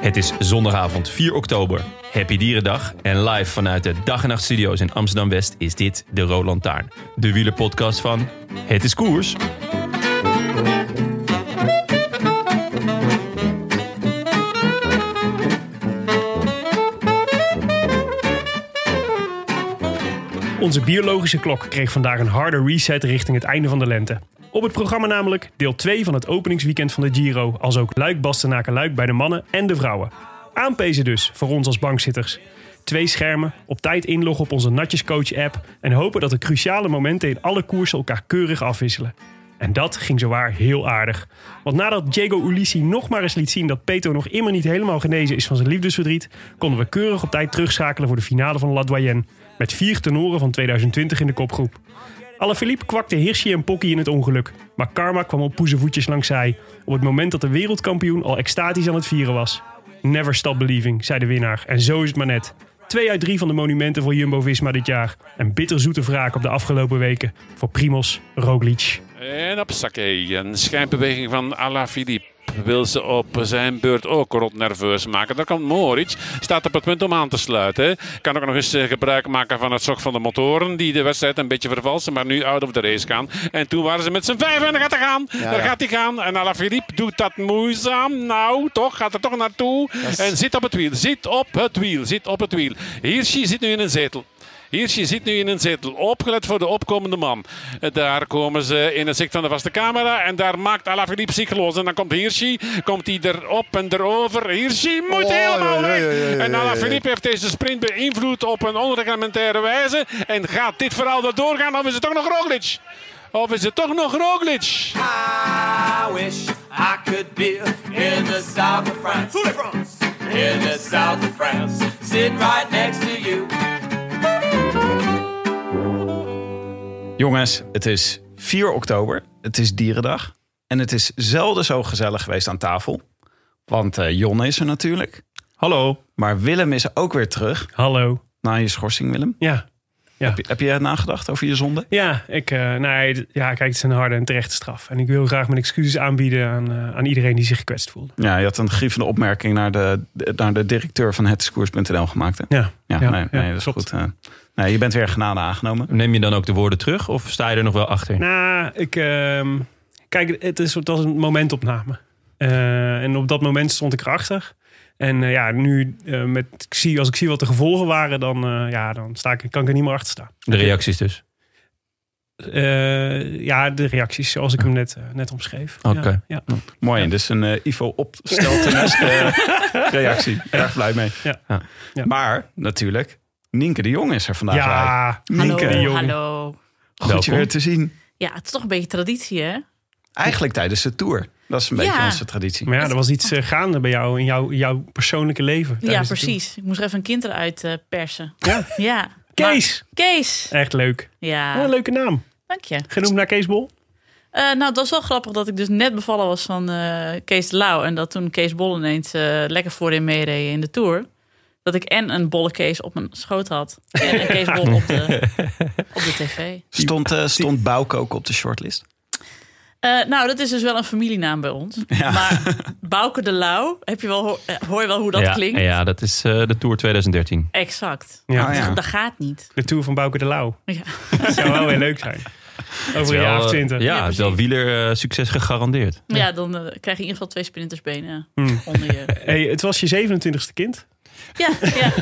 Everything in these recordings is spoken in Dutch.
Het is zondagavond 4 oktober, Happy Dierendag en live vanuit de Dag en Nacht Studio's in Amsterdam-West is dit de Roland Lantaarn, de wielerpodcast van Het is Koers. Onze biologische klok kreeg vandaag een harde reset richting het einde van de lente. Op het programma namelijk deel 2 van het openingsweekend van de Giro, als ook Luik Bastenaken Luik bij de mannen en de vrouwen. Aanpezen dus voor ons als bankzitters. Twee schermen, op tijd inloggen op onze Natjescoach app en hopen dat de cruciale momenten in alle koersen elkaar keurig afwisselen. En dat ging zowaar heel aardig. Want nadat Diego Ulissi nog maar eens liet zien dat Peto nog immer niet helemaal genezen is van zijn liefdesverdriet, konden we keurig op tijd terugschakelen voor de finale van La Doyenne. Met vier tenoren van 2020 in de kopgroep. Alaphilippe kwakte Hirschi en Pocky in het ongeluk. Maar Karma kwam op poezenvoetjes langs zij. Op het moment dat de wereldkampioen al extatisch aan het vieren was. Never stop believing, zei de winnaar. En zo is het maar net. Twee uit drie van de monumenten voor Jumbo-Visma dit jaar. En bitterzoete wraak op de afgelopen weken voor Primoz Roglic. En opzakkie. Een schijnbeweging van Alaphilippe. Wil ze op zijn beurt ook rot nerveus maken. Daar kan Moritz. Staat op het punt om aan te sluiten. Kan ook nog eens eh, gebruik maken van het zog van de motoren. Die de wedstrijd een beetje vervalsen. Maar nu out of the race gaan. En toen waren ze met z'n vijf. En daar gaat hij gaan. daar gaat hij gaan. En Alaphilippe doet dat moeizaam. Nou, toch. Gaat er toch naartoe. En zit op het wiel. Zit op het wiel. Zit op het wiel. Hirschi zit nu in een zetel. Hirschi zit nu in een zetel. Opgelet voor de opkomende man. Daar komen ze in het zicht van de vaste camera. En daar maakt Alaphilippe zich los. En dan komt Hirschi. Komt hij erop en erover. Hirschi moet helemaal weg. En Alaphilippe heeft deze sprint beïnvloed op een onreglementaire wijze. En gaat dit verhaal er doorgaan? Of is het toch nog Roglic? Of is het toch nog Roglic? I wish I could be in the south of France. In the south of France. Sitting right next to you. Jongens, het is 4 oktober. Het is Dierendag. En het is zelden zo gezellig geweest aan tafel. Want eh Jonne is er natuurlijk. Hallo. Maar Willem is ook weer terug. Hallo. Na je schorsing, Willem. Ja. Heb je, heb je nagedacht over je zonde? Ja, ik, eh, nee, d- ja, kijk, het is een harde en terechte straf. En ik wil graag mijn excuses aanbieden aan, eh, aan iedereen die zich gekwetst voelde. Ja, je had een grievende opmerking naar de, naar de directeur van hetdiscours.nl gemaakt. Hè? Ja, Ja, nee, nee, dat is klopt. goed. eh. nee, je bent weer genade aangenomen. Neem je dan ook de woorden terug of sta je er nog wel achter? Nou, ik, ehm, kijk, het, is, het was een momentopname. Eh, en op dat moment stond ik erachter. En eh, ja, nu, eh, met, ik zie, als ik zie wat de gevolgen waren, dan, eh, ja, dan sta ik, kan ik er niet meer achter staan. De reacties dus. Eh, ja, de reacties zoals ik hem net, eh, net omschreef. Oké. Ja, ja. Mooi, dus een eh, Ivo opstelteneske eh, reactie. Erg blij mee. Ja. Ja. Maar natuurlijk, Nienke de Jong is er vandaag bij. ja. Nienke de Hallo. Jong, jongen. hallo. goed je weer te zien. Ja, het is toch een beetje traditie, hè? Eigenlijk tijdens de Tour. Dat is een beetje Ja. onze traditie. Maar ja, er was iets eh, gaande bij jou in jouw, jouw persoonlijke leven. ja, tijdens de precies. Ik moest er even een kind eruit eh, persen. tour. Ja. Ja. Kees! Maar- Kees! Echt leuk. Wat Ja, een leuke naam. dank je. Genoemd naar Kees Bol. Eh, nou, dat is wel grappig dat ik dus net bevallen was van eh, Kees de Lauw. En dat toen Kees Bol ineens eh, lekker voorin meereed in de Tour. Dat ik en een bolle Kees op mijn schoot had. En een Kees Bol op de, op de tv. Stond, eh, stond Bouke ook op de shortlist? Eh, nou, dat is dus wel een familienaam bij ons. Maar Bouke de Lauw, heb je wel, ho- eh, hoor je wel hoe dat ja, klinkt? Ja, dat is eh, de Tour 2013. Exact. Ja. Ah, ja. Dat gaat niet. De tour van Bouke de Lauw. Ja. Dat zou wel weer leuk zijn. Over een jaar of Wel, eh, twintig. Ja, Ja, het is wel wieler eh, succes gegarandeerd. Hmm. Ja, dan eh, krijg je in ieder geval twee splintersbenen eh, onder je. Hey, het was je 27ste kind. Ja, ja.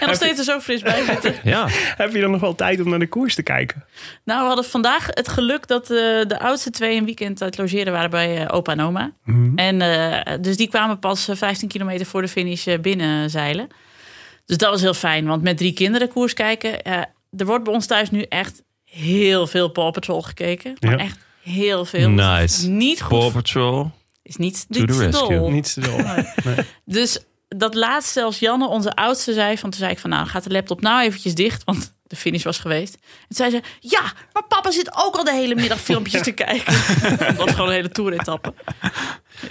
en nog steeds er zo fris bij zitten. Ja, Heb je dan nog wel tijd om naar de koers te kijken? Nou, we hadden vandaag het geluk dat eh, de oudste twee een weekend uit logeren waren bij eh, opa en oma. Hmm. En, eh, dus die kwamen pas eh, 15 kilometer voor de finish eh, binnen zeilen. Dus dat was heel fijn, want met drie kinderen koers kijken. eh, er wordt bij ons thuis nu echt heel veel Paw Patrol gekeken. Maar Ja. echt heel veel. Dus Nice. Het is Niet goed. Paw Patrol. is niet, to niet the te rescue. dol. Niets te doen. Dus dat laatst zelfs Janne, onze oudste, zei van... Toen zei ik van, nou, gaat de laptop nou eventjes dicht? Want de finish was geweest. En toen zei ze, ja, maar papa zit ook al de hele middag filmpjes te kijken. dat was gewoon een hele toeretappe.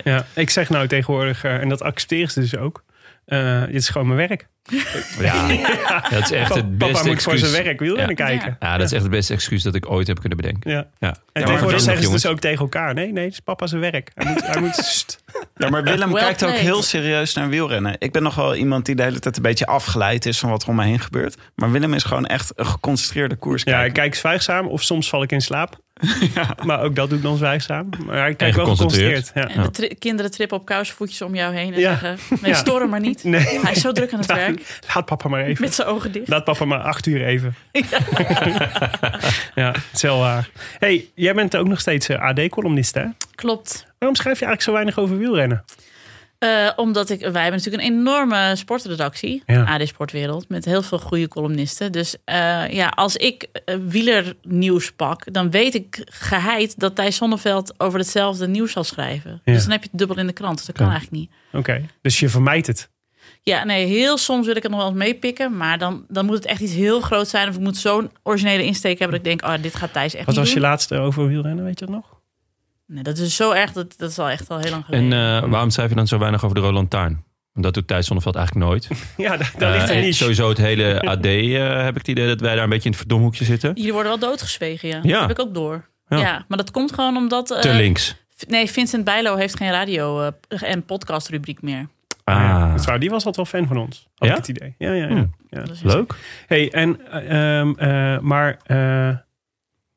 Ja, ik zeg nou tegenwoordig, eh, en dat accepteer ze dus ook. eh, dit is gewoon mijn werk. Ja, dat is echt het beste Papa moet voor excuus. zijn werk wielrennen Ja. kijken. Ja, dat is echt het beste excuus dat ik ooit heb kunnen bedenken. Ja. Ja. En Ja, maar tegenwoordig vervelend, zeggen ze dus jongens. ook tegen elkaar. Nee, nee, het is papa zijn werk. Hij moet, hij moet sst. Ja, maar Willem Well kijkt ook played. heel serieus naar wielrennen. Ik ben nog wel iemand die de hele tijd een beetje afgeleid is van wat er om me heen gebeurt. Maar Willem is gewoon echt een geconcentreerde koers. Ja, ik kijk zwijgzaam of soms val ik in slaap. Maar ook dat doe ik dan zwijgzaam. Maar ik En kijk wel geconcentreerd. geconcentreerd. Ja. En de tri- kinderen trippen op kousenvoetjes om jou heen. En Ja. zeggen, nee, Ja. storen maar niet. Nee. Hij is zo druk aan het werk. Laat papa maar even. Met zijn ogen dicht. Laat papa maar acht uur even. Ja. Ja, het is wel waar. hey, jij bent ook nog steeds eh, AD-columnist, hè? Klopt. Waarom schrijf je eigenlijk zo weinig over wielrennen? Eh, omdat ik, wij hebben natuurlijk een enorme sportredactie, Ja. AD Sportwereld, met heel veel goede columnisten. Dus eh, ja, als ik eh, wielernieuws pak, dan weet ik geheid dat Thijs Zonneveld over hetzelfde nieuws zal schrijven. Ja. Dus dan heb je het dubbel in de krant. Dus dat kan Ja. eigenlijk niet. Oké, dus je vermijdt het. Ja, nee, heel soms wil ik het nog wel eens meepikken, maar dan, dan moet het echt iets heel groot zijn. Of ik moet zo'n originele insteek hebben dat ik denk, oh, dit gaat Thijs echt Wat niet was je doen. laatste over wielrennen, weet je dat nog? Nee, dat is zo erg, dat, dat is al echt al heel lang En geleden. eh, waarom schrijf je dan zo weinig over de Roland Taarn? Want Dat doet Thijs Zonneveld eigenlijk nooit. Ja, daar, daar ligt Eh, een en niche. sowieso het hele AD eh, heb ik het idee dat wij daar een beetje in het verdomhoekje zitten. Jullie worden wel doodgezwegen, ja. Ja. Dat heb ik ook door. Ja. Ja. maar dat komt gewoon omdat... eh, Te links. Nee, Vincent Bijlo heeft geen radio eh, en podcastrubriek meer. Ah, Ja, dat is waar. die was altijd wel fan van ons. Had Ja? ik het idee. Ja, ja, ja. Hmm. ja. Dus- leuk. hey, en, eh, ehm, eh, maar eh,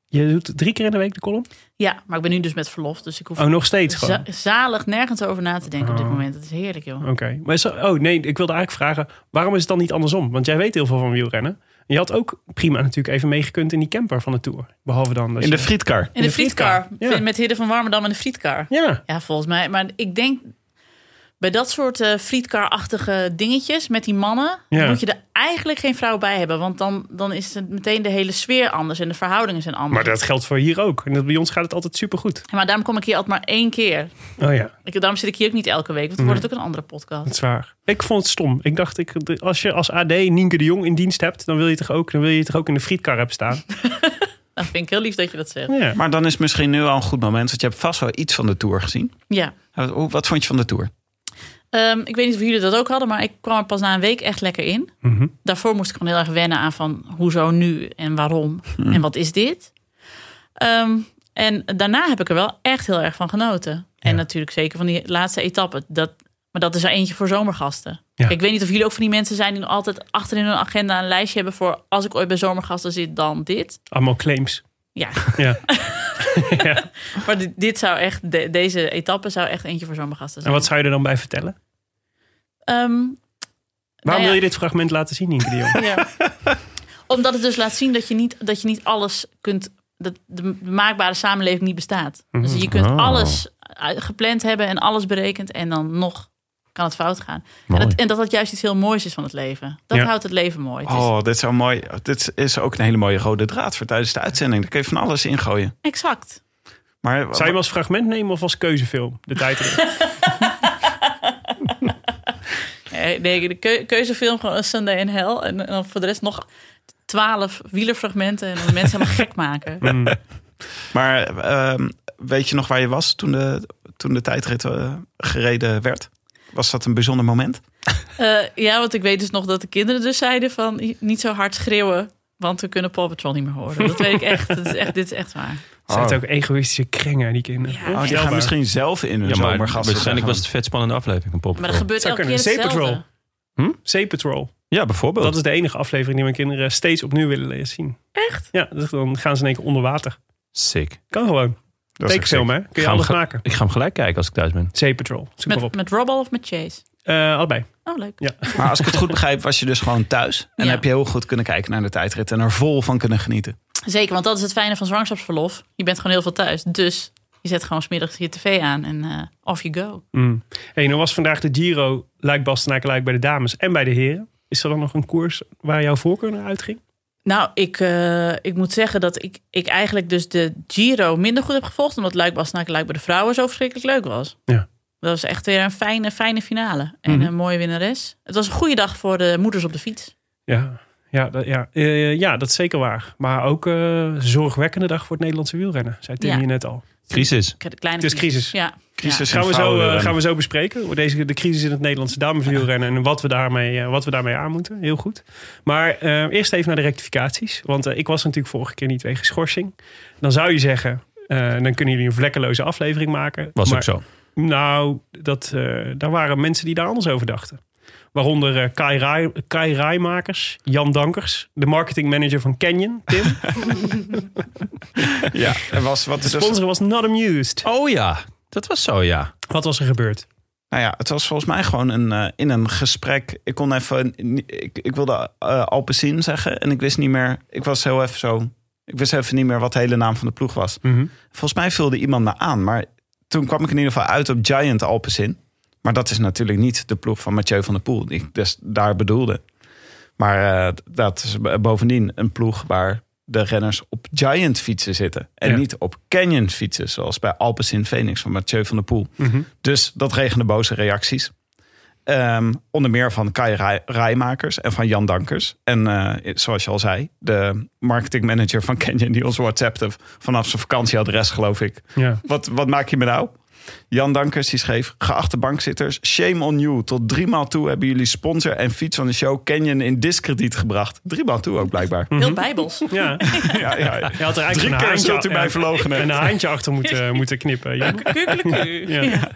je doet drie keer in de week de column? Ja, maar ik ben nu dus met verlof, dus ik hoef Oh, nog steeds za- gewoon? zalig nergens over na te denken op dit Oh. moment. Dat is heerlijk, joh. Oké. Maar is er- oh nee, ik wilde eigenlijk vragen, waarom is het dan niet andersom? Want jij weet heel veel van wielrennen. Je had ook prima natuurlijk even meegekund in die camper van de Tour. Behalve dan... dat In de je- frietkar. In de, frietkar. frietkar, ja. Met Hidde van Warmerdam in de frietkar. Ja. Ja, volgens mij. Maar ik denk bij dat soort eh frietkar-achtige dingetjes met die mannen... Ja. moet je er eigenlijk geen vrouw bij hebben. Want dan, dan is het meteen de hele sfeer anders en de verhoudingen zijn anders. Maar dat geldt voor hier ook. En dat- bij ons gaat het altijd supergoed. Ja, maar daarom kom ik hier altijd maar één keer. Oh ja. Ik, daarom zit ik hier ook niet elke week, want Mhm. dan wordt het ook een andere podcast. Dat is waar. Ik vond het stom. Ik dacht, ik, de- als je als AD Nienke de Jong in dienst hebt, dan wil je toch ook, dan wil je toch ook in de frietkar hebben staan. Dat vind ik heel lief dat je dat zegt. Ja. Maar dan is misschien nu al een goed moment, want je hebt vast wel iets van de Tour gezien. Ja. Hoe- Wat vond je van de Tour? Ehm, ik weet niet of jullie dat ook hadden, maar ik kwam er pas na een week echt lekker in. Mhm. Daarvoor moest ik gewoon heel erg wennen aan van hoezo nu en waarom en wat is dit. Ehm, en daarna heb ik er wel echt heel erg van genoten. En natuurlijk zeker van die laatste etappe. Dat, maar dat is er eentje voor zomergasten. Ja. Ik weet niet of jullie ook van die mensen zijn die nog altijd achterin hun agenda een lijstje hebben voor als ik ooit bij zomergasten zit, dan dit. Allemaal claims. Ja, Ja. maar dit, dit zou echt, de- deze etappe zou echt eentje voor zomergasten En zijn. wat zou je er dan bij vertellen? Ehm, Nou Waarom ja. wil je dit fragment laten zien, Nienke de Jong? Ja. Omdat het dus laat zien dat je niet, dat je niet alles kunt. Dat de maakbare samenleving niet bestaat. Dus je kunt Oh. alles uit- gepland hebben en alles berekend. En dan nog kan het fout gaan. En Mooi. dat, en dat dat juist iets heel moois is van het leven. Dat Ja. houdt het leven mooi. Het is- Oh, dit is, zo mooi. dit is ook een hele mooie rode draad voor tijdens de uitzending. Daar kun je van alles ingooien. Exact. Maar Zou je hem als fragment nemen of als keuzefilm? De tijd Oh. erin. Nee, nee, de keu- keuzefilm gewoon A Sunday in Hell. En, en dan voor de rest nog twaalf wielerfragmenten. En dan mensen helemaal gek maken. Hmm. Maar ehm, weet je nog waar je was toen de, toen de tijdrit eh, gereden werd? Was dat een bijzonder moment? Eh, ja, want ik weet dus nog dat de kinderen dus zeiden van niet zo hard schreeuwen. Want we kunnen Paw Patrol niet meer horen. Dat weet ik echt. Dat is echt dit is echt waar. Het Ah. zijn ook egoïstische krengen, die kinderen. Ja. Oh, die Oh, gaan Onvoorstelbaar. misschien zelf in hun Ja, maar zomergasten. waarschijnlijk was het een vet spannende aflevering van Pop. Maar dat gebeurt Zou elke keer kunnen. Zee hetzelfde. Patrol. Hm? Sea Hm? Patrol. Ja, Oh. bijvoorbeeld. Dat is de enige aflevering die mijn kinderen steeds opnieuw willen laten zien. Echt? Ja, dus dan gaan ze in één keer onder water. Sick. Kan gewoon. ook Tekenfilm, hè? Kun je Ga hem alles ge- maken. Ik ga hem gelijk kijken als ik thuis ben. Sea Patrol. Zoek maar Met, op. met Robbel of met Chase? Eh, allebei. Oh, leuk. Ja. Maar als ik het goed begrijp, was je dus gewoon thuis. En Ja. heb je heel goed kunnen kijken naar de tijdrit en er vol van kunnen genieten. Zeker, want dat is het fijne van zwangerschapsverlof. Je bent gewoon heel veel thuis. Dus je zet gewoon smiddags je tv aan en eh, off you go. Mm. Hey, nou was vandaag de Giro luik-bastenaken-luik bij de dames en bij de heren. Is er dan nog een koers waar jouw voorkeur naar uitging? Nou, ik, eh, ik moet zeggen dat ik, ik eigenlijk dus de Giro minder goed heb gevolgd. Omdat Luik Bastenaken Luik bij de vrouwen zo verschrikkelijk leuk was. Ja. Dat was echt weer een fijne, fijne finale. En Mhm. een mooie winnares. Het was een goede dag voor de moeders op de fiets. Ja, ja, dat, ja. Eh, ja dat is zeker waar. Maar ook eh, zorgwekkende dag voor het Nederlandse wielrennen, zei Tim Ja. hier net al. Crisis. Ik had een Kleine Het is crisis. Ja. Crisis Gaan in we, zo, eh, vrouwenrennen. gaan we zo bespreken. Deze, de crisis in het Nederlandse dameswielrennen en wat we, daarmee, eh, wat we daarmee aan moeten. Heel goed. Maar eh, eerst even naar de rectificaties. Want eh, ik was er natuurlijk vorige keer niet wegens schorsing. Dan zou je zeggen, eh, dan kunnen jullie een vlekkeloze aflevering maken. Was maar, ook zo. Nou, dat, eh, daar waren mensen die daar anders over dachten. Waaronder eh, Kai, Rai, Kai Rijmakers, Jan Dankers, de marketingmanager van Canyon, Tim. Ja, er was wat De dus, sponsor was not amused. Oh ja, dat was zo, ja. Wat was er gebeurd? nou ja, het was volgens mij gewoon een, eh, in een gesprek. Ik kon even, ik, ik wilde eh Alpecin zeggen en ik wist niet meer. Ik was heel even zo, ik wist even niet meer wat de hele naam van de ploeg was. Volgens mij vulde iemand me aan, maar toen kwam ik in ieder geval uit op Giant Alpecin. Maar dat is natuurlijk niet de ploeg van Mathieu van der Poel, die ik dus daar bedoelde. Maar eh, dat is b- bovendien een ploeg waar de renners op Giant fietsen zitten. En Ja. niet op Canyon fietsen, zoals bij Alpecin Phoenix van Mathieu van der Poel. Mhm. Dus dat regende boze reacties. Ehm, onder meer van Kai Rij- Rijmakers en van Jan Dankers. En eh, zoals je al zei, de marketingmanager van Canyon... die ons WhatsAppte vanaf zijn vakantieadres, geloof ik. Ja. Wat, wat maak je me nou? Jan Dankers die schreef: Geachte bankzitters, shame on you. Tot drie maal toe hebben jullie sponsor en fiets van de show Canyon in diskrediet gebracht. Drie maal toe ook blijkbaar. Mhm. Heel bijbels. ja. ja, ja, ja. Je had er eigenlijk Drie een keer haantje- zult u mij eh, verlogen. een haantje achter moeten, moeten knippen. Ja. Kukkeleku. Ja. Ja.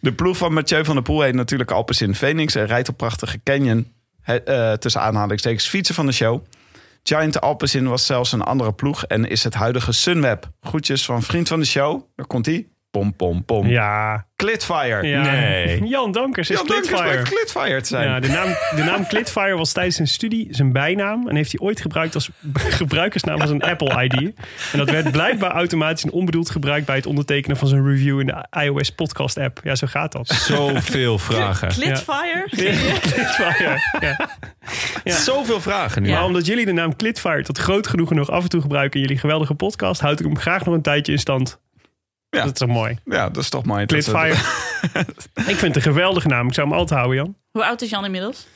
De ploeg van Mathieu van der Poel heet natuurlijk Alpes in Phoenix en rijdt op prachtige Canyon. He- eh, tussen aanhalingstekens fietsen van de show. Giant Alpecin was zelfs een andere ploeg en is het huidige Sunweb. Groetjes van vriend van de show. Daar komt hij. Pom, pom, pom. Ja. Clitfire. ja. Nee. Jan Dankers is Jan Dankers Clipfire. blijkt Clitfire te zijn. Ja, de, naam, de naam Clitfire was tijdens zijn studie zijn bijnaam. En heeft hij ooit gebruikt als gebruikersnaam als een Apple-ID. En dat werd blijkbaar automatisch en onbedoeld gebruikt bij het ondertekenen van zijn review in de iOS podcast app. Ja, zo gaat dat. Zoveel vragen. Clitfire. Clitfire. Ja. Ja. Zoveel vragen nu. Ja. Maar omdat jullie de naam Clitfire tot groot genoegen nog af en toe gebruiken in jullie geweldige podcast, houd ik hem graag nog een tijdje in stand. Ja. Dat is toch mooi. Ja, dat is toch mooi. Dat is- Clitfire. ik vind het een geweldige naam. Ik zou hem altijd houden, Jan. Hoe oud is Jan inmiddels?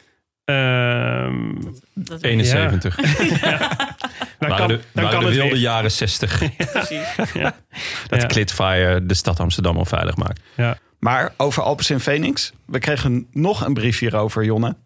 Ehm, Dat 71. dan Waren kan, de, dan waren kan de het wilde weer. jaren 60. precies. Dat Ja. Clitfire de stad Amsterdam onveilig maakt. Ja. Maar over Alpes in Phoenix. We kregen nog een brief hierover, Jonne.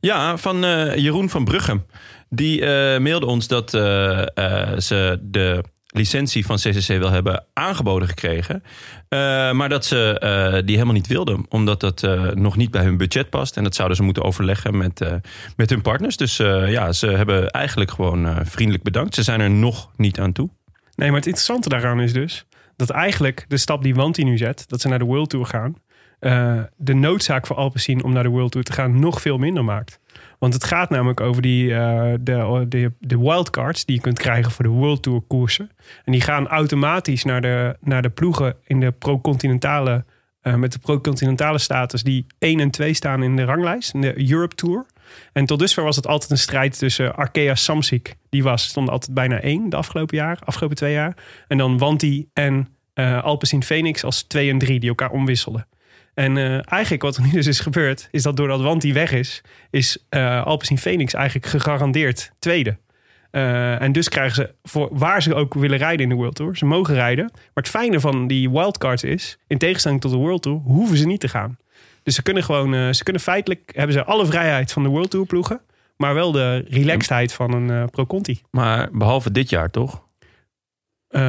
Ja, van eh, Jeroen van Bruchem. Die eh, mailde ons dat eh, eh, ze de licentie van CCC wel hebben aangeboden gekregen. Eh, maar dat ze eh, die helemaal niet wilden. Omdat dat eh, nog niet bij hun budget past. En dat zouden ze moeten overleggen met, eh, met hun partners. Dus eh, ja, ze hebben eigenlijk gewoon eh, vriendelijk bedankt. Ze zijn er nog niet aan toe. Nee, maar het interessante daaraan is dus dat eigenlijk de stap die Wanti nu zet, dat ze naar de World Tour gaan, eh, de noodzaak voor Alpecin om naar de World Tour te gaan nog veel minder maakt. Want het gaat namelijk over die, eh, de, de, de wildcards die je kunt krijgen voor de World Tour koersen. En die gaan automatisch naar de, naar de ploegen in de pro-continentale, eh, met de pro-continentale status die 1 en 2 staan in de ranglijst, in de Europe Tour. En tot dusver was het altijd een strijd tussen Arkea Samsic. Die was, stond altijd bijna één de afgelopen jaar, afgelopen twee jaar. En dan Wanti en eh Alpecin Phoenix als twee en drie die elkaar omwisselden. En eh, eigenlijk wat er nu dus is gebeurd, is dat doordat Wanti weg is, is eh Alpecin Phoenix eigenlijk gegarandeerd tweede. Eh, en dus krijgen ze, voor waar ze ook willen rijden in de World Tour, ze mogen rijden. Maar het fijne van die wildcards is, in tegenstelling tot de World Tour, hoeven ze niet te gaan. Dus ze kunnen gewoon, eh, ze kunnen feitelijk, hebben ze alle vrijheid van de World Tour ploegen, maar wel de relaxedheid van een eh, Pro Conti. Maar behalve dit jaar toch? Eh,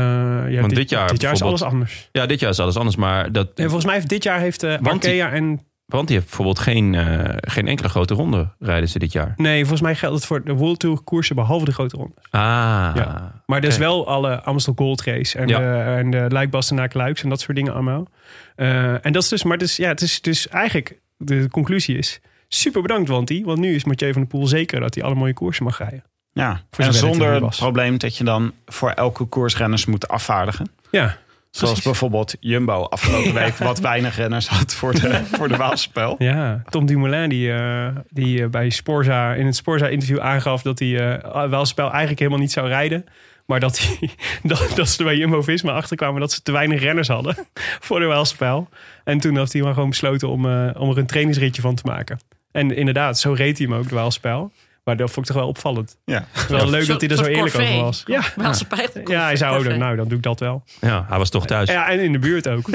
ja, Want dit jaar dit jaar is bijvoorbeeld- alles anders. Ja, dit jaar is alles anders. Maar dat, En volgens mij heeft dit jaar heeft eh Want die- Arkea en... want die heeft bijvoorbeeld geen, eh, geen enkele grote ronde rijden ze dit jaar. Nee, volgens mij geldt het voor de World Tour koersen behalve de grote ronde. Ah, Ja. Maar dus Oké. wel alle Amstel Gold Race en Ja. de, en de Luikbastenaak Luiks en dat soort dingen allemaal. Eh, en dat is dus, maar het is, ja, het is dus eigenlijk de conclusie is, super bedankt Wanty. Want nu is Mathieu van der Poel zeker dat hij alle mooie koersen mag rijden. Ja, Voor en zover het er zonder weer het was. probleem dat je dan voor elke koers renners moet afvaardigen. Ja, Zoals Precies. bijvoorbeeld Jumbo afgelopen week wat weinig renners had voor de, voor de Waalspel. ja. Tom Dumoulin die, eh, die eh, bij Sporza in het Sporza interview aangaf dat hij eh wel spel eigenlijk helemaal niet zou rijden. Maar dat, hij, dat, dat ze er bij Jumbo-Visma achterkwamen dat ze te weinig renners hadden voor de Welspel. En toen had hij maar gewoon besloten om, eh, om er een trainingsritje van te maken. En inderdaad, zo reed hij hem ook, de Welspel. Maar dat vond ik toch wel opvallend. Ja. Wel leuk soort- dat hij er zo soort eerlijk corvée. over was. Ja, Wel spijt. ja hij zou ook doen. Nou, dan doe ik dat wel. Ja, hij was toch thuis. Ja, en in de buurt ook.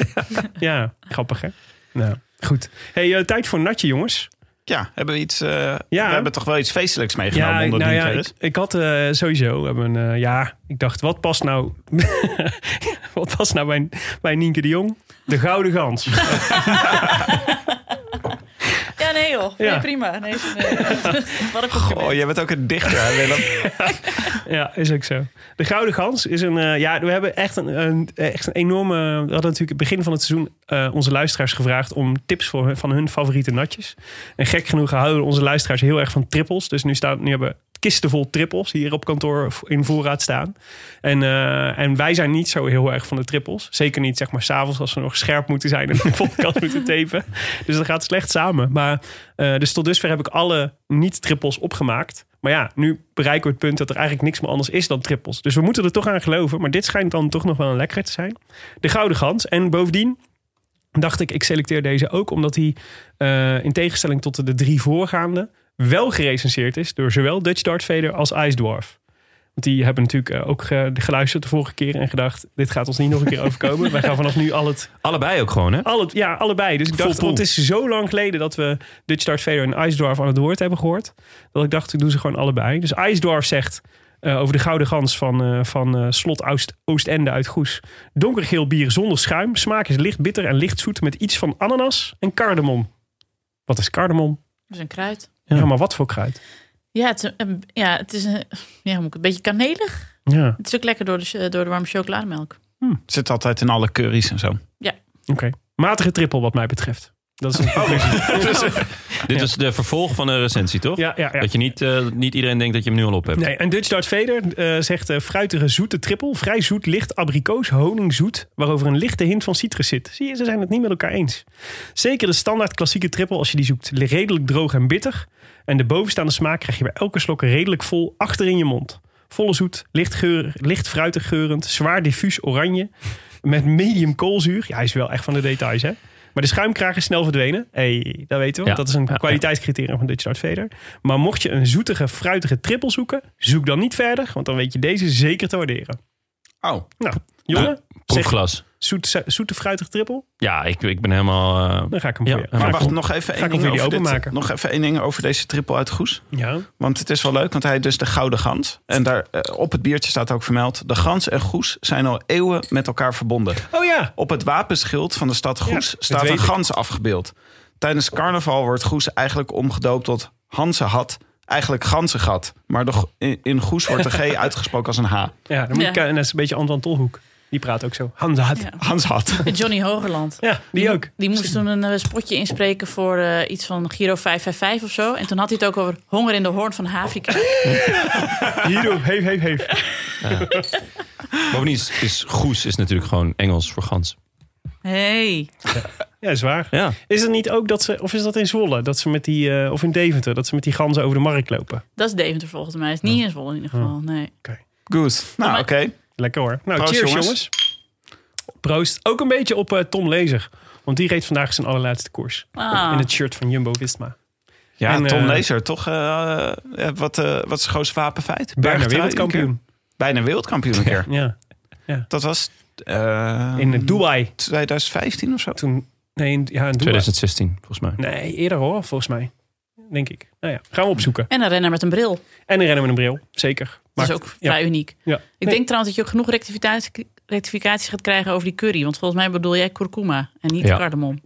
ja, grappig hè? Nou, goed. Hey, eh, tijd voor een natje, jongens. Ja, hebben we iets. eh, Ja. We hebben toch wel iets feestelijks meegenomen onder de ja, liefhebbers? ik, ik had eh, sowieso hebben, eh ja, ik dacht, wat past nou, wat past nou bij, bij Nienke de Jong? De Gouden Gans. Ja, nee joh. Nee, Ja. prima. Nee, is- nee. Wat een compliment. Oh, jij bent ook een dichter, hè, Willem. ja, is ook zo. De Gouden Gans is een, eh, ja, we hebben echt een, een- echt een enorme, we hadden natuurlijk het begin van het seizoen eh, onze luisteraars gevraagd om tips voor, hun- van hun favoriete natjes. En gek genoeg houden onze luisteraars heel erg van trippels. Dus nu, staan, nu hebben we kisten vol trippels hier op kantoor in voorraad staan. En, eh, en wij zijn niet zo heel erg van de trippels. Zeker niet, zeg maar, s'avonds als we nog scherp moeten zijn en de podcast moeten tapen. Dus dat gaat slecht samen. Maar eh, dus tot dusver heb ik alle niet-trippels opgemaakt. Maar ja, nu bereiken we het punt dat er eigenlijk niks meer anders is dan trippels. Dus we moeten er toch aan geloven. Maar dit schijnt dan toch nog wel een lekker te zijn. De Gouden Gans. En bovendien dacht ik, ik selecteer deze ook omdat hij eh, in tegenstelling tot de drie voorgaande wel gerecenseerd is door zowel Dutch Dart Vader als Ice Dwarf. Want die hebben natuurlijk eh, ook eh, geluisterd de vorige keer en gedacht: dit gaat ons niet nog een keer overkomen. Wij gaan vanaf nu al het Allebei ook gewoon, hè? alle, ja, allebei. Dus ik dacht, pool. want het is zo lang geleden dat we Dutch Dart Vader en Ice Dwarf aan het woord hebben gehoord. Dat ik dacht, ik doe ze gewoon allebei. Dus Ice Dwarf zegt eh, over de Gouden Gans van, eh, van eh, slot Oost, Oostende uit Goes. Donkergeel bier zonder schuim. Smaak is licht bitter en licht zoet met iets van ananas en cardamom. Wat is cardamom? Dat is een kruid. Ja, maar wat voor kruid? Ja, het is een, ja, het is een, ja, hoe moet ik, een beetje kanelig. Ja, Het is ook lekker door de, ch- eh, door de warme chocolademelk. Zit altijd in alle curry's en zo. oké. Matige trippel wat mij betreft. Dat is een Oh, Dit is de vervolg van de recensie, toch? ja, ja, ja. Dat je niet, eh, niet iedereen denkt dat je hem nu al op hebt. Nee, en Dutch Dart Vader eh, zegt eh, fruitige zoete trippel. Vrij zoet, licht abrikoos, honingzoet. Waarover een lichte hint van citrus zit. Zie je, ze zijn het niet met elkaar eens. Zeker de standaard klassieke trippel als je die zoekt. Redelijk droog en bitter. En de bovenstaande smaak krijg je bij elke slok redelijk vol achter in je mond. Volle zoet, licht, geur, licht fruitig geurend, zwaar diffuus oranje. Met medium koolzuur. Ja, hij is wel echt van de details, hè? Maar de schuimkraag is snel verdwenen. hey, dat weten we. Ja. Dat is een Ja, ja. kwaliteitscriterium van Dutch Dart Vader. Maar mocht je een zoetige, fruitige trippel zoeken, zoek dan niet verder, want dan weet je deze zeker te waarderen. Oh, Nou, jongen, zeg, Proefglas. zoet, zoete, fruitige trippel, Ja, ik, ik ben helemaal... eh, dan ga ik hem Ja, voor je. maar maar Ga ik wacht, hem- nog even, één ik hem ding voor jullie over dit, openmaken. nog even één ding over deze triple uit Goes. Ja, Want het is wel leuk, want hij heeft dus de Gouden Gans. En daar eh, op het biertje staat ook vermeld... de Gans en Goes zijn al eeuwen met elkaar verbonden. Oh ja, Op het wapenschild van de stad Goes Ja, dat staat weet een ik. gans afgebeeld. Tijdens carnaval wordt Goes eigenlijk omgedoopt tot Hansenhat. Eigenlijk Ganzengat. Maar de, go- in- in Goes wordt de G uitgesproken als een H. ja, dan moet Ja. ik- en dat is een beetje Anton Tolhoek. Die praat ook zo. Hans had. Ja. Ja. Hansenhat. Johnny Hogerland. die ook. Die moest toen een eh, spotje inspreken voor eh, iets van Giro 555 of zo. En toen had hij het ook over honger in de hoorn van Havika. Hierdoe, heef, heef, heef. Bovendien is, is goes is natuurlijk gewoon Engels voor gans. Hey. Ja, zwaar. Ja. Is het niet ook dat ze, of is dat in Zwolle, dat ze met die, eh, of in Deventer, dat ze met die ganzen over de markt lopen? Dat is Deventer volgens mij. Is niet in Zwolle in ieder geval. Nee. Goes. Nou, oké. Maar- Lekker hoor. Nou, Proost, cheers jongens. jongens. Proost. Ook een beetje op eh, Tom Lezer. Want die reed vandaag zijn allerlaatste koers. Ah. In het shirt van Jumbo Visma. Ja, En, Tom eh, Lezer, toch? eh, eh, wat, eh, wat is het grootste wapenfeit? Bijna Bergtrui een wereldkampioen. keer. Bijna wereldkampioen een keer. Ja. Dat was... eh, In eh, Dubai. 2015 of zo. Toen, nee, in, ja, in Dubai. 2016, volgens mij. Nee, eerder hoor, volgens mij. Denk ik. Nou ja, gaan we opzoeken. En een renner met een bril. En een rennen met een bril. Zeker. Dat Maakt- is ook ja. vrij uniek. Ja. Ik denk trouwens dat je ook genoeg rectificatie, rectificaties gaat krijgen over die curry. Want volgens mij bedoel jij kurkuma en niet Ja. cardamom.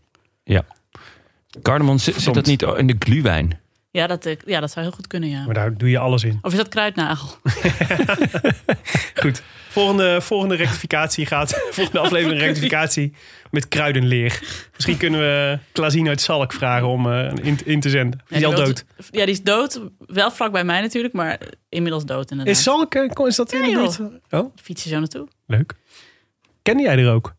Cardamom, zit, zit dat niet in de glühwijn? Ja dat, eh, ja, dat zou heel goed kunnen, ja. Maar daar doe je alles in. Of is dat kruidnagel? Goed. Volgende, volgende rectificatie gaat. Volgende aflevering rectificatie met kruidenleer. Misschien kunnen we Klaasien uit Zalk vragen om eh, in, in te zenden. Is die Ja, al wil- dood? Ja, die is dood. Wel vlak bij mij natuurlijk, maar inmiddels dood inderdaad. Is Zalk, eh, kom- is dat in de Ja, buurt? Oh, Fiets je zo naartoe. leuk. Kende jij er ook?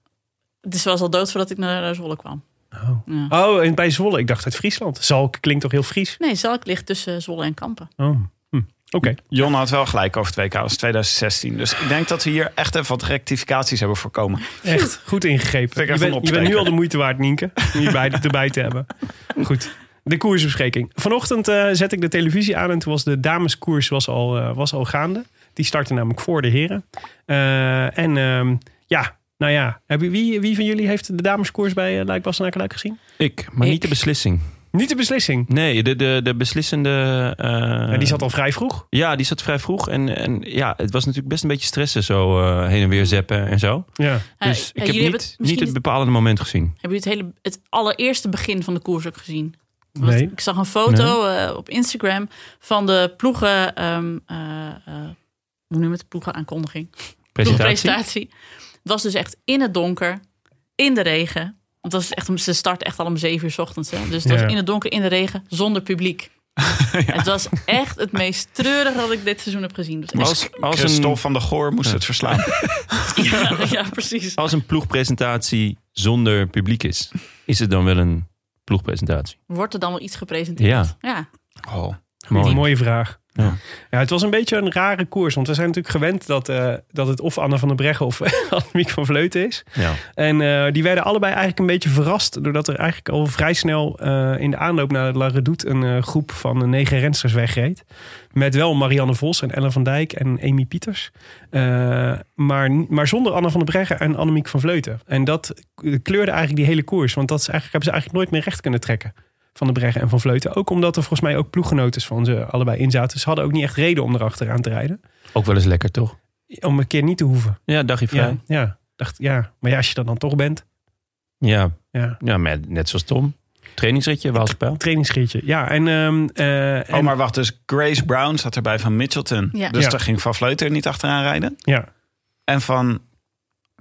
Dus ze was al dood voordat ik naar eh, Zwolle kwam. Oh. Ja. oh, en bij Zwolle. Ik dacht uit Friesland. Zalk klinkt toch heel Fries? Nee, Zalk ligt tussen Zwolle en Kampen. Oh. Hm. Oké. Jon had wel gelijk over het WK, dat is 2016. Dus ik denk dat we hier echt even wat rectificaties hebben voorkomen. Echt goed ingegrepen. Vind ik Je echt bent, een je bent nu opsteker. al de moeite waard, Nienke, om je bij, erbij te hebben. Goed, de koersbespreking. Vanochtend eh zet ik de televisie aan en toen was de dameskoers was al, eh, was al gaande. Die startte namelijk voor de heren. Eh, en ehm, ja, nou ja, heb je- wie, wie van jullie heeft de dameskoers bij uh, Luik Luik gezien? Ik, maar niet de beslissing. Niet de beslissing. Nee, de, de, de beslissende... eh, Nou, die zat al vrij vroeg. Ja, die zat vrij vroeg. En, en ja, het was natuurlijk best een beetje stressen zo eh, heen en weer zeppen en zo. Ja. Ah, Ja, Dus ja, ik heb jullie hebben niet het, misschien niet het bepalende moment gezien. Hebben jullie het, hele, het allereerste begin van de koers ook gezien? Want Nee. Ik zag een foto eh, op Instagram van de ploegen... ehm eh, eh, hoe noem je het? Ploegenaankondiging. Presentatie. Ploegenpresentatie. Het was dus echt in het donker, in de regen. Want dat is echt, om- ze start echt al om zeven uur 's ochtends. Hè? Dus het Ja. was in het donker, in de regen, zonder publiek. Het was echt het meest treurige dat ik dit seizoen heb gezien. Dus Het was echt- Als, als, Christophe een, van der Goor moest het verslaan. ja, ja, precies. als een ploegpresentatie zonder publiek is, is het dan wel een ploegpresentatie? Wordt er dan wel iets gepresenteerd? Ja, Ja, Oh. Mooie, mooi. vraag. Ja. Ja. het was een beetje een rare koers. Want we zijn natuurlijk gewend dat, eh, dat het of Anne van der Breggen of Annemiek van Vleuten is. Ja. En eh, die werden allebei eigenlijk een beetje verrast. Doordat er eigenlijk al vrij snel eh, in de aanloop naar La Redoute een eh, groep van eh, negen rensters wegreed. Met wel Marianne Vos en Ellen van Dijk en Amy Pieters. Eh, maar, maar zonder Anne van der Breggen en Annemiek van Vleuten. En dat kleurde eigenlijk die hele koers. Want dat is eigenlijk, hebben ze eigenlijk nooit meer recht kunnen trekken. Van de Breggen en van Vleuten. Ook omdat er volgens mij ook ploeggenoten van ze allebei in zaten. Ze hadden ook niet echt reden om erachteraan te rijden. Ook wel eens lekker, toch? Om een keer niet te hoeven. Ja, dagje vrij. Ja, Ja, ja, dacht ja. Maar ja, als je dat dan toch bent. ja, Ja. maar net zoals Tom. Trainingsritje, Waalspel. trainingsgietje. Ja, en, ehm, eh, Oh, en- maar wacht, dus Grace Brown zat erbij van Mitchelton. Ja. Dus Ja. daar ging Van Vleuter niet achteraan rijden. ja, En van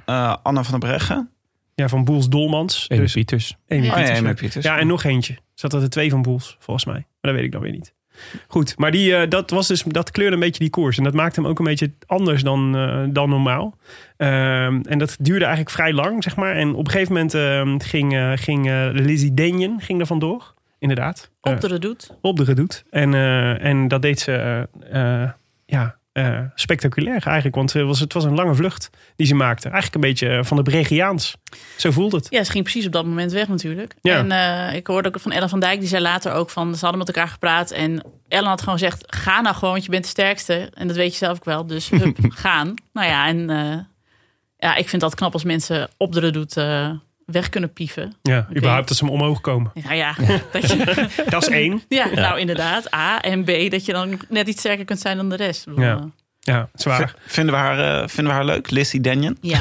eh, Anna van der Breggen. ja, van Boels Dolmans. Amy dus Pieters. Amy Ja. Oh ja, Pieters, Emma ja. Pieters. Ja, en nog eentje. Zat er de twee van Boels, volgens mij. Maar dat weet ik dan weer niet. Goed, maar die, eh, dat, was dus, dat kleurde een beetje die koers. En dat maakte hem ook een beetje anders dan, eh, dan normaal. Ehm, en dat duurde eigenlijk vrij lang, zeg maar. En op een gegeven moment ehm, ging, eh, ging eh, Lizzie Denjen ging er vandoor. Inderdaad. Eh, op de redoute. op de gedoet. En, eh, en dat deed ze eh, eh, ja, eh, spectaculair eigenlijk. Want het was, het was een lange vlucht die ze maakte. Eigenlijk een beetje eh, van de Bregiaans. Zo voelt het. Ja, ze ging precies op dat moment weg natuurlijk. Ja. En eh, ik hoorde ook van Ellen van Dijk, die zei later ook van... ze hadden met elkaar gepraat en Ellen had gewoon gezegd... ga nou gewoon, want je bent de sterkste. En dat weet je zelf ook wel, dus hup, gaan. Nou ja, en eh, ja, ik vind dat knap als mensen op de redoute eh, weg kunnen pieven. Ja, überhaupt dat ze hem omhoog komen. Nou ja, dat je, Dat is één. ja, nou inderdaad. A en B, dat je dan net iets sterker kunt zijn dan de rest. Ik bedoel, Ja. eh, Ja, zwaar. V- vinden, we haar, eh, vinden we haar leuk? Lizzie Denyon? ja.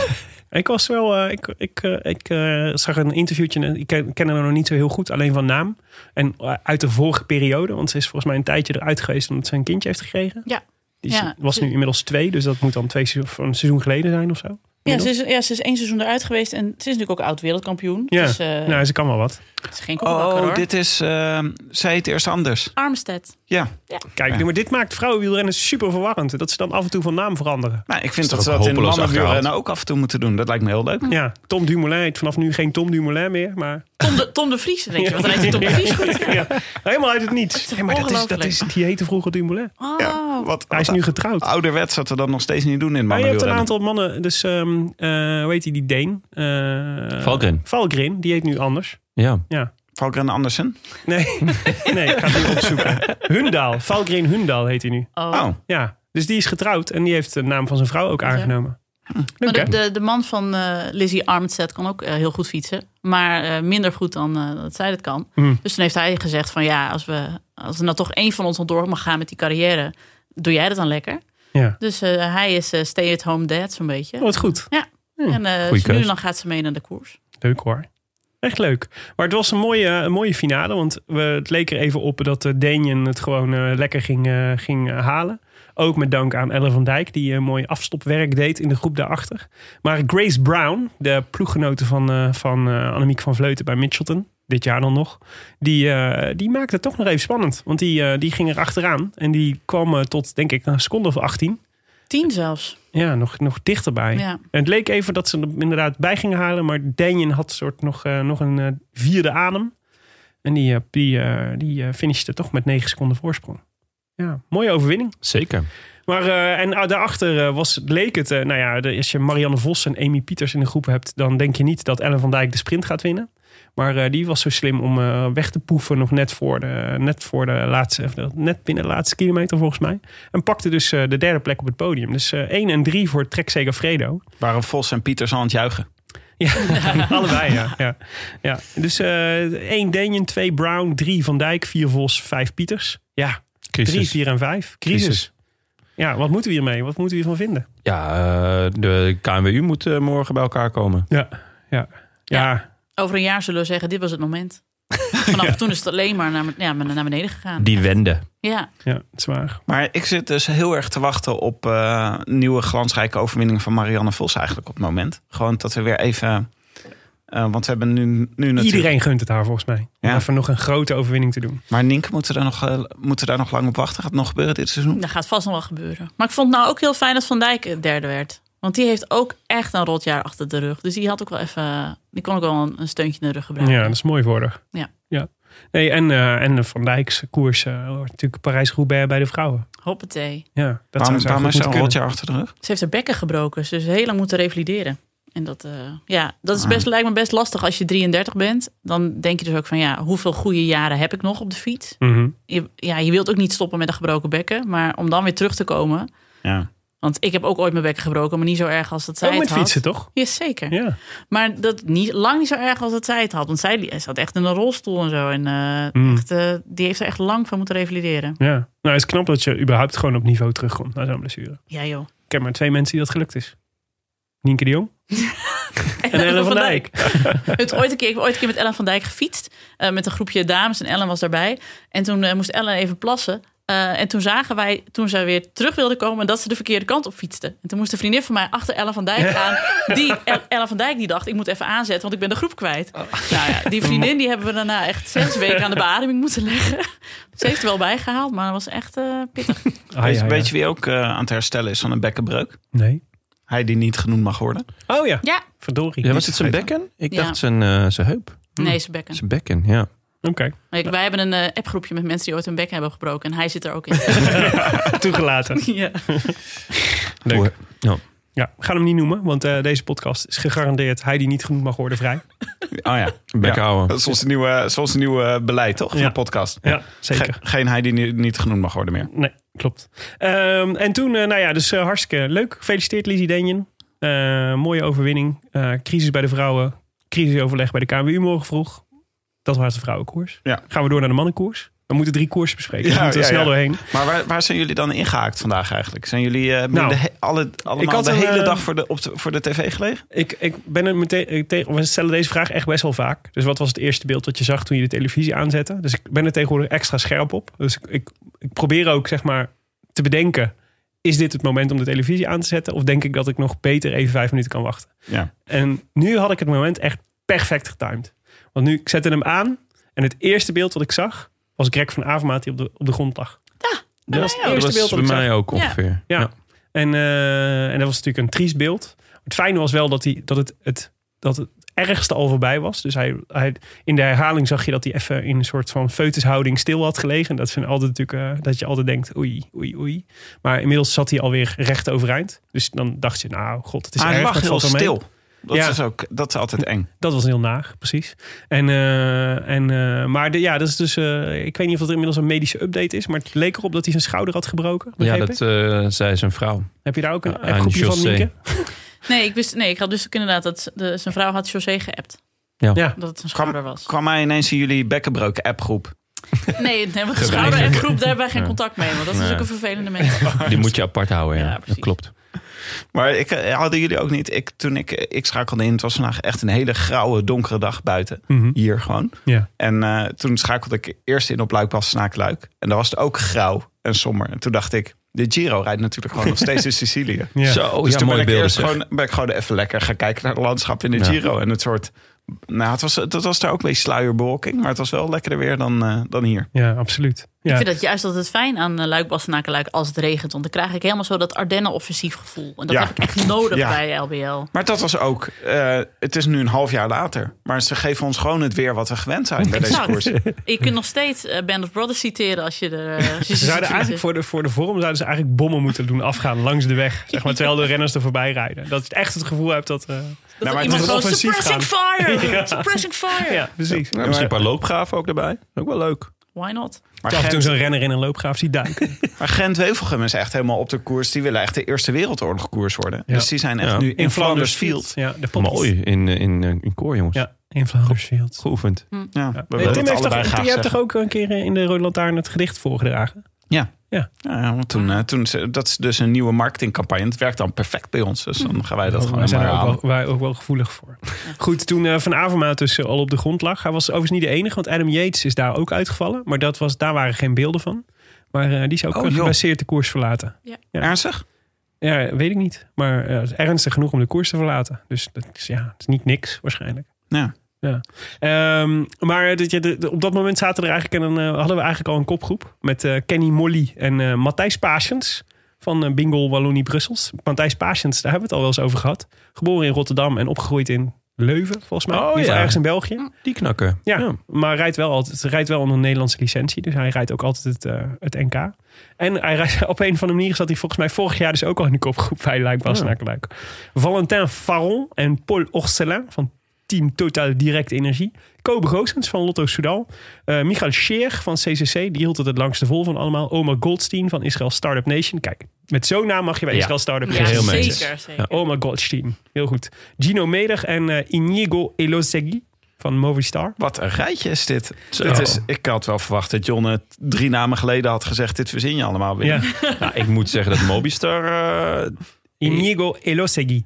Ik was wel, eh, ik, ik, eh, ik eh, zag een interviewtje. en Ik ken, ken haar nog niet zo heel goed, alleen van naam. En eh, uit de vorige periode, want ze is volgens mij een tijdje eruit geweest omdat ze een kindje heeft gekregen. Ja. Die is- Ja. was nu inmiddels twee, dus dat moet dan twee seizoen, van een seizoen geleden zijn of zo. Ja, ze is, ja, ze is één seizoen eruit geweest en ze is natuurlijk ook oud wereldkampioen. Ja, Dus eh, nou, ze kan wel wat. ze is geen Oh, kopbakker hoor. dit is... eh, zij heet eerst anders. Armstead. Ja. Kijk, Ja. nee, maar dit maakt vrouwenwielrennen super verwarrend. Dat ze dan af en toe van naam veranderen. Nou, ik vind dat toch ze ook dat in hopeloos mannenwielrennen ook af en toe moeten doen. Dat lijkt me heel leuk. Ja, Tom Dumoulin heet vanaf nu geen Tom Dumoulin meer. Maar Tom de, Tom de Vries, denk je. Want dan heet hij Tom de Vries goed. ja, helemaal uit het niets. is toch Ja, maar dat is, dat ongelooflijk? is, die heette vroeger Dumoulin. Oh, Wat, Hij is nu Ah, getrouwd. Ouderwets dat we dat nog steeds niet doen in Maar je hebt een mannenwielrennen. aantal mannen. Dus ehm, eh, hoe heet die, die Deen? Eh, Valgren. Valgren, die heet nu anders. Ja. Ja. Valkeren Andersen? Nee, nee ik ga het nu opzoeken. Hundaal. Valgren Hundaal heet hij nu. Oh. Oh, Ja, dus die is getrouwd. En die heeft de naam van zijn vrouw ook aangenomen. Hm. Maar Leuk, hè? de, de, de man van eh, Lizzie Armstead kan ook eh, heel goed fietsen. Maar eh, minder goed dan eh, dat zij dat kan. Hmm. Dus toen heeft hij gezegd van ja, als, we, als er nou toch één van ons nog door mag gaan met die carrière. Doe jij dat dan lekker? Ja. Dus eh, hij is eh, stay-at-home dad zo'n beetje. Oh, wat goed. En eh, dus keus. nu dan gaat ze mee naar de koers. Leuk hoor. Echt leuk. Maar het was een mooie, een mooie finale. Want we, het leek er even op dat eh, Daniel het gewoon eh, lekker ging, eh, ging eh, halen. Ook met dank aan Ellen van Dijk, die een mooi afstopwerk deed in de groep daarachter. Maar Grace Brown, de ploeggenote van, eh, van eh, Annemiek van Vleuten bij Mitchelton, dit jaar dan nog, die, eh, die maakte het toch nog even spannend. Want die, eh, die ging er achteraan en die kwam eh, tot, denk ik, na een seconde of 18. Tien zelfs. Ja, nog, nog dichterbij. Ja. En het leek even dat ze er inderdaad bij gingen halen. Maar Denjen had soort nog, eh, nog een eh, vierde adem. En die, eh, die, eh, die eh, finishte toch met negen seconden voorsprong. Ja, mooie overwinning. Zeker. Maar eh, en ah, daarachter eh, was, leek het... eh, nou ja, de- als je Marianne Vos en Amy Pieters in de groep hebt... dan denk je niet dat Ellen van Dijk de sprint gaat winnen. Maar eh, die was zo slim om eh, weg te poeven nog net voor de, net voor de laatste... of de- net binnen de laatste kilometer volgens mij. En pakte dus eh, de derde plek op het podium. Dus eh 1 en 3 voor Trek Segafredo. Waren Vos en Pieters aan het juichen. Ja, allebei, ja. ja. ja. Dus eh 1 Denjen, 2 Brown, 3 Van Dijk, 4 Vos, 5 Pieters. Ja, 3, Crisis. 4 en 5. Crisis. Crisis. Ja, wat moeten we hiermee? Wat moeten we hiervan vinden? Ja, eh, de KNWU moet eh, morgen bij elkaar komen. Ja, ja. Ja, Over een jaar zullen we zeggen, dit was het moment. Vanaf toen is het alleen maar naar, ja, naar beneden gegaan. Die wende. Ja, ja, het is waar. Maar ik zit dus heel erg te wachten op eh, nieuwe glansrijke overwinningen van Marianne Vos eigenlijk op het moment. Gewoon dat we weer even... eh, want we hebben nu, nu natuurlijk... Iedereen gunt het haar volgens mij. Om Ja. even nog een grote overwinning te doen. Maar Nienke, moeten we daar nog, eh, moeten we daar nog lang op wachten? Gaat het nog gebeuren dit seizoen? dat gaat vast nog wel gebeuren. Maar ik vond het nou ook heel fijn dat Van Dijk het derde werd. Want die heeft ook echt een rot jaar achter de rug. Dus die had ook wel even. Die kon ook wel een, een steuntje in de rug gebruiken. Ja, dat is mooi voor haar. Ja. ja. Nee, en, eh, en de Van Dijkse koers. eh, wordt natuurlijk Parijs-Roubaix bij de vrouwen. Hoppatee. Ja, dat waarom zou ze waarom is eigenlijk er een moeten rotjaar achter de rug? Ze heeft haar bekken gebroken. Ze is heel lang moeten revalideren. En dat, eh, ja, dat is best, lijkt me best lastig als je 33 bent. Dan denk je dus ook van ja, hoeveel goede jaren heb ik nog op de fiets? kunnen. Mhm. Je, ja, je wilt ook niet stoppen met een gebroken bekken. Maar om dan weer terug te komen. Ja. Want ik heb ook ooit mijn bekken gebroken, maar niet zo erg als dat zij Ook het met had. fietsen, toch? Jazeker. Ja. Maar dat niet, lang niet zo erg als dat zij het had. Want zij die- zat echt in een rolstoel en zo. En eh, Mm. echt, eh, die heeft er echt lang van moeten revalideren. Ja, nou het is knap dat je überhaupt gewoon op niveau terugkomt na zo'n blessure. Ja joh. Ik ken maar twee mensen die dat gelukt is. Nienke de Jong en Ellen van Dijk. Het ooit een keer, ik heb ooit een keer met Ellen van Dijk gefietst. eh, met een groepje dames en Ellen was daarbij. En toen eh, moest Ellen even plassen. Eh, en toen zagen wij, toen zij weer terug wilde komen, dat ze de verkeerde kant op fietste. En toen moest een vriendin van mij achter Ellen van Dijk aan. Die, El- Ellen van Dijk die dacht, ik moet even aanzetten, want ik ben de groep kwijt. Nou ja, die vriendin die hebben we daarna echt zes weken aan de beademing moeten leggen. Ze heeft er wel bijgehaald, maar dat was echt eh, pittig. weet, weet je wie ook eh, aan het herstellen is van een bekkenbreuk? Nee. Hij die niet genoemd mag worden. Oh ja, Ja, verdorie. Ja, was het zijn bekken? Ik Ja. dacht zijn, eh, zijn heup. nee, ze bekken. Zijn bekken, ja. Oké, Maar ik- wij hebben een eh, appgroepje met mensen die ooit hun bek hebben gebroken. En hij zit er ook in. toegelaten. ja. Leuk. Ja. Ja, we gaan hem niet noemen, want eh, deze podcast is gegarandeerd hij die niet genoemd mag worden vrij. Oh ja. Bekken Ja. houden. Dat is ons nieuwe, ons nieuwe beleid, toch? Van Ja. de podcast. Ja, zeker. Ge- geen hij die ni- niet genoemd mag worden meer. Nee, klopt. Ehm, en toen, eh, nou ja, dus eh, hartstikke leuk. Gefeliciteerd Lizzie Denjen. Eh, mooie overwinning. Eh, crisis bij de vrouwen. Crisisoverleg bij de KWU morgen vroeg. Dat was de vrouwenkoers. Ja. Gaan we door naar de mannenkoers. We moeten drie koersen bespreken. Ja, we moeten er ja, snel ja. doorheen. Maar waar, waar zijn jullie dan ingehaakt vandaag eigenlijk? Zijn jullie eh, hebben Nou, jullie de he- alle, allemaal had de een, hele eh, dag voor de, op de, voor de tv gelegen? Ik, ik ben er meteen eh, tegen. We stellen deze vraag echt best wel vaak. Dus wat was het eerste beeld dat je zag toen je de televisie aanzette? Dus ik ben er tegenwoordig extra scherp op. Dus ik, ik, ik probeer ook zeg maar te bedenken: is dit het moment om de televisie aan te zetten? Of denk ik dat ik nog beter even vijf minuten kan wachten? Ja. En nu had ik het moment echt perfect getimed. Want nu, ik zette hem aan. En het eerste beeld wat ik zag was Greg van Avermaat die op de, op de grond lag. Dat was het eerste was beeld Ah, dat bij ik zag. mij ook ongeveer. Ja. En, eh, en dat was natuurlijk een triest beeld. Het fijne was wel dat, hij, dat, het, het, dat het ergste al voorbij was. Dus hij, hij, in de herhaling zag je dat hij even in een soort van feutushouding stil had gelegen. Dat, vind ik altijd natuurlijk, eh, dat je altijd denkt, oei, oei, oei. Maar inmiddels zat hij alweer recht overeind. Dus dan dacht je, nou god, het is Maar hij erg, lag maar het heel valt wel mee. stil. Dat, Ja. is ook, dat is altijd eng. Dat was heel naag, precies. En, eh, en, eh, maar de, ja, dat is dus, eh, ik weet niet of dat inmiddels een medische update is. Maar het leek erop dat hij zijn schouder had gebroken. Ja, begreep ik. dat eh zei zijn vrouw. Heb je daar ook een aan groepje van, José. Nienke? Nee, ik wist, nee, ik had dus ook inderdaad dat de, zijn vrouw had José geappt. Ja. Ja. Dat het een schouder was. Kwam mij ineens in jullie bekkenbreuk appgroep. Nee, nee want de schouder en groep, daar hebben wij geen contact mee. Want dat is Nee. ook een vervelende mens. Die moet je apart houden, ja. Ja, precies. dat klopt. Maar ik, eh, hadden jullie ook niet. Ik, toen ik, eh, ik schakelde in, het was vandaag echt een hele grauwe, donkere dag buiten. Mhm. Hier gewoon. Ja. En eh, toen schakelde ik eerst in op Luik-Bastenaak-Luik. En daar was het ook grauw en somber. En toen dacht ik, de Giro rijdt natuurlijk gewoon nog steeds in Sicilië. Ja. Zo, dus toen ja, ben mooie ik, beelden. eerst zeg. gewoon, ben ik gewoon even lekker gaan kijken naar het landschap in de Ja. Giro. En het soort... Nou, het was, dat was daar ook een beetje sluierbewolking. Maar het was wel lekkerder weer dan, eh, dan hier. Ja, absoluut. Ja. Ik vind dat juist altijd fijn aan eh, Luik, Bastenaken, Luik als het regent. Want dan krijg ik helemaal zo dat Ardennen-offensief gevoel. En dat Ja. heb ik echt nodig Ja. bij LBL. Maar dat was ook... eh, het is nu een half jaar later. Maar ze geven ons gewoon het weer wat we gewend zijn bij deze Exact. koers. Nou, Je kunt nog steeds eh, Band of Brothers citeren als je er... eh, als je Ze ziet zouden fietsen. eigenlijk voor de, voor de vorm zouden ze eigenlijk bommen moeten doen afgaan langs de weg. Zeg maar, terwijl de renners er voorbij rijden. Dat je echt het gevoel hebt dat... eh, Dat Nou, er maar het iemand gewoon is offensief suppressing fire! Suppressing fire! ja, precies. Ja, misschien een paar loopgraven ook erbij. Ook wel leuk. Why not? Maar Af en toe Gent- zo'n renner in een loopgraaf ziet duiken. Maar Gent Wevelgem is echt helemaal op de koers. Die willen echt de Eerste Wereldoorlog koers worden. Ja. Dus die zijn echt Ja. nu in, Flanders Field. Ja, de pop. Mooi in, eh, in, eh, in koor, jongens. Ja, Hm. in Flanders Field. Geoefend. Ja, we Nee, willen Tim het heeft allebei toch, graag je hebt zeggen. toch ook een keer eh, in de Rode Lantaarn het gedicht voorgedragen? Ja. Ja. Ja, ja, want toen, eh, toen, ze- dat is dus een nieuwe marketingcampagne. Het werkt dan perfect bij ons. Dus dan gaan wij dat gewoon wij zijn er helemaal ook halen. wel, wij ook wel gevoelig voor. Goed, toen eh, Van Avermaat dus eh, al op de grond lag. Hij was overigens niet de enige, want Adam Yates is daar ook uitgevallen. Maar dat was, daar waren geen beelden van. Maar eh, die is ook Oh, eh, joh. geblesseerd de koers verlaten. wel- Ernstig? Ja, weet ik niet. Maar eh, het is ernstig genoeg om de koers te verlaten. Dus dat is, ja, het is niet niks waarschijnlijk. Ja. Ja. Ehm, maar dat je de, de- op dat moment zaten er eigenlijk een, eh, hadden we eigenlijk al een kopgroep. Met eh, Kenny Molly en eh Matthijs Patiens van eh Bingo Wallonie Brussels. Matthijs Patiens, daar hebben we het al wel eens over gehad. Geboren in Rotterdam en opgegroeid in Leuven, volgens mij. Oh, in ieder geval ja. ergens in België. Die knakken. Ja, maar rijdt wel altijd. Rijdt wel onder een Nederlandse licentie. Dus hij rijdt ook altijd het, eh, het NK. En hij rijdt, op een of andere manier zat hij volgens mij vorig jaar dus ook al in de kopgroep bij Luik Bastenaken-Luik. Valentin Faron en Paul Orcelin van Team Total Direct Energie. Kobe Goossens van Lotto Soudal. eh Michael Scheer van CCC. Die hield het het langste vol van allemaal. Omar Goldstein van Israël Startup Nation. Kijk, met zo'n naam mag je bij Ja. Israël Startup Ja, Nation. Geheel mee eens. zeker. zeker. Oh my god, team. Heel goed. Gino Medig en eh, Inigo Elosegui van Movistar. Wat een rijtje is dit. Zo. dit is, ik had wel verwacht dat John het drie namen geleden had gezegd... dit verzin je allemaal weer. Ja. Nou, ik moet zeggen dat Mobistar... eh, Inigo Elosegui.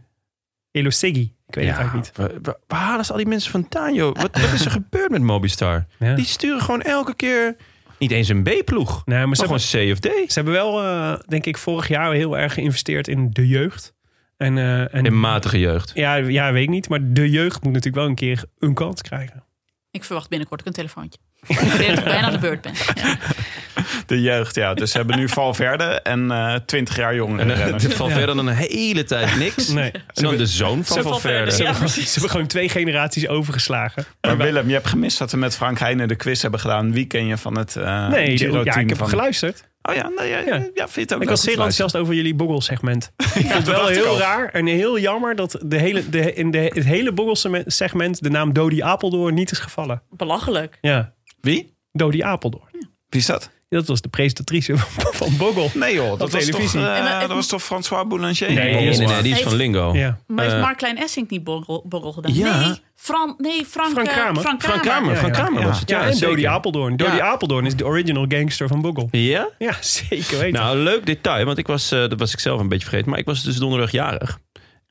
Elosegui. Ik weet het eigenlijk niet. Waar, waar- waar halen ze al die mensen vandaan, joh? Wat, wat is er gebeurd met Mobistar? Ja. Die sturen gewoon elke keer niet eens een B-ploeg. Nee, Nou, maar maar ze, hebben, gewoon C of D. ze hebben wel, eh, denk ik, vorig jaar heel erg geïnvesteerd in de jeugd. En, eh, en, In matige jeugd. ja, ja, weet ik niet. Maar de jeugd moet natuurlijk wel een keer een kans krijgen. Ik verwacht binnenkort ook een telefoontje. Ik weet dat ik bijna aan de beurt ben. Ja. De jeugd, ja. Dus ze hebben nu Valverde en eh, twintig jaar En jongeren. eh, renners. het valt verder dan een hele tijd niks. Nee. En dan de zoon van Valverde. Ze, Ja. hebben, ze hebben gewoon twee generaties overgeslagen. Maar Willem, je hebt gemist dat we met Frank Heijnen de quiz hebben gedaan. Wie ken je van het eh Nee, Giro-team? ja, ik heb van... geluisterd. Oh ja, nou, ja, ja, ja, vind je het ook Ik wel was goed zeer enthousiast over jullie boggelsegment. Ik vond het wel dacht ik heel al. raar en heel jammer dat de hele, de, in de, het hele boggelsegment de naam Dodi Apeldoorn niet is gevallen. Belachelijk. Ja, Wie? Dodi Apeldoorn. Wie is dat? Dat was de presentatrice van van Boggel. Nee joh, dat, was, televisie. Toch, eh, Ja, maar het- dat was toch François Boulanger? Nee, Nee, nee, nee, die is van Lingo. Ja. Maar heeft Eh, Mark Klein Essink niet borrel, borrel gedaan? ja. Nee, Fran, nee Frank, Frank eh, Kramer. Frank Van Kamer, Ja, van ja. Kamer was het. Ja, en zeker. Dodi Apeldoorn. Dodi Ja. Apeldoorn is de original gangster van Boggel. Ja? Ja, zeker weten. Nou, leuk detail, want ik was, eh, dat was ik zelf een beetje vergeten, maar ik was dus donderdag jarig.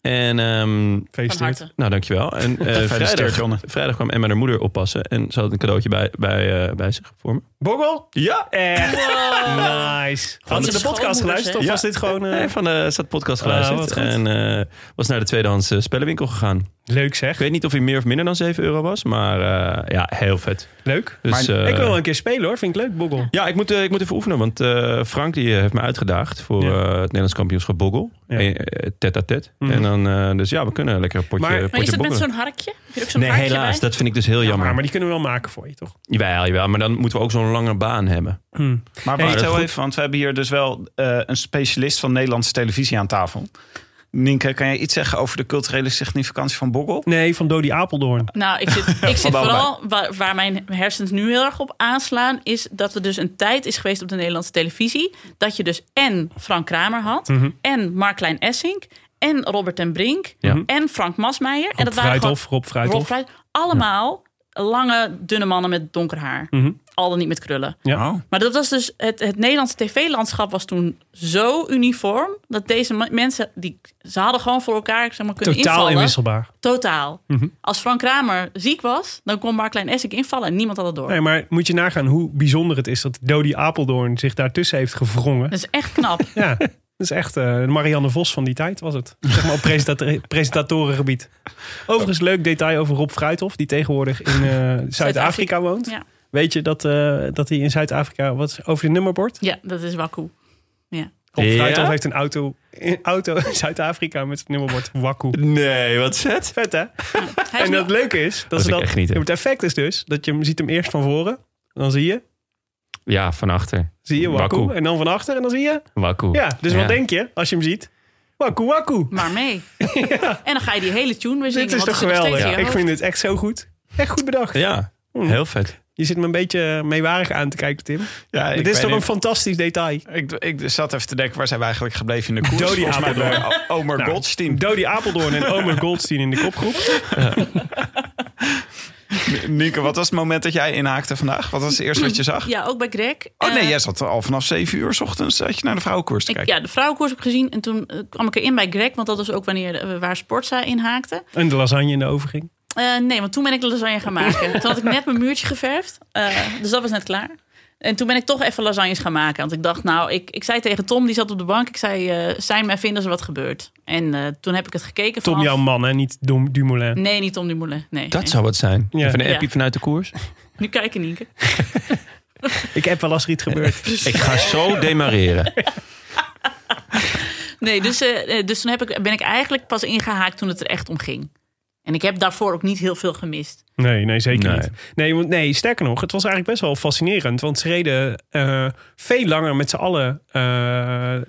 En, ehm, Van harte. nou dankjewel. En eh, Gefeliciteerd, vrijdag, Jonne. vrijdag kwam Emma haar moeder oppassen en ze had een cadeautje bij, bij, eh, bij zich voor me. Boggel? Ja! Echt Wow. nice. Had ze die de podcast schoonmoeders, geluisterd hè? of was dit gewoon... eh, Nee, van de zat podcast Ah, geluisterd wat goed. en eh, was naar de tweedehands eh, spellenwinkel gegaan. Leuk zeg. Ik weet niet of hij meer of minder dan 7 euro was, maar eh, ja, heel vet. Leuk. Dus, ik eh, wil wel een keer spelen hoor. Vind ik leuk, Boggel. Ja, ik moet, eh, ik moet even oefenen, want eh, Frank die eh, heeft me uitgedaagd voor Ja. eh, het Nederlands kampioenschap Boggel. eh, Ja. Mhm. Tet à tet. En dan, eh, dus ja, we kunnen lekker een potje, Maar- Maar potje Maar is dat met boggelen. zo'n harkje? Heb je er ook zo'n Nee, harkje helaas. bij? Dat vind ik dus heel jammer. Maar, maar die kunnen we wel maken voor je, toch? Jawel, jawel, maar dan moeten we ook zo'n lange baan hebben. Maar Hey, wacht dat heel goed. even, want we hebben hier dus wel eh, een specialist van Nederlandse televisie aan tafel. Nienke, kan jij iets zeggen over de culturele significantie van Boggel? Nee, van Dodi Apeldoorn. Nou, ik zit, ik zit Van allebei. vooral waar, waar mijn hersens nu heel erg op aanslaan, is dat er dus een tijd is geweest op de Nederlandse televisie dat je dus en Frank Kramer had, en Mark Klein Essink, en Robert ten Brink, Ja. en Frank Masmeijer, en Rob dat waren gewoon Fruithof. Rob Rob Fruithof. Fruit- allemaal lange, dunne mannen met donker haar. Mhm. Al dan niet met krullen. Ja. Oh. Maar dat was dus het, het Nederlandse tv-landschap was toen zo uniform dat deze ma- mensen die ze hadden gewoon voor elkaar zeg maar, kunnen Totaal Mhm. invallen. inwisselbaar. Totaal. Als Frank Kramer ziek was, dan kon Mark Klein Essink invallen en niemand had het door. Nee, maar moet je nagaan hoe bijzonder het is dat Dodie Apeldoorn zich daartussen heeft gewrongen. Dat is echt knap. Ja, dat is echt eh, de Marianne Vos van die tijd was het. Zeg maar op presentator- presentatorengebied. Overigens leuk detail over Rob Fruithof, die tegenwoordig in eh, Zuid-Afrika woont. Ja. Weet je dat, eh, dat hij in Zuid-Afrika wat over zijn nummerbord? ja, dat is wakku. Ja. Rob Ja? Fruithof heeft een auto, een auto in Zuid-Afrika met zijn nummerbord Waku. Nee, wat zet? Vet hè? Hij is En nu- dat leuke is, dat, Dat ze ik dat echt niet, hè. het effect is dus dat je hem ziet hem eerst van voren, dan zie je, Ja, van achter. zie je Waku, Waku. en dan van achter en dan zie je. Waku. Ja, dus wat denk je als je hem ziet? Waku Waku. maar mee. En dan ga je die hele tune weer zingen. Dit is want toch het nog steeds geweldig? in je Ik hoofd. vind dit echt zo goed. Echt goed bedacht. Ja, Hmm. heel vet. Je zit me een beetje meewarig aan te kijken, Tim. Ja, ik Dit is weet toch een niet. fantastisch detail. Ik, ik zat even te denken, waar zijn we eigenlijk gebleven in de koers? Dodie Volgens mij Apeldoorn. bij O- Omer Nou, Goldstein. Dodie Apeldoorn en Omer Goldstein in de kopgroep. Nienke, wat was het moment dat jij inhaakte vandaag? Wat was het eerste wat je zag? Ja, ook bij Greg. Oh nee, Eh, jij zat al vanaf 7 uur s ochtends zat je naar de vrouwenkoers te ik, kijken. ja, de vrouwenkoers heb ik gezien. En toen eh, kwam ik erin bij Greg. Want dat was ook wanneer, eh, waar Sportza inhaakte. En de lasagne in de overging. Eh, nee, want toen ben ik de lasagne gaan maken. toen had ik net mijn muurtje geverfd. eh, dus dat was net klaar. En toen ben ik toch even lasagnes gaan maken. Want ik dacht, nou, ik, ik zei tegen Tom, die zat op de bank. Ik zei, eh, zijn mij vinden ze wat gebeurt. En eh, toen heb ik het gekeken. Tom, vanaf- jouw man, hè? niet Dom Dumoulin. Nee, niet Tom Dumoulin. Nee, Dat nee. zou wat zijn. Ja. Even een appje Ja. vanuit de koers. Nu kijken, Nienke. Ik heb wel als er iets gebeurd. Ik ga zo demareren. Nee, dus, eh, eh, dus toen heb ik, ben ik eigenlijk pas ingehaakt toen het er echt om ging. En ik heb daarvoor ook niet heel veel gemist. Nee, nee, zeker Nee. niet. Nee, want, nee, sterker nog, het was eigenlijk best wel fascinerend. Want ze reden eh, veel langer met z'n allen eh,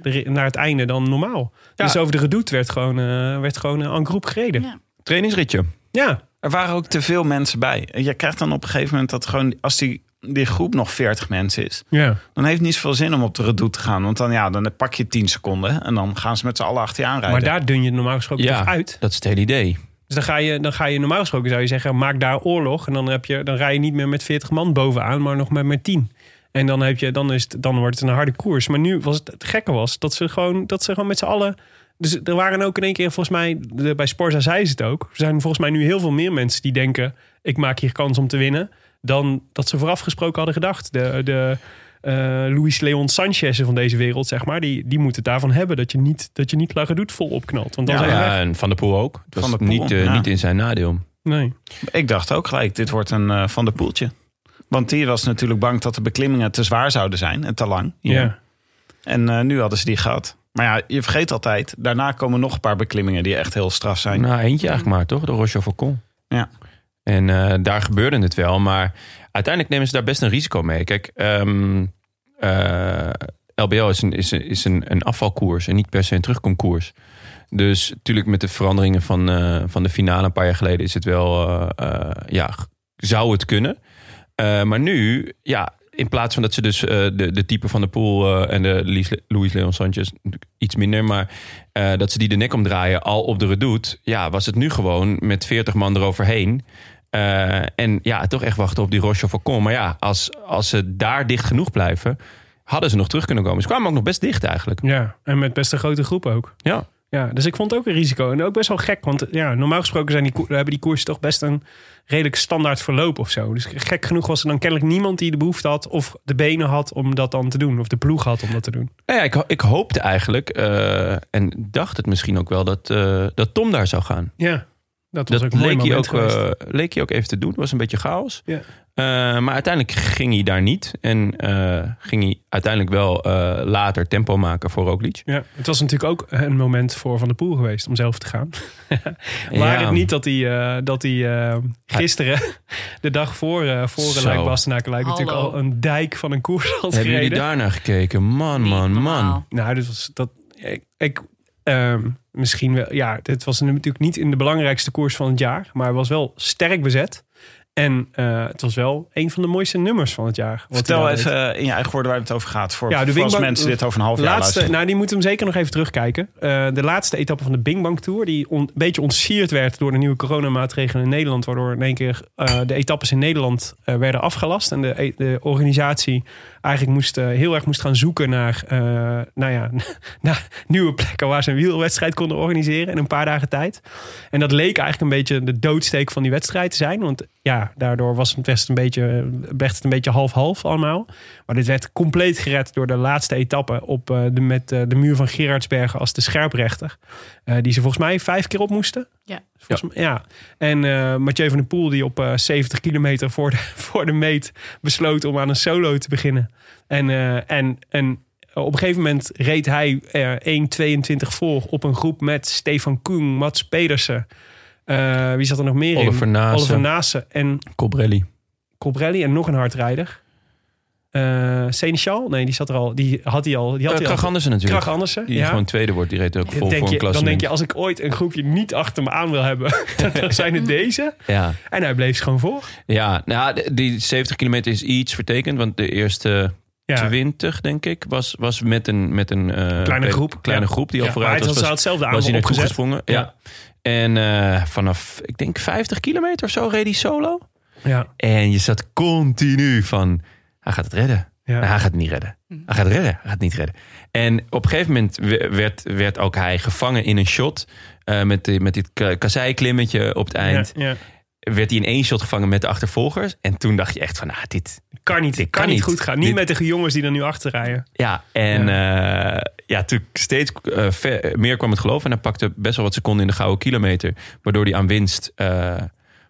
de ri- naar het einde dan normaal. Dus over de redoute werd gewoon, eh werd gewoon eh, en groep gereden. Ja. Trainingsritje. ja. Er waren ook te veel mensen bij. En Je krijgt dan op een gegeven moment dat gewoon, als die, die groep nog 40 mensen is, ja. dan heeft het niet zoveel zin om op de redoute te gaan. Want dan, ja, dan pak je 10 seconden en dan gaan ze met z'n allen achter je aanrijden. Maar daar dun je normaal gesproken Ja, toch uit. dat is het hele idee. Dus dan ga, je, dan ga je normaal gesproken zou je zeggen, maak daar oorlog. En dan, heb je, dan rij je niet meer met 40 man bovenaan, maar nog maar met 10. En dan, heb je, dan, is het, dan wordt het een harde koers. Maar nu was het, het gekke was dat ze gewoon, dat ze gewoon met z'n allen. Dus er waren ook in één keer, volgens mij, de- bij Sporza zei ze het ook. Er zijn volgens mij nu heel veel meer mensen die denken: ik maak hier kans om te winnen. dan dat ze vooraf gesproken hadden gedacht. De, de eh, Luis Leon Sanchez van deze wereld, zeg maar, die, die moeten het daarvan hebben dat je niet, dat je niet lager doet vol opknalt. Want dan Ja, zijn we Ja, weg. en Van der Poel ook. Het was Van der Poel, niet, eh, ja. niet in zijn nadeel. Nee. Ik dacht ook gelijk, dit wordt een eh, van de poeltje. Want die was natuurlijk bang dat de beklimmingen te zwaar zouden zijn en te lang. Ja. hier. En eh, nu hadden ze die gehad. Maar ja, je vergeet altijd, daarna komen nog een paar beklimmingen die echt heel straf zijn. Nou, eentje eigenlijk maar, toch? De Roche Falcon. Ja. En eh, daar gebeurde het wel. Maar uiteindelijk nemen ze daar best een risico mee. Kijk, ehm, eh, LBL is, een, is, een, is een, een afvalkoers en niet per se een terugkomkoers. Dus natuurlijk met de veranderingen van, eh, van de finale een paar jaar geleden is het wel, eh, eh, ja, g- zou het kunnen. Eh, maar nu, ja, in plaats van dat ze dus eh, de, de type van de pool en de Lies- Luis Leon Sanchez natuurlijk iets minder, maar eh, dat ze die de nek omdraaien al op de redoute, ja, was het nu gewoon met 40 man eroverheen. Eh, en ja, toch echt wachten op die Roche Falcon. Maar ja, als, als ze daar dicht genoeg blijven, hadden ze nog terug kunnen komen. Ze kwamen ook nog best dicht eigenlijk. Ja, en met best een grote groep ook. Ja. Ja, dus ik vond het ook een risico. En ook best wel gek, want ja, normaal gesproken zijn die, ko- hebben die koersen toch best een redelijk standaard verloop of zo. Dus gek genoeg was er dan kennelijk niemand die de behoefte had of de benen had om dat dan te doen. Of de ploeg had om dat te doen. Nou ja, ik, ho- ik hoopte eigenlijk eh, en dacht het misschien ook wel dat, eh, dat Tom daar zou gaan. Ja, dat was Dat ook een mooi leek hij moment ook, geweest. eh, leek hij ook even te doen. Het was een beetje chaos. Ja. Eh, maar uiteindelijk ging hij daar niet. En eh, ging hij uiteindelijk wel eh, later tempo maken voor Roglic. ja, het was natuurlijk ook een moment voor Van der Poel geweest om zelf te gaan. Waar Ja. het niet dat hij, eh, dat hij eh, gisteren, de dag voor, eh voor Zo. Luik Bastenaken, Hallo. natuurlijk al een dijk van een koers had Hebben gereden. jullie daarnaar gekeken? Man, man, man. Nou, dit was dat. Ik, ik ehm, misschien wel. Ja, dit was natuurlijk niet in de belangrijkste koers van het jaar, maar was wel sterk bezet. En eh, het was wel een van de mooiste nummers van het jaar. wat hij Vertel daar deed. even eh, in je eigen woorden waar het over gaat. Voor, Ja, de voor Bing als Bang- mensen dit over een half jaar laatste, luisteren. nou, die moeten hem zeker nog even terugkijken. Eh, de laatste etappe van de Bing Bang Tour, die on- een beetje ontsierd werd door de nieuwe coronamaatregelen in Nederland, waardoor in één keer eh, de etappes in Nederland eh, werden afgelast. En de, e- de organisatie eigenlijk moest, eh, heel erg moest gaan zoeken naar, eh, nou ja, naar nieuwe plekken waar ze een wielwedstrijd konden organiseren in een paar dagen tijd. En dat leek eigenlijk een beetje de doodsteek van die wedstrijd te zijn. Want ja, daardoor was het best een beetje, werd het een beetje half-half allemaal. Maar dit werd compleet gered door de laatste etappe op, eh, de, met eh, de muur van Gerardsbergen als de scherprechter. Eh, die ze volgens mij vijf keer op moesten. Ja. Volgens mij- ja. En eh, Mathieu van der Poel die op eh, 70 kilometer voor de, voor de meet besloot om aan een solo te beginnen. En, eh, en, en op een gegeven moment reed hij eh 1.22 voor op een groep met Stefan Koen, Mats Pedersen. Eh, wie zat er nog meer Oliver in? Naassen. Oliver Naassen en Cobrelli. Cobrelli en nog een hardrijder. Eh Seneschal? Nee, die zat er al. Die had hij al. Die had Ja, hij al. Krach Andersen Eh, natuurlijk. Krach Andersen. Die ja. gewoon tweede wordt. Die reed ook vol Dan denk voor een je, klasse. dan denk je, als ik ooit een groepje niet achter me aan wil hebben, dan zijn het deze. Ja, En hij bleef ze gewoon voor. ja nou, de- die 70 kilometer is iets vertekend. Want de eerste Ja. 20, denk ik, was, was met een, met een eh, Kleine be- groep. kleine Ja. groep die al Ja, vooruit maar hij was. had- was- had zelf de was hij aanval naartoe opgezet. gesprongen. Ja. Ja. En eh, vanaf, ik denk 50 kilometer of zo reed hij solo. Ja. En je zat continu van, hij gaat het redden. Ja. Nou, hij gaat het niet redden. Hij gaat het redden. Hij gaat het niet redden. En op een gegeven moment we- werd, werd ook hij gevangen in een shot. eh, met, die- met dit ka- kasseiklimmetje op het Ja, eind. ja. Werd hij in één shot gevangen met de achtervolgers. En toen dacht je echt van, ah, dit... Kan niet. Kan, Dit kan niet niet. goed gaan. Niet Dit- met de jongens die er nu achter rijden. Ja, en ja, ja toen steeds eh, ver- meer kwam het geloof. En hij pakte best wel wat seconden in de gouden kilometer. Waardoor hij aan winst eh,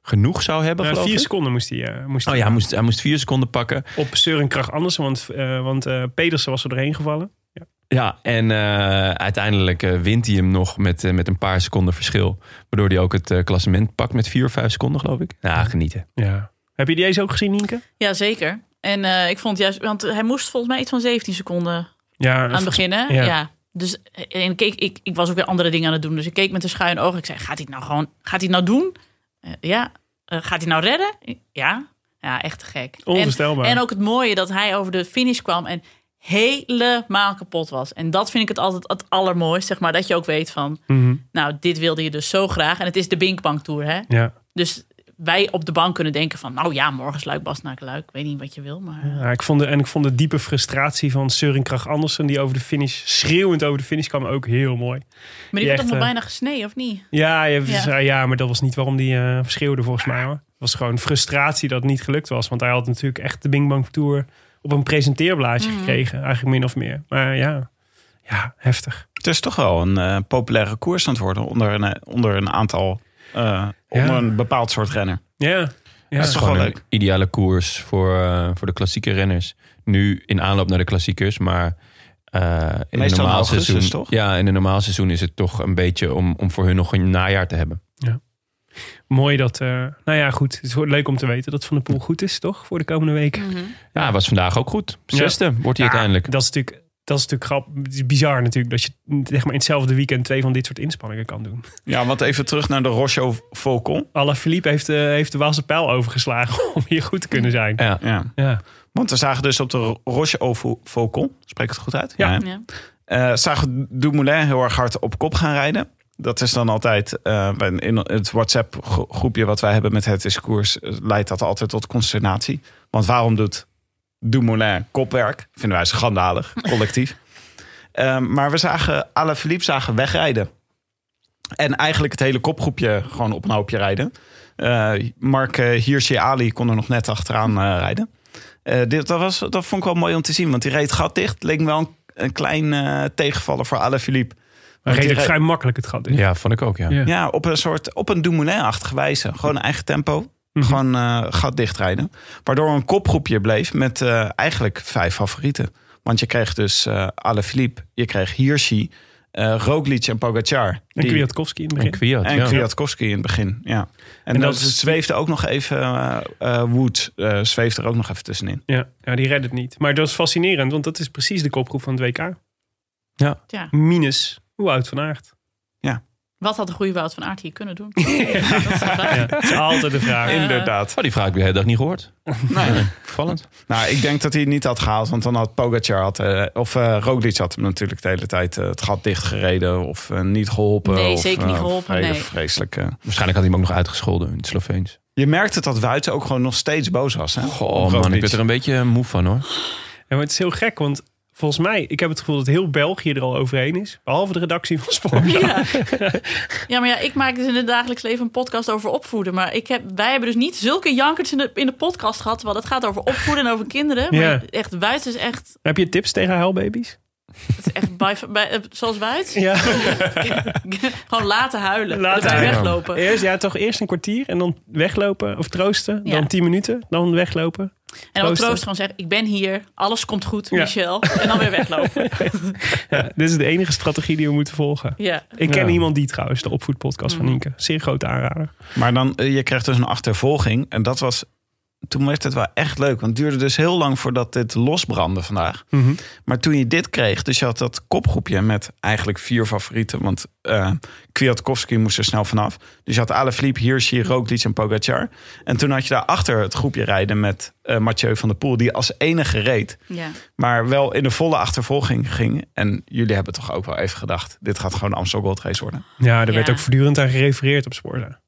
genoeg zou hebben, Na geloof vier ik. seconden moest hij, eh, moest Oh ja, hij moest, hij moest vier seconden pakken. op Søren Krach Andersen, want, eh, want eh, Pedersen was er doorheen gevallen. Ja. Ja, en eh, uiteindelijk eh, wint hij hem nog met, eh, met een paar seconden verschil. Waardoor hij ook het eh, klassement pakt met vier of vijf seconden, geloof ik. Ja, genieten. Ja. Heb je deze ook gezien, Nienke? Ja, zeker. En eh, ik vond juist, want hij moest volgens mij iets van 17 seconden Ja, aan het beginnen. ja. Ja. Dus en ik keek, ik, ik was ook weer andere dingen aan het doen. Dus ik keek met een schuin oog. Ik zei, gaat hij het nou gewoon, gaat hij het nou doen? Eh, ja. Eh, gaat hij nou redden? Ja. Ja, echt te gek. Onvoorstelbaar. En, en ook het mooie dat hij over de finish kwam en helemaal kapot was. En dat vind ik het altijd het allermooist, zeg maar. Dat je ook weet van, Mhm. nou, dit wilde je dus zo graag. En het is de Binkbank Tour, hè? Ja. Dus wij op de bank kunnen denken van... nou ja, morgen is Luik Bas naar Luik. Ik weet niet wat je wil, maar... eh, Ja, ik vond de, en ik vond de diepe frustratie van Søren Krach Andersen, die over de finish, schreeuwend over de finish kwam, ook heel mooi. Maar die wordt echt, toch wel eh, bijna gesneden, of niet? Ja, je, Ja. ja. ja maar dat was niet waarom die eh schreeuwde volgens mij hoor. Het was gewoon frustratie dat het niet gelukt was. Want hij had natuurlijk echt de Bing Bang Tour op een presenteerblaadje gekregen. Eigenlijk min of meer. Maar ja, ja heftig. Het is toch wel een eh, populaire koers aan het worden onder een, eh, onder een aantal... eh, onder een bepaald soort renner. Ja, ja. Dat is toch wel Gewoon leuk. een ideale koers voor, eh, voor de klassieke renners. Nu in aanloop naar de klassiekers, maar... eh, in een Meestal in normaal augustus, seizoen, toch? Ja, in een normaal seizoen is het toch een beetje om, om voor hun nog een najaar te hebben. mooi dat... eh, nou ja, goed. Het is leuk om te weten dat Van de Poel goed is, toch? Voor de komende weken. Ja, hij was vandaag ook goed. Zesde wordt hij Ja, uiteindelijk. Dat is natuurlijk, dat is natuurlijk grap, het is bizar natuurlijk dat je zeg maar, in hetzelfde weekend twee van dit soort inspanningen kan doen. Ja, want even terug naar de Rosso Volcon. Alla Philippe heeft, eh, heeft de Waalse pijl overgeslagen om hier goed te kunnen zijn. Ja. Ja. Ja. Want we zagen dus op de Ro- Rosso Vo- Volcon, spreek ik het goed uit? Ja. hè? Ja. Eh, zagen Dumoulin heel erg hard op kop gaan rijden. Dat is dan altijd eh, bij- in het WhatsApp-groepje wat wij hebben met het discours, eh, leidt dat altijd tot consternatie. Want waarom doet Dumoulin kopwerk? Vinden wij schandalig, collectief. Eh, maar we zagen Alaphilippe zagen wegrijden. En eigenlijk het hele kopgroepje gewoon op een hoopje rijden. Eh, Mark eh, Hirschi Ali kon er nog net achteraan eh, rijden. Eh, dit, dat, was, dat vond ik wel mooi om te zien, want die reed gat dicht. Leek me wel een, een klein eh, tegenvaller voor Alaphilippe. Maar Want die redelijk reed- vrij makkelijk het gat in. Ja, vond ik ook, ja. Ja. ja, op een soort op een Dumoulin-achtige wijze. Gewoon eigen tempo. Mhm. Gewoon eh, gat dichtrijden. Waardoor een kopgroepje bleef met eh, eigenlijk vijf favorieten. Want je kreeg dus eh Alaphilippe, je kreeg Hirschi, eh Roglic en Pogacar. En Die- Kwiatkowski in het En begin. Kwiat, en ja. Kwiatkowski in het begin, ja. En, dat dan is- zweefde ook nog even, eh eh, Wood eh, zweefde er ook nog even tussenin. Ja. ja, die redde het niet. Maar dat is fascinerend, want dat is precies de kopgroep van het WK. Ja. Ja. Minus hoe oud van aard. Ja. Wat had de goede Wout van Aert hier kunnen doen? Dat is de vraag. Ja, dat is altijd de vraag. Inderdaad. Oh, die vraag heb ik de hele dag niet gehoord. Nee. Vallend. Nou, ik denk dat hij het niet had gehaald. Want dan had Pogacar, had, eh, of eh Roglic had hem natuurlijk de hele tijd eh, het gat dichtgereden. Of eh, niet geholpen. Nee, of, zeker niet eh, geholpen, hele nee. Vreselijk. eh. Waarschijnlijk had hij hem ook nog uitgescholden in het Sloveens. Je merkte dat Wuiten ook gewoon nog steeds boos was. Hè? Goh, man, ik werd er een beetje moe van hoor. Ja, maar het is heel gek, want volgens mij, ik heb het gevoel dat heel België er al overheen is. Behalve de redactie van Sport. Ja. ja, maar ja, ik maak dus in het dagelijks leven een podcast over opvoeden. Maar ik heb, wij hebben dus niet zulke jankers in de, in de podcast gehad. Terwijl dat gaat over opvoeden en over kinderen. Maar Ja. echt, Wuit is echt, Heb je tips tegen huilbaby's? het is echt bij, bij- eh, zoals Wuit. Ja. Gewoon laten huilen. Laten Laten huilen. weglopen. Eerst, ja, toch eerst een kwartier en dan weglopen of troosten. Ja. Dan tien minuten, dan weglopen. En dan Troosten. troost gewoon zeggen, ik ben hier. Alles komt goed, Ja. Michel. En dan weer weglopen. Ja, dit is de enige strategie die we moeten volgen. Ja. Ik ken Ja. iemand die trouwens, de opvoedpodcast van Nienke. Zeer grote aanrader. Maar dan, eh, je kreeg dus een achtervolging. En dat was. Toen werd het wel echt leuk. Want het duurde dus heel lang voordat dit losbrandde vandaag. Maar toen je dit kreeg, dus je had dat kopgroepje met eigenlijk vier favorieten. Want eh Kwiatkowski moest er snel vanaf. Dus je had Alaphilippe, Hirschi, Roglic en Pogacar. En toen had je daarachter het groepje rijden met eh, Mathieu van der Poel. Die als enige reed. ja. Maar wel in de volle achtervolging ging. En jullie hebben toch ook wel even gedacht. Dit gaat gewoon Amstel Gold Race worden. Ja, er werd Ja. ook voortdurend aan gerefereerd op Sporza.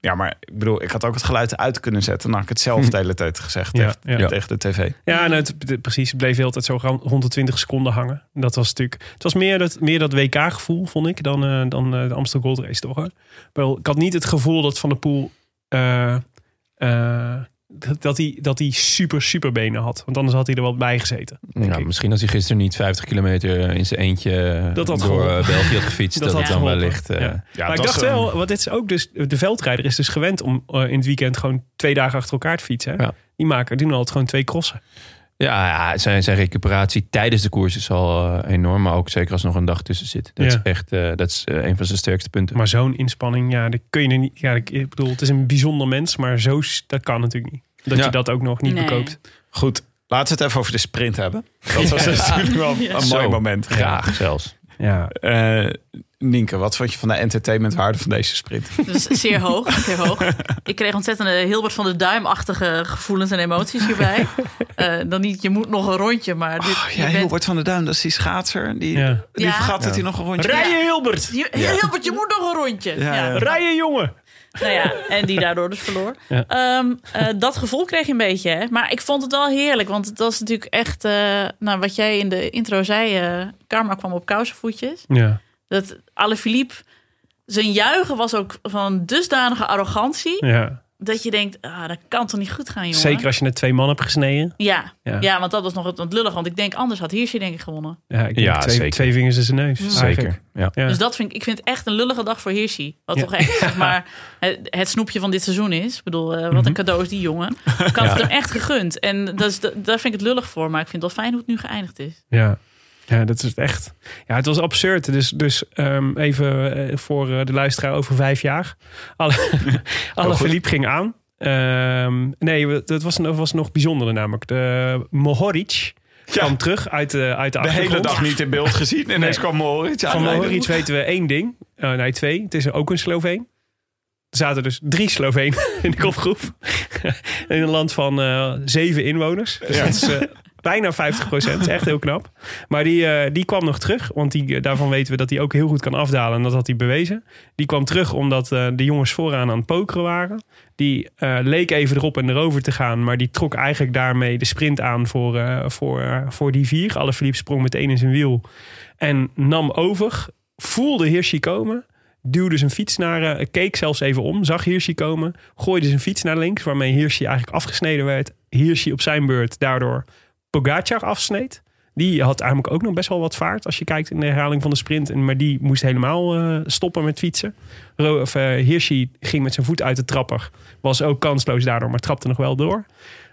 Ja, maar ik bedoel, ik had ook het geluid uit kunnen zetten. Dan had ik het zelf de hele tijd gezegd Ja, tegen, ja. tegen de tv. Ja, nou, het, het- precies. Het bleef heel tijd zo rond rond de 20 seconden hangen. Dat was natuurlijk. Het was meer dat, meer dat WK-gevoel, vond ik, dan, eh, dan eh, de Amstel Gold Race toch? hoor? Wel, ik had niet het gevoel dat Van der Poel. eh, eh, dat- dat hij, dat hij super, super benen had. Want anders had hij er wel bij gezeten. denk Ja, ik. misschien als hij gisteren niet 50 kilometer in zijn eentje Dat had door geholpen. eh, België had gefietst. dat had het dan geholpen. wellicht... eh, Ja. maar dat ik is, dacht eh, wel, want dit is ook dus. De veldrijder is dus gewend om eh, in het weekend gewoon twee dagen achter elkaar te fietsen. hè? Ja. Die maken, doen altijd gewoon twee crossen. Ja, ja, zijn, zijn recuperatie tijdens de koers is al eh, enorm. Maar ook zeker als er nog een dag tussen zit. Dat Ja. is echt eh, dat is, eh, een van zijn sterkste punten. Maar zo'n inspanning, ja, dat kun je er niet. Ja, ik ik bedoel, het is een bijzonder mens, maar zo, s- dat kan natuurlijk niet. Dat Ja. je dat ook nog niet Nee. bekoopt. Goed, laten we het even over de sprint hebben. Dat was dus natuurlijk wel een mooi Zo, moment. Graag zelfs. Ja. Eh, Nienke, wat vond je van de entertainmentwaarde van deze sprint? Dus zeer hoog, zeer hoog. Ik kreeg ontzettende Hilbert van de Duim-achtige gevoelens en emoties hierbij. Eh, dan niet, je moet nog een rondje, maar dit, je Oh, Ja, bent- Hilbert van der Duim, dat is die schaatser. Die, Ja. die Ja. vergat dat hij nog een rondje... Rijden Hilbert! Je, Hilbert, je moet nog een rondje. Ja, Ja, ja. Rijden jongen! Nou ja, en die daardoor dus verloor. Ja. Ehm, eh, dat gevoel kreeg je een beetje. Hè? Maar ik vond het wel heerlijk. Want het was natuurlijk echt... eh, nou, wat jij in de intro zei... eh, karma kwam op kousenvoetjes. Ja. Dat Alaphilippe... Zijn juichen was ook van dusdanige arrogantie... ja. dat je denkt, ah, dat kan toch niet goed gaan, jongen? Zeker als je net twee man hebt gesneden. Ja, Ja. ja. want dat was nog het, het lullig. Want ik denk, anders had Hirschi denk ik gewonnen. Ja, ik denk Ja, twee, zeker. twee vingers in zijn neus. Zeker. eigenlijk. Ja. Ja. Dus dat vind ik, ik vind het echt een lullige dag voor Hirschi. Wat Ja. toch echt, zeg maar, het, het snoepje van dit seizoen is. Ik bedoel, eh, Mhm. wat een cadeau is die jongen. Ik had het hem echt gegund. En dat is, dat, daar vind ik het lullig voor. Maar ik vind het wel fijn hoe het nu geëindigd is. Ja. ja, dat is het echt. Ja, het was absurd. Dus, dus ehm, even eh, voor eh, de luisteraar over vijf jaar. Alle, alle verliep ging aan. Ehm, nee, we- dat was, dat was nog bijzonder namelijk. De Mohoric kwam terug uit de, uit de De achtergrond. hele dag niet in beeld gezien. En ineens Nee. kwam Moritz Van aanrijden. Mohoric weten we één ding. Eh, nee, twee. Het is ook een Sloveen. Er zaten dus drie Slovenen in de kopgroep. in een land van eh, zeven inwoners. Dus dat is eh, bijna 50 procent. Echt heel knap. Maar die, eh, die kwam nog terug. Want die, eh, daarvan weten we dat hij ook heel goed kan afdalen. En dat had hij bewezen. Die kwam terug omdat eh, de jongens vooraan aan het pokeren waren. Die eh, leek even erop en erover te gaan. Maar die trok eigenlijk daarmee de sprint aan voor, eh, voor, eh, voor die vier. Alaphilippe sprong meteen in zijn wiel. En nam over. Voelde Hirschi komen. Duwde zijn fiets naar... eh, keek zelfs even om. Zag Hirschi komen. Gooide zijn fiets naar links. Waarmee Hirschi eigenlijk afgesneden werd. Hirschi op zijn beurt daardoor Pogacar afsneed. Die had eigenlijk ook nog best wel wat vaart. Als je kijkt in de herhaling van de sprint. En- Maar die moest helemaal eh, stoppen met fietsen. Ro of, eh, Hirschi ging met zijn voet uit de trapper. Was ook kansloos daardoor, maar trapte nog wel door.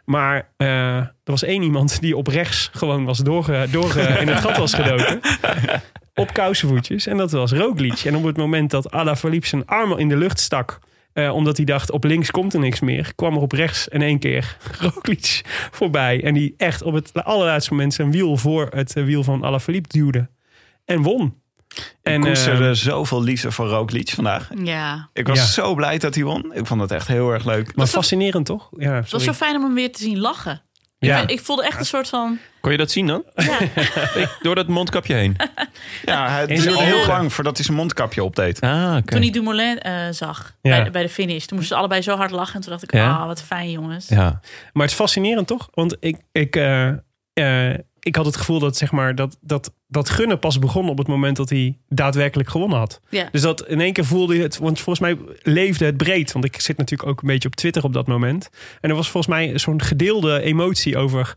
Maar eh, er was één iemand die op rechts gewoon was doorge, doorge in het gat was gedoken. Op kousenvoetjes. En dat was Roglic. En op het moment dat Alaphilippe zijn armen in de lucht stak... eh, omdat hij dacht, op links komt er niks meer... kwam er op rechts in één keer Roglic voorbij. En die echt op het allerlaatste moment zijn wiel voor het eh, wiel van Alaphilippe duwde. En won. En, En, ik koesterde ehm, zoveel liefde voor Roglic vandaag. Ja. Ik was Ja. zo blij dat hij won. Ik vond het echt heel erg leuk. Maar fascinerend toch? Ja, Het was sorry. zo fijn om hem weer te zien lachen. Ja. Ik voelde echt een soort van... Kon je dat zien dan? Ja, Door dat mondkapje heen. Ja, het En zijn duurde heel ogen. lang voordat hij zijn mondkapje opdeed. Ah, oké. toen ik Dumoulin eh, zag Ja. bij, de- bij de finish. Toen moesten ze allebei zo hard lachen. En toen dacht ik, ah, Ja. wat fijn jongens. Ja. Maar het is fascinerend toch? Want ik, ik, eh, eh, ik had het gevoel dat, zeg maar, dat, dat, dat gunnen pas begon op het moment dat hij daadwerkelijk gewonnen had. Ja. Dus dat in één keer voelde je het, want volgens mij leefde het breed. Want ik zit natuurlijk ook een beetje op Twitter op dat moment. En er was volgens mij zo'n gedeelde emotie over.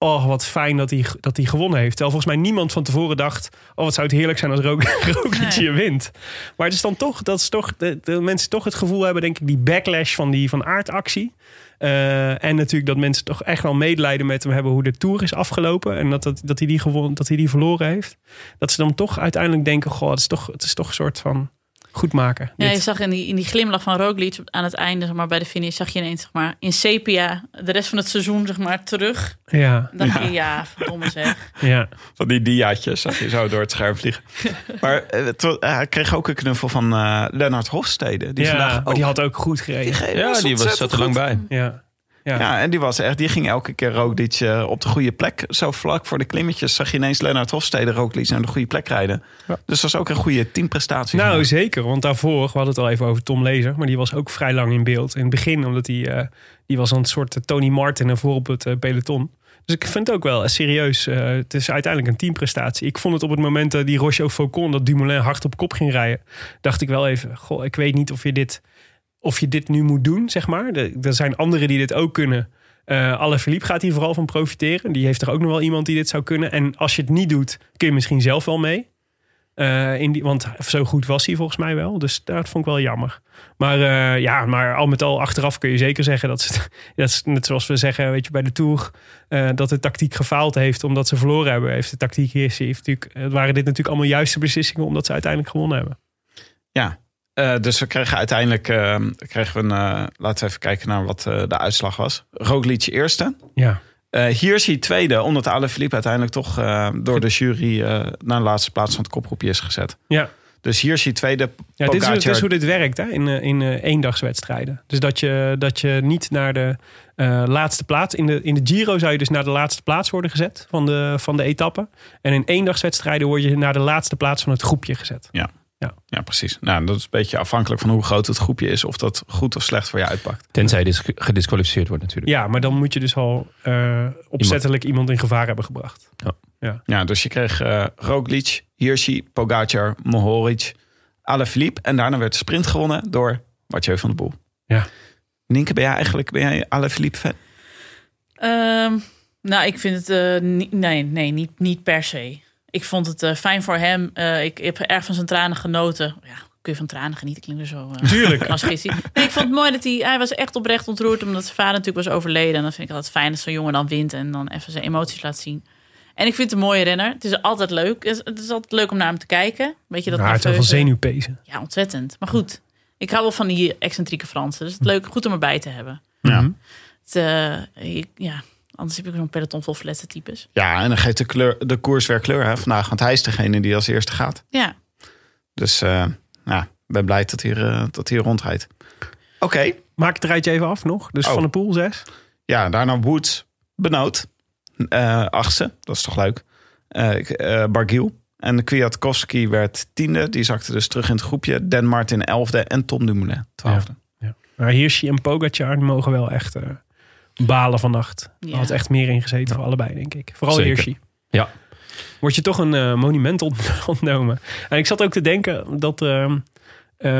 Oh, wat fijn dat hij, dat hij gewonnen heeft. Terwijl volgens mij niemand van tevoren dacht... oh, wat zou het heerlijk zijn als Rook- Roglic Nee. hier wint. Maar het is dan toch... dat is toch de, de mensen toch het gevoel hebben, denk ik... die backlash van die van aardactie. Eh, en natuurlijk dat mensen toch echt wel medelijden met hem hebben... hoe de Tour is afgelopen. En dat, dat, dat, hij, die gewon, dat hij die verloren heeft. Dat ze dan toch uiteindelijk denken... goh, het is toch, het is toch een soort van goed maken. Ja, je zag in die, in die glimlach van Roglic aan het einde, zeg maar, bij de finish, zag je ineens zeg maar, in sepia de rest van het seizoen zeg maar, terug. ja, Dan dacht je, ja, verdomme zeg. ja. Van die diaatjes zag je zo door het scherm vliegen. Maar eh, het wa- eh, hij kreeg ook een knuffel van eh Lennart Hofstede. Die ja, vandaag maar ook... die had ook goed gereden. gegeven Ja, die was, zat er lang bij. Ja. Ja. Ja, en die was echt, die ging elke keer Roglic eh, op de goede plek. Zo vlak voor de klimmetjes zag je ineens Lennart Hofstede Roglic naar de goede plek rijden. Dus dat was ook een goede teamprestatie. Nou, zeker. Want daarvoor, we hadden het al even over Tom Lezer. Maar die was ook vrij lang in beeld. In het begin, omdat hij eh, die was een soort eh, Tony Martin ervoor op het eh, peloton. Dus ik vind het ook wel eh, serieus. eh, het is uiteindelijk een teamprestatie. Ik vond het op het moment dat die Rocheo Faucon, dat Dumoulin hard op kop ging rijden. Dacht ik wel even, goh, ik weet niet of je dit, of je dit nu moet doen, zeg maar. Er, er zijn anderen die dit ook kunnen. Eh Alle Philippe gaat hier vooral van profiteren. Die heeft er ook nog wel iemand die dit zou kunnen. En als je het niet doet, kun je misschien zelf wel mee. Eh, in die, want zo goed was hij volgens mij wel. Dus dat vond ik wel jammer. Maar eh, ja, maar al met al achteraf kun je zeker zeggen dat ze, dat is net zoals we zeggen weet je, bij de Tour, eh, dat de tactiek gefaald heeft omdat ze verloren hebben. Heeft de tactiek hier, ze heeft natuurlijk, het waren dit natuurlijk allemaal juiste beslissingen omdat ze uiteindelijk gewonnen hebben. Ja, eh, dus we kregen uiteindelijk eh, kregen we een, eh, laten we even kijken naar wat eh, de uitslag was. Roglic eerste. Ja, Eh, hier is hij tweede, omdat Alaphilippe uiteindelijk toch eh, door de jury eh, naar de laatste plaats van het kopgroepje is gezet. ja. Dus hier is hij tweede. ja dit, is, Pogacar- dit is hoe dit werkt hè, in, eh, in eh, eendagswedstrijden. Dus dat je, dat je niet naar de eh, laatste plaats. In de, in de Giro zou je dus naar de laatste plaats worden gezet van de, van de etappe. En in eendagswedstrijden word je naar de laatste plaats van het groepje gezet. Ja, precies. Nou, dat is een beetje afhankelijk van hoe groot het groepje is, of dat goed of slecht voor je uitpakt. Tenzij dis gedisqualificeerd wordt natuurlijk. Ja, maar dan moet je dus al eh, opzettelijk iemand. in gevaar hebben gebracht. Ja, dus je kreeg eh Roglic, Hirschi, Pogacar, Mohoric, Alaphilippe. En daarna werd de sprint gewonnen door Mathieu van der Poel. Ja. Nienke, ben jij eigenlijk ben jij Alaphilippe fan? Ehm, nou, ik vind het eh, niet, nee, nee niet, niet per se. Ik vond het eh, fijn voor hem. Eh, ik heb erg van zijn tranen genoten. Ja, kun je van tranen genieten? Klinkt weer zo... eh, Tuurlijk. Als gissie. Nee, ik vond het mooi dat hij... Hij was echt oprecht ontroerd omdat zijn vader natuurlijk was overleden. En dan vind ik altijd fijn dat zo'n jongen dan wint en dan even zijn emoties laat zien. En ik vind het een mooie renner. Het is altijd leuk. Het is, het is altijd leuk om naar hem te kijken. Weet je dat Maar het is wel nerveuze. zenuwpezen. Ja, ontzettend. Maar goed, ik hou wel van die excentrieke Fransen. Dus het is leuk, goed om erbij te hebben. Ja. Het, eh, ik- ja, anders heb ik zo'n peloton vol fletse types. Ja, en dan geeft de, kleur, de koers weer kleur hè, vandaag, want hij is degene die als eerste gaat. Ja, Dus eh, ja, ik ben blij dat hij, eh, dat hij rondrijdt. Oké, Maak het rijtje even af nog. Dus Oh. Van de Poel 6. ja, daarna Woods, Benoot, eh achtste, dat is toch leuk. Eh ik- eh, Bargiel en Kwiatkowski werd tiende, die zakte dus terug in het groepje. Dan Martin elfde en Tom Dumoulin twaalfde. Maar Hirschi en Pogacar mogen wel echt eh, balen vannacht. Er Ja. had echt meer ingezeten voor allebei, denk ik. Vooral Zeker. Hirschi. Ja. Word je toch een eh, monument ont- ontnomen. En ik zat ook te denken dat... ehm, eh,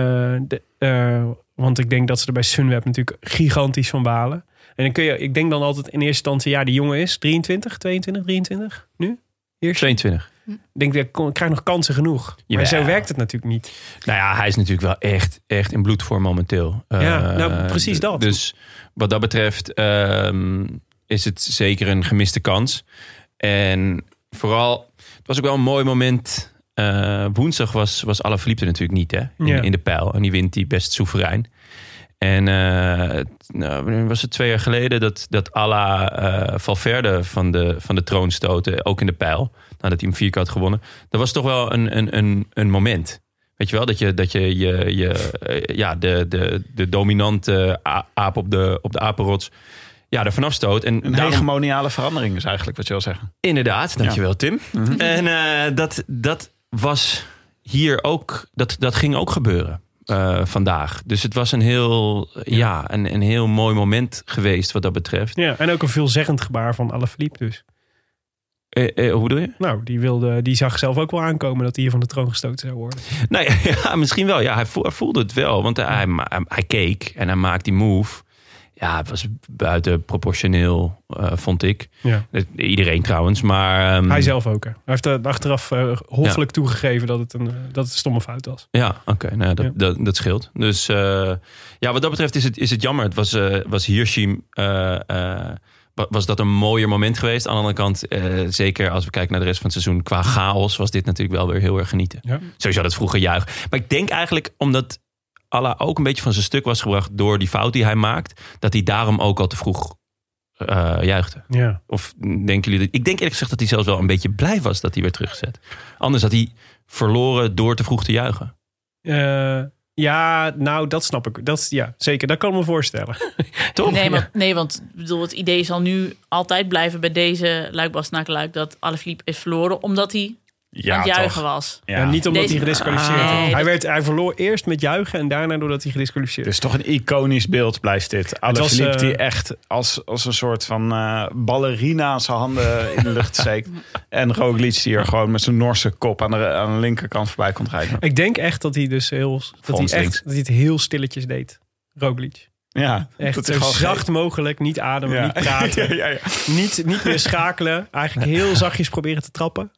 de- eh, want ik denk dat ze er bij Sunweb natuurlijk gigantisch van balen. En dan kun je, ik denk dan altijd in eerste instantie... Ja, die jongen is 23, 22, 23 nu. Hirschi. 22. Ik denk, ik kon- ik krijg nog kansen genoeg. Maar Jawel. zo werkt het natuurlijk niet. Nou ja, hij is natuurlijk wel echt, echt in bloedvorm momenteel. Ja, Eh, nou, precies d- dat. Dus wat dat betreft ehm, is het zeker een gemiste kans. En vooral, het was ook wel een mooi moment. Eh, woensdag was, was Alaphilippe er natuurlijk niet hè, in, Ja. in de pijl. En die wint die best soeverein. En eh, t- nou, wanneer was het twee jaar geleden dat, dat Alla eh, Valverde van de, van de troon stootte, ook in de pijl, nadat hij hem vier keer had gewonnen. Dat was toch wel een, een, een, een moment. Weet je wel, dat je, dat je, je, je eh, ja, de, de, de dominante eh, a- aap op de, op de apenrots ja, er vanaf stoot. En Een daarom- hegemoniale verandering is eigenlijk wat je wil zeggen. Inderdaad, dankjewel Tim. En eh, dat, dat was hier ook, dat, dat ging ook gebeuren eh, vandaag. Dus het was een heel, ja, een, een heel mooi moment geweest wat dat betreft. Ja, en ook een veelzeggend gebaar van Alaphilippe dus. Eh, eh, hoe bedoel je? Nou, die, wilde, die zag zelf ook wel aankomen dat hij hier van de troon gestoten zou worden. Nou ja, ja, misschien wel. Ja, hij voel- hij voelde het wel, want hij, hij, hij keek en hij maakte die move. Ja, het was buiten proportioneel, eh, vond ik. Ja. Het- Iedereen trouwens, maar... Hmm. ehm, Hij zelf ook. Hè. Hij heeft eh, achteraf eh, hoffelijk toegegeven dat het, een, eh, dat het een stomme fout was. Ja, oké. nou, dat, Ja. Dat, dat scheelt. Dus eh, ja, wat dat betreft is het, is het jammer. Het was, eh was Hirschim, eh, eh, wa- was dat een mooier moment geweest. Aan de andere kant, eh, zeker als we kijken naar de rest van het seizoen... qua chaos was dit natuurlijk wel weer heel erg genieten. Ja. Sowieso dat vroeger juich. Maar ik denk eigenlijk omdat Allah ook een beetje van zijn stuk was gebracht... door die fout die hij maakt, dat hij daarom ook al te vroeg eh, juichte. Ja. Of denken jullie... dat- Ik denk eerlijk gezegd dat hij zelfs wel een beetje blij was dat hij weer teruggezet. Anders had hij verloren door te vroeg te juichen. Eh, ja, nou, dat snap ik. Dat, is- ja, zeker. Dat kan ik me voorstellen. Toch? Nee, maar, nee, want ik bedoel, het idee zal nu altijd blijven bij deze luikbas luik dat Alaphilippe is verloren omdat hij aan Ja, het juichen was. Ja. Ja, niet omdat Deze- hij gedisqualificeerd Ah. werd. Nee, hij, dat- werd, hij verloor eerst met juichen en daarna doordat hij gedisqualificeerd Dus toch een iconisch beeld blijft dit. Alaphilippe eh, die echt als, als een soort van eh, ballerina zijn handen in de lucht steekt. en Roglic die er gewoon met zijn Norse kop aan de, aan de linkerkant voorbij komt rijden. Ik denk echt dat hij dus heel. Dat hij, Volgens links. echt, dat hij het heel stilletjes deed. Roglic. Ja, Echt dat zo is gewoon zacht mogelijk. Niet ademen, Ja. niet praten. Ja, ja, ja. Niet, niet meer schakelen. Eigenlijk heel zachtjes proberen te trappen.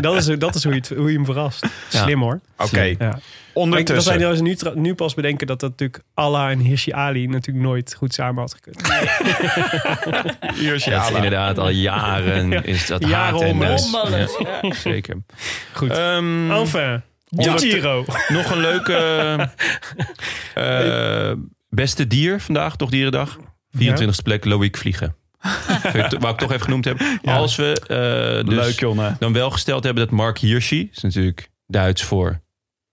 Dat is, dat is hoe, je het, hoe je hem verrast. Ja. Slim hoor. Oké, Ja. Ik, dat ondertussen. wij nou eens nu, tra- nu pas bedenken dat dat natuurlijk Allah en Hirschi Ali natuurlijk nooit goed samen had gekund. Hirschi Ja, het is Ala. inderdaad al jaren Ja. is dat Jaren haat en onder. eh, Rommelig. ja, zeker. Goed. Ehm, enfin, de Ja. Giro. nog een leuke eh, eh, beste dier vandaag, toch dierendag. 24e plek, Loïc Vliegen. Vind ik- Wou ik toch even genoemd hebben. Als we eh, dus Leuk, Jonne. dan wel gesteld hebben dat Mark Hirschi, is natuurlijk Duits voor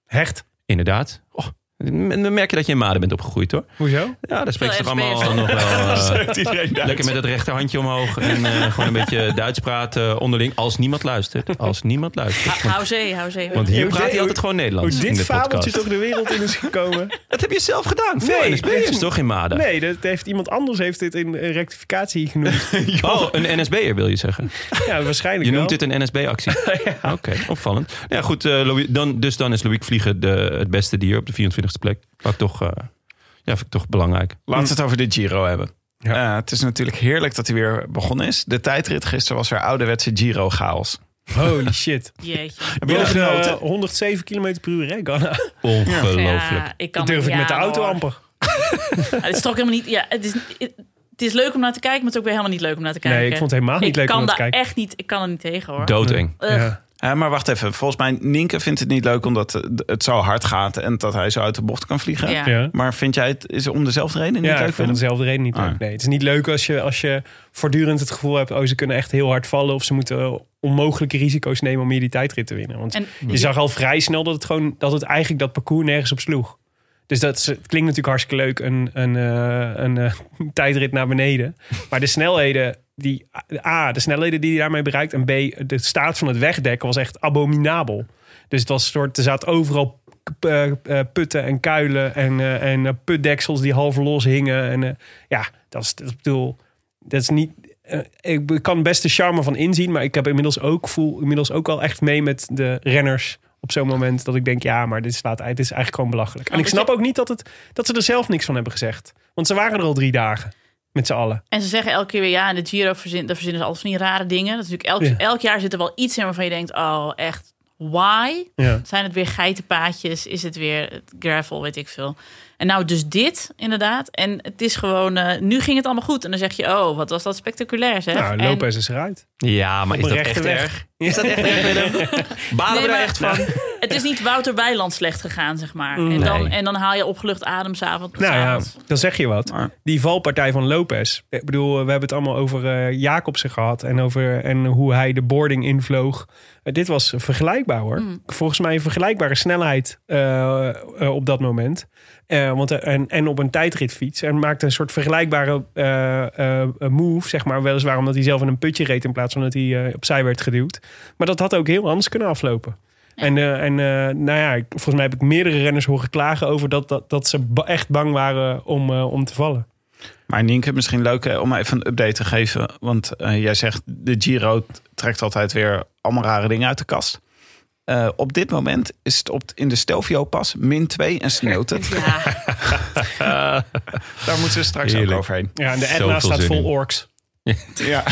Hecht. inderdaad. Oh, dan merk je dat je in Maden bent opgegroeid hoor. Hoezo? Ja, daar spreekt ze toch Veel allemaal nog wel. eh, Lekker met het rechterhandje omhoog en eh, gewoon een beetje Duits praten onderling. Als niemand luistert. Als niemand luistert. Want, Ah, Hou zee, hou zee. want hier Hoe praat dit- hij altijd gewoon Hoe Nederlands in dit de fabeltje podcast. toch de wereld in is gekomen. Dat heb je zelf gedaan. Veel Nee, NSB'ers nee. toch in Maden? Nee, dat heeft, iemand anders heeft dit in een rectificatie genoemd. Oh, een NSB'er wil je zeggen. ja, waarschijnlijk Je wel. noemt dit een NSB-actie. Oké, opvallend. Nou Ja, goed, eh, Louis- dan, dus dan is Louis Vliegen de, het beste dier op de 24e plek. Wat ik toch, eh, ja, vind ik toch belangrijk. Laten we het over de Giro hebben. Ja. Eh, het is natuurlijk heerlijk dat hij weer begonnen is. De tijdrit gisteren was weer ouderwetse Giro-chaos. Holy shit. Jeetje. je Boven de genoten? 107 km per uur, hè, Ganna? Ongelooflijk. Ja, ik kan Dat durf niet ik met de aan, auto hoor. amper. Ja, het is toch helemaal niet. Ja, het is. Het is leuk om naar te kijken, maar het is ook weer helemaal niet leuk om naar te kijken. ik vond het helemaal niet Ik leuk om kan naar te daar kijken. Echt niet, ik kan er niet tegen hoor. Doodeng. Ugh. Ja. Hè, Eh, maar wacht even. Volgens mij, Nienke vindt het niet leuk omdat eh, d- het zo hard gaat... en dat hij zo uit de bocht kan vliegen. Ja. Ja. Maar vind jij het is om dezelfde reden niet Ja, leuk, ik vind Willem? dezelfde reden niet Ah. leuk. Nee, het is niet leuk als je, als je voortdurend het gevoel hebt... oh, ze kunnen echt heel hard vallen... of ze moeten onmogelijke risico's nemen om hier die tijdrit te winnen. Want En- je zag al vrij snel dat het, gewoon, dat het eigenlijk dat parcours nergens op sloeg. Dus dat is- het klinkt natuurlijk hartstikke leuk, een, een, eh, een eh, tijdrit naar beneden. Maar de snelheden, die, A, de snelheden die hij daarmee bereikt... en B, de staat van het wegdek was echt abominabel. Dus het was een soort, er zaten overal k- eh, eh, putten en kuilen en, eh, en eh, putdeksels die half los hingen. En eh, ja, dat is, dat is- ik bedoel, dat is niet... eh, ik be- kan best de charme van inzien, maar ik heb inmiddels ook, voel inmiddels ook al echt mee met de renners op zo'n moment dat ik denk, ja, maar dit, slaat, uit, dit is eigenlijk gewoon belachelijk. En ik dus snap ook niet dat, het, dat ze er zelf niks van hebben gezegd. Want ze waren er al drie dagen, met z'n allen. En ze zeggen elke keer weer ja, in de Giro verzin, daar verzinnen ze altijd van die rare dingen. Dat is natuurlijk elk, Ja. elk jaar zit er wel iets in waarvan je denkt, oh echt, why? Ja. Zijn het weer geitenpaadjes? Is het weer gravel? Weet ik veel. En nou, dus dit inderdaad. En het is gewoon, eh, nu ging het allemaal goed. En dan zeg je, oh, wat was dat spectaculair zeg. Nou, En- Lopez is eruit. Ja, maar is Op een dat rechte echt weg. erg? Is dat echt erg? Willem? Balen Nee, we maar- er echt van? Het is niet Wouter Weiland slecht gegaan, zeg maar. En, dan, Nee. en dan haal je opgelucht adem s'avonds. Nou ja, s'avonds. dan zeg je wat. Maar- Die valpartij van Lopez. Ik bedoel, we hebben het allemaal over eh, Jacobsen gehad. En, over, en hoe hij de boarding invloog. Eh, dit was vergelijkbaar hoor. Volgens mij een vergelijkbare snelheid eh, eh, op dat moment. Eh, want, eh, en, en op een tijdritfiets. En maakte een soort vergelijkbare eh, eh, move, zeg maar. Weliswaar omdat hij zelf in een putje reed in plaats van dat hij eh, opzij werd geduwd. Maar dat had ook heel anders kunnen aflopen. En, eh, en eh, nou ja, ik- volgens mij heb ik meerdere renners horen klagen over dat, dat, dat ze ba- echt bang waren om, eh, om te vallen. Maar Nienke, misschien leuk eh, om even een update te geven. Want eh, jij zegt, de Giro t- trekt altijd weer allemaal rare dingen uit de kast. Eh, op dit moment is het op, in de Stelvio-pas min 2 en sneeuwt het. Ja, Daar moeten we straks Heerlijk. ook overheen. Ja, en de Zoveel Etna staat zin vol in. orks. Ja.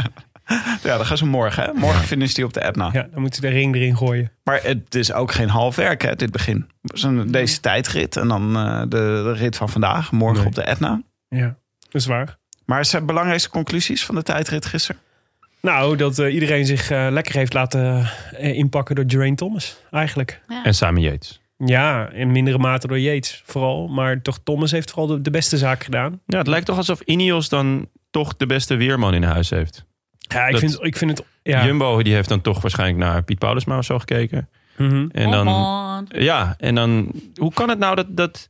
ja, dan gaan ze morgen. Hè? Morgen finisht die op de Etna. Ja, dan moeten ze de ring erin gooien. Maar het is ook geen half werk, hè, dit begin. Zo'n- Deze tijdrit en dan eh, de, de rit van vandaag. Morgen Nee. op de Etna. Ja, dat is waar. Maar zijn belangrijkste conclusies van de tijdrit gisteren? Nou, dat eh, iedereen zich eh, lekker heeft laten eh, inpakken door Geraint Thomas, eigenlijk. En Simon Yates. Ja, in mindere mate door Yates vooral. Maar toch, Thomas heeft vooral de, de beste zaak gedaan. Ja, het lijkt toch alsof Ineos dan toch de beste weerman in huis heeft. Ja, ik, Dat- vind, ik vind het... Ja. Jumbo die heeft dan toch waarschijnlijk naar Piet Paulusma of zo gekeken. Mhm. En Oh, dan, Come on. ja, en dan hoe kan het nou dat, dat,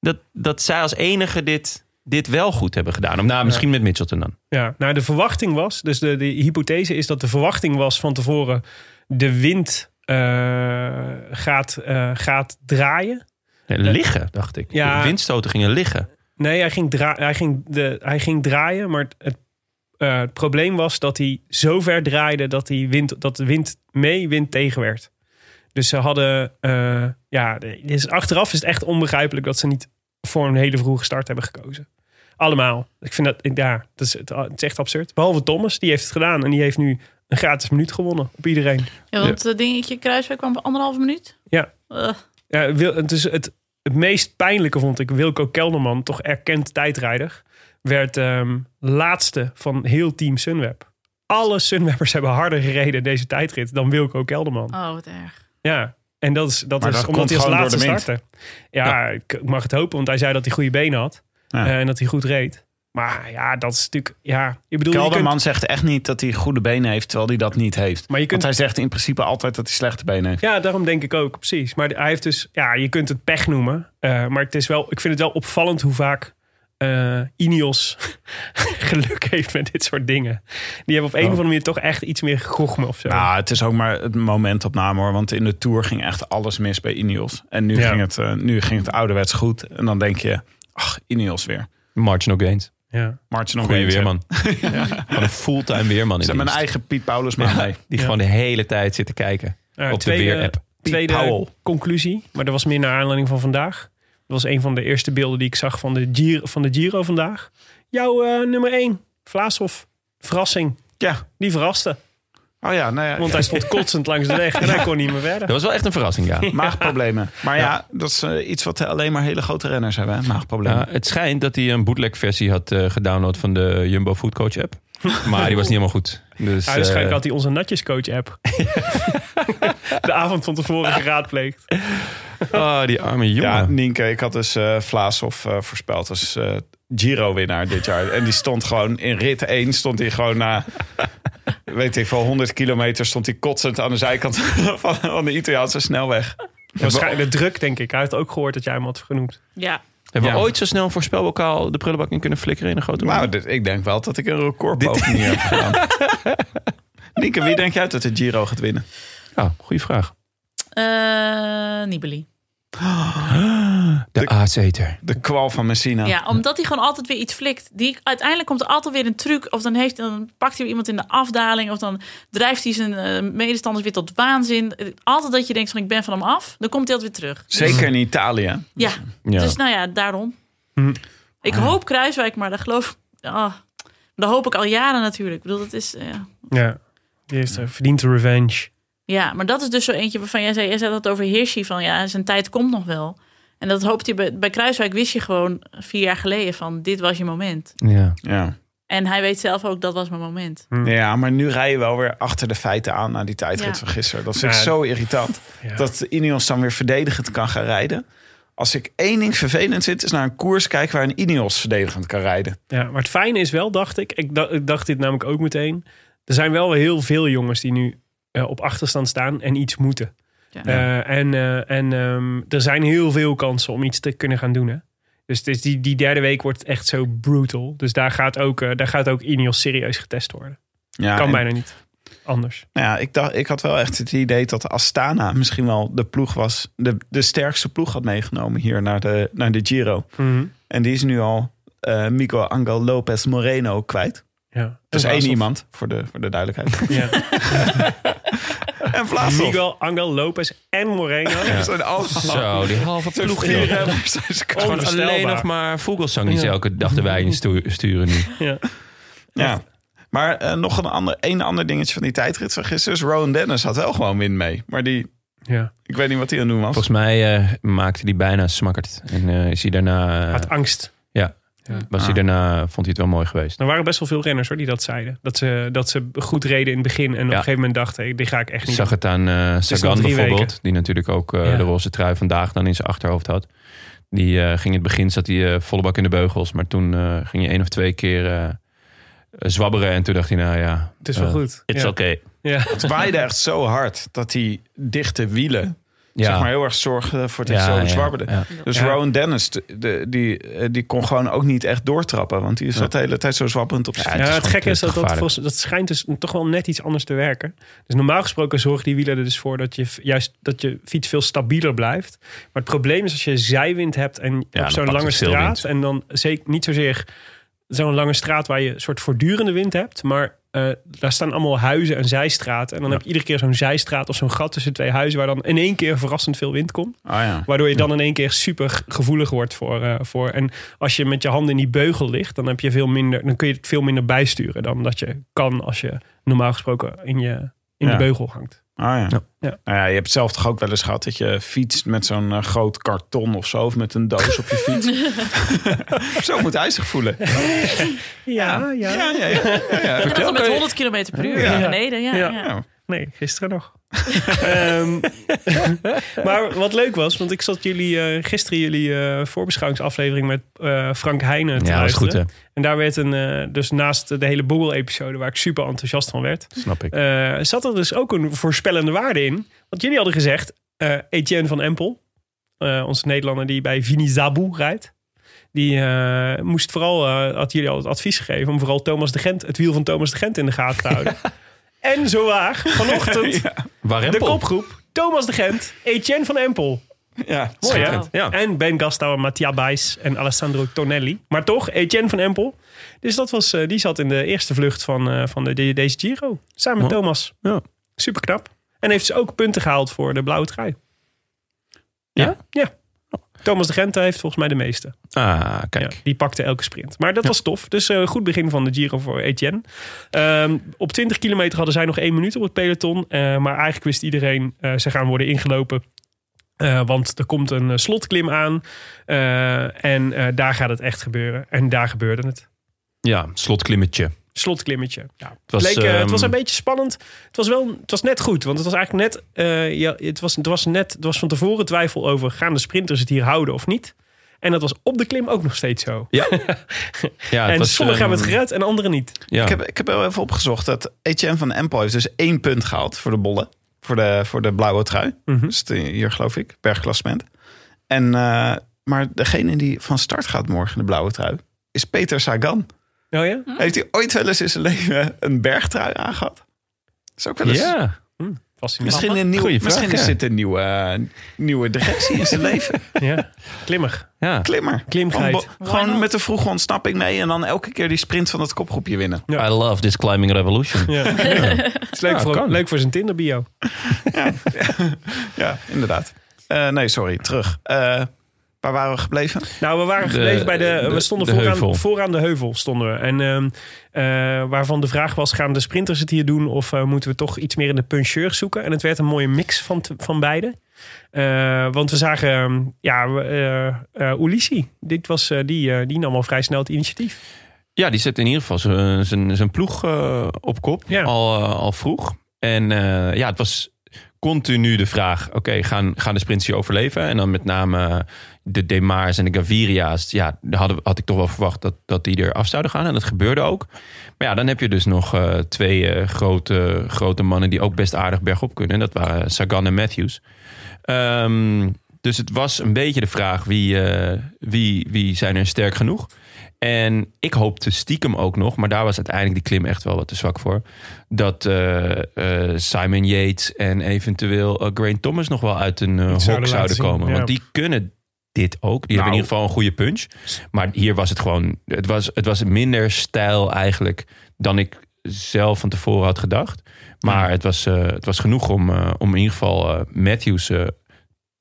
dat, dat zij als enige dit, dit wel goed hebben gedaan? Of nou, misschien met Mitchelton dan. Ja, nou de verwachting was, dus de, de hypothese is dat de verwachting was van tevoren de wind eh, gaat, eh, gaat draaien. Nee, liggen, dacht ik. Ja. De windstoten gingen liggen. Nee, hij ging, draa- hij ging, de, hij ging draaien, maar het, het, eh, het probleem was dat hij zo ver draaide dat, hij wind, dat de wind mee, wind tegen werd. Dus ze hadden, eh, ja, de- dus achteraf is het echt onbegrijpelijk dat ze niet voor een hele vroege start hebben gekozen. Allemaal. Ik vind dat, ja, dat is, het is echt absurd. Behalve Thomas, die heeft het gedaan en die heeft nu een gratis minuut gewonnen op iedereen. Ja, want dat eh, dingetje Kruiswijk kwam op anderhalve minuut. Ja. Eh, Ja, Wil- het, is het, het meest pijnlijke vond ik Wilco Kelderman, toch erkend tijdrijder, werd ehm, laatste van heel team Sunweb. Alle Sunwebbers hebben harder gereden deze tijdrit dan Wilco Kelderman. oh, wat erg. Ja, en dat is, dat Maar is dat omdat komt hij als gewoon laatste door de wind. startte. Ja, ik ik mag het hopen, want hij zei dat hij goede benen had Ja. eh, en dat hij goed reed. Maar ja, dat is natuurlijk. Ja, ik bedoel, je kunt- Kelderman zegt echt niet dat hij goede benen heeft, terwijl hij dat niet heeft. maar je kunt Want hij zegt in principe altijd dat hij slechte benen heeft. Ja, daarom denk ik ook, precies. Maar hij heeft dus, ja, je kunt het pech noemen. eh, maar het is wel, ik vind het wel opvallend hoe vaak eh Ineos geluk heeft met dit soort dingen. Die hebben op een Oh. of andere manier toch echt iets meer gochme of zo. Nou, het is ook maar het momentopname hoor. Want in de Tour ging echt alles mis bij Ineos. En nu, Ja. ging, het, eh, nu ging het ouderwets goed. En dan denk je, ach, Ineos weer. Marginal gains. ja. Martin nog Goeie eens, hè. weerman. Gewoon een fulltime weerman in Ze hebben dienst. mijn eigen Piet Paulus maar mee. Die Ja. gewoon de hele tijd zit te kijken Nou, op de weer-app. Tweede Powell. conclusie, maar dat was meer naar aanleiding van vandaag. Dat was een van de eerste beelden die ik zag van de Giro, van de Giro vandaag. Jouw eh, nummer 1, Vlaashoff. Verrassing. Ja. Die verraste, Oh ja, nou ja. want hij stond kotsend langs de weg en hij kon niet meer verder. Dat was wel echt een verrassing, ja. Maagproblemen. Maar ja, dat is eh, iets wat alleen maar hele grote renners hebben. Hè? Maagproblemen. Ja, het schijnt dat hij een bootleg versie had eh, gedownload van de Jumbo Food Coach app. Maar die was niet helemaal goed. Dus, Ja, dus eh, waarschijnlijk had hij onze natjescoach app. de avond van tevoren geraadpleegd. oh, die arme jongen. Ja, Nienke, ik had dus eh Vlaashoff eh, voorspeld als eh, Giro-winnaar dit jaar. En die stond gewoon in rit 1, stond hij gewoon na, weet ik veel, 100 kilometer, stond hij kotsend aan de zijkant van, van de Italiaanse snelweg. Waarschijnlijk de druk, denk ik. Hij heeft ook gehoord dat jij hem had genoemd. Ja, Hebben we Ja. ooit zo snel een voorspelbokaal de prullenbak in kunnen flikkeren in een grote Nou, ronde? dit- ik denk wel dat ik een recordpoging hier heb gedaan. Nienke, wie denk jij dat de Giro gaat winnen? Ja, goede vraag. Eh Nibali. De, aaseter. De kwal van Messina. Ja, omdat hij gewoon altijd weer iets flikt. Die, uiteindelijk komt er altijd weer een truc. Of dan, heeft, dan pakt hij iemand in de afdaling. Of dan drijft hij zijn eh, medestanders weer tot waanzin. Eh, Altijd dat je denkt van ik ben van hem af. Dan komt hij altijd weer terug. Zeker in Italië. Ja, Ja. dus nou ja, daarom. Ik hoop Kruiswijk, maar dat geloof ik... ah, dat hoop ik al jaren natuurlijk. Ik bedoel, dat is... eh, Ja, die heeft eh, verdiend de revenge. ja, maar dat is dus zo eentje waarvan jij zei... Jij zei dat over Hirschi, van ja, zijn tijd komt nog wel. En dat hoopt hij bij, bij Kruiswijk wist je gewoon vier jaar geleden van dit was je moment. Ja. Ja. En hij weet zelf ook, dat was mijn moment. Ja, maar nu rij je wel weer achter de feiten aan na die tijdrit Ja. van gisteren. Dat is echt Ja. zo irritant. Ja. Dat Ineos dan weer verdedigend kan gaan rijden. Als ik één ding vervelend vind, is naar een koers kijken waar een Ineos verdedigend kan rijden. Ja, maar het fijne is wel, dacht ik, ik, da- ik dacht dit namelijk ook meteen. Er zijn wel heel veel jongens die nu eh, op achterstand staan en iets moeten. Ja. Eh, en eh, en ehm, er zijn heel veel kansen om iets te kunnen gaan doen. Hè? Dus het is die, die derde week wordt echt zo brutal. Dus daar gaat ook, eh, daar gaat ook Ineos serieus getest worden. Ja, kan en- bijna niet anders. Nou ja, ik, dacht, ik had wel echt het idee dat Astana misschien wel de ploeg was. De, de sterkste ploeg had meegenomen hier naar de, naar de Giro. En die is nu al eh Mico Angel Lopez Moreno kwijt. Ja. Dat is En één Vlaashoff. iemand, voor de, voor de duidelijkheid. Ja. en Vlaashoff. Miguel, Angel, Lopez en Moreno. Dat zijn allemaal Zo, die halve de ploeg. vier joh. renners. Dat is kort. Gewoon Onvoorstelbaar. alleen nog maar Vogelsang die ze Ja. elke dag de wei in stu- sturen nu. Ja. Ja. Maar eh, nog een ander, één ander dingetje van die tijdrit van gisteren. is Rowan Dennis had wel gewoon win mee. Maar die, Ja. ik weet niet wat hij aan het doen was. Volgens mij eh, maakte hij bijna smakkerd. En eh, is hij daarna... eh, Uit angst. ja, was hij daarna... Vond hij het wel mooi geweest. Er waren best wel veel renners hoor, die dat zeiden. Dat ze, dat ze goed reden in het begin en op een gegeven moment dachten, hey, dit ga ik echt Ik niet zag het aan eh nog Sagan drie bijvoorbeeld. weken. Die natuurlijk ook eh, Ja. de roze trui vandaag dan in zijn achterhoofd had. Die eh, ging in het begin, zat hij eh, volle bak in de beugels. Maar toen eh, ging hij één of twee keer eh, zwabberen. En toen dacht hij, nou ja... Het is wel goed. It's ja. okay. Ja. Het waaide echt zo hard dat die dichte wielen... Ja. zeg maar heel erg zorgde voor het Ja, zo ja, zwabberde. ja. Dus Ja. Rowan Dennis, de- de- die, eh, die kon gewoon ook niet echt doortrappen. Want die zat de hele tijd zo zwabberend op zijn Ja, fiets. het gekke is dat dat, gevaarlijk. volgens- dat schijnt dus toch wel net iets anders te werken. Dus normaal gesproken zorgen die wielen er dus voor dat je f- juist dat je fiets veel stabieler blijft. Maar het probleem is als je zijwind hebt en dan op zo'n pakt lange het veel wind. straat en dan zeker niet zozeer zo'n lange straat waar je een soort voortdurende wind hebt, maar eh, daar staan allemaal huizen en zijstraten en dan heb je iedere keer zo'n zijstraat of zo'n gat tussen twee huizen waar dan in één keer verrassend veel wind komt. Ah, ja. Waardoor je dan in één keer super gevoelig wordt voor, eh, voor. En als je met je handen in die beugel ligt, dan, heb je veel minder, dan kun je het veel minder bijsturen dan dat je kan als je normaal gesproken in, je, in Ja. de beugel hangt. Ah, ja. Ja. Nou ja, je hebt zelf toch ook wel eens gehad dat je fietst met zo'n eh, groot karton of zo. Of met een doos op je fiets. zo moet hij zich voelen. Ja, ja. Ja, ja, ja. ja, ja. En dat Vertel, dan met kan je- 100 km per uur Ja. naar beneden. Ja, Ja. ja. Ja. Nee, gisteren nog. Ehm, maar wat leuk was, want ik zat jullie, eh, gisteren jullie eh, voorbeschouwingsaflevering met eh, Frank Heijnen te Ja, dat is luisteren. goed hè. En daar werd een, eh, dus naast de hele Boegel-episode, waar ik super enthousiast van werd, Snap ik. eh, zat er dus ook een voorspellende waarde in. Want jullie hadden gezegd, eh, Etienne van Empel, eh, onze Nederlander die bij Vini Zabu rijdt. Die eh, moest vooral, eh, had jullie al het advies gegeven om vooral Thomas de Gent, het wiel van Thomas de Gent in de gaten te houden. En zo waar, vanochtend de Warempel. kopgroep. Thomas de Gent, Etienne van Empel. ja. Mooi hè? Schitterend, ja. En Ben Gastouw, Mattia Bijs en Alessandro Tonelli. Maar toch, Etienne van Empel. Dus dat was, eh, die zat in de eerste vlucht van, eh, van de, de- deze Giro. Samen met Ja. Thomas. Ja. Super knap. En heeft ze ook punten gehaald voor de blauwe trui. Ja? Ja. Thomas de Gent heeft volgens mij de meeste. Ah, kijk. Ja, die pakte elke sprint. Maar dat was tof. Dus eh, goed begin van de Giro voor Etienne. Ehm, op 20 kilometer hadden zij nog één minuut op het peloton. Eh, maar eigenlijk wist iedereen, eh, ze gaan worden ingelopen. Eh, want er komt een eh, slotklim aan. Eh, en eh, daar gaat het echt gebeuren. En daar gebeurde het. Ja, slotklimmetje. Slotklimmetje. Ja, Het was, Leek, eh, het ehm, was een beetje spannend. Het was, wel, het was net goed, want het was eigenlijk net, eh, ja, het was, het was net... Het was van tevoren twijfel over... gaan de sprinters het hier houden of niet? En dat was op de klim ook nog steeds zo. ja, het en was, sommigen ehm, hebben het gered en anderen niet. Ja. Ik, heb, ik heb wel even opgezocht dat Etienne van Empel heeft dus één punt gehaald voor de bollen. Voor de, voor de blauwe trui. Mhm. Hm. Oh Dus de- hier geloof ik, bergklassement. En, eh, maar degene die van start gaat morgen, de blauwe trui, is Peter Sagan. Oh ja? Heeft hij ooit wel eens in zijn leven een bergtrui aangehad? Is ook wel eens... ja. Fascinerend. Misschien, een nieuw, Goeie vraag, misschien is ja. dit een nieuwe, eh, nieuwe directie in zijn leven. Ja. Klimmig. ja. Klimmer. Klimgeit. Gewoon bo- Why Gewoon not? met de vroege ontsnapping mee en dan elke keer die sprint van het kopgroepje winnen. Ja. I love this climbing revolution. Ja. Het is leuk, Ja, voor, kan. leuk voor zijn Tinder bio. Ja, inderdaad. Eh, nee, sorry, terug. Eh, waar waren we gebleven? Nou, we waren gebleven bij de... de- we stonden de vooraan, heuvel. vooraan de heuvel. Stonden we. En ehm, eh, waarvan de vraag was, gaan de sprinters het hier doen... of eh, moeten we toch iets meer in de puncheurs zoeken? En het werd een mooie mix van, t- van beide. Eh, want we zagen, ehm, ja, we, eh, eh, Ulissi. Dit was, eh, die, eh, die nam al vrij snel het initiatief. Ja, die zet in ieder geval zijn- zijn zijn ploeg eh, op kop. Ja. Al, eh, al vroeg. En eh, ja, het was continu de vraag: oké, gaan, gaan de sprints hier overleven? En dan met name eh, de Demars en de Gaviria's. Ja, daar hadden, we- had ik toch wel verwacht dat, dat die er af zouden gaan. En dat gebeurde ook. Maar ja, dan heb je dus nog eh, twee eh, grote, grote mannen die ook best aardig bergop kunnen. En dat waren Sagan en Matthews. Ehm, dus het was een beetje de vraag wie, eh, wie, wie zijn er sterk genoeg. En ik hoopte stiekem ook nog, maar daar was uiteindelijk die klim echt wel wat te zwak voor. Dat eh, eh, Simon Yates en eventueel eh, Grain Thomas nog wel uit een eh, hok zouden zouden, laten zien, komen. ja. Nou. Want die kunnen dit ook. Die hebben in ieder geval een goede punch. Maar hier was het gewoon, het was, het was minder stijl eigenlijk dan ik zelf van tevoren had gedacht. Maar het, was, eh, het was genoeg om, eh, om in ieder geval eh, Matthews eh,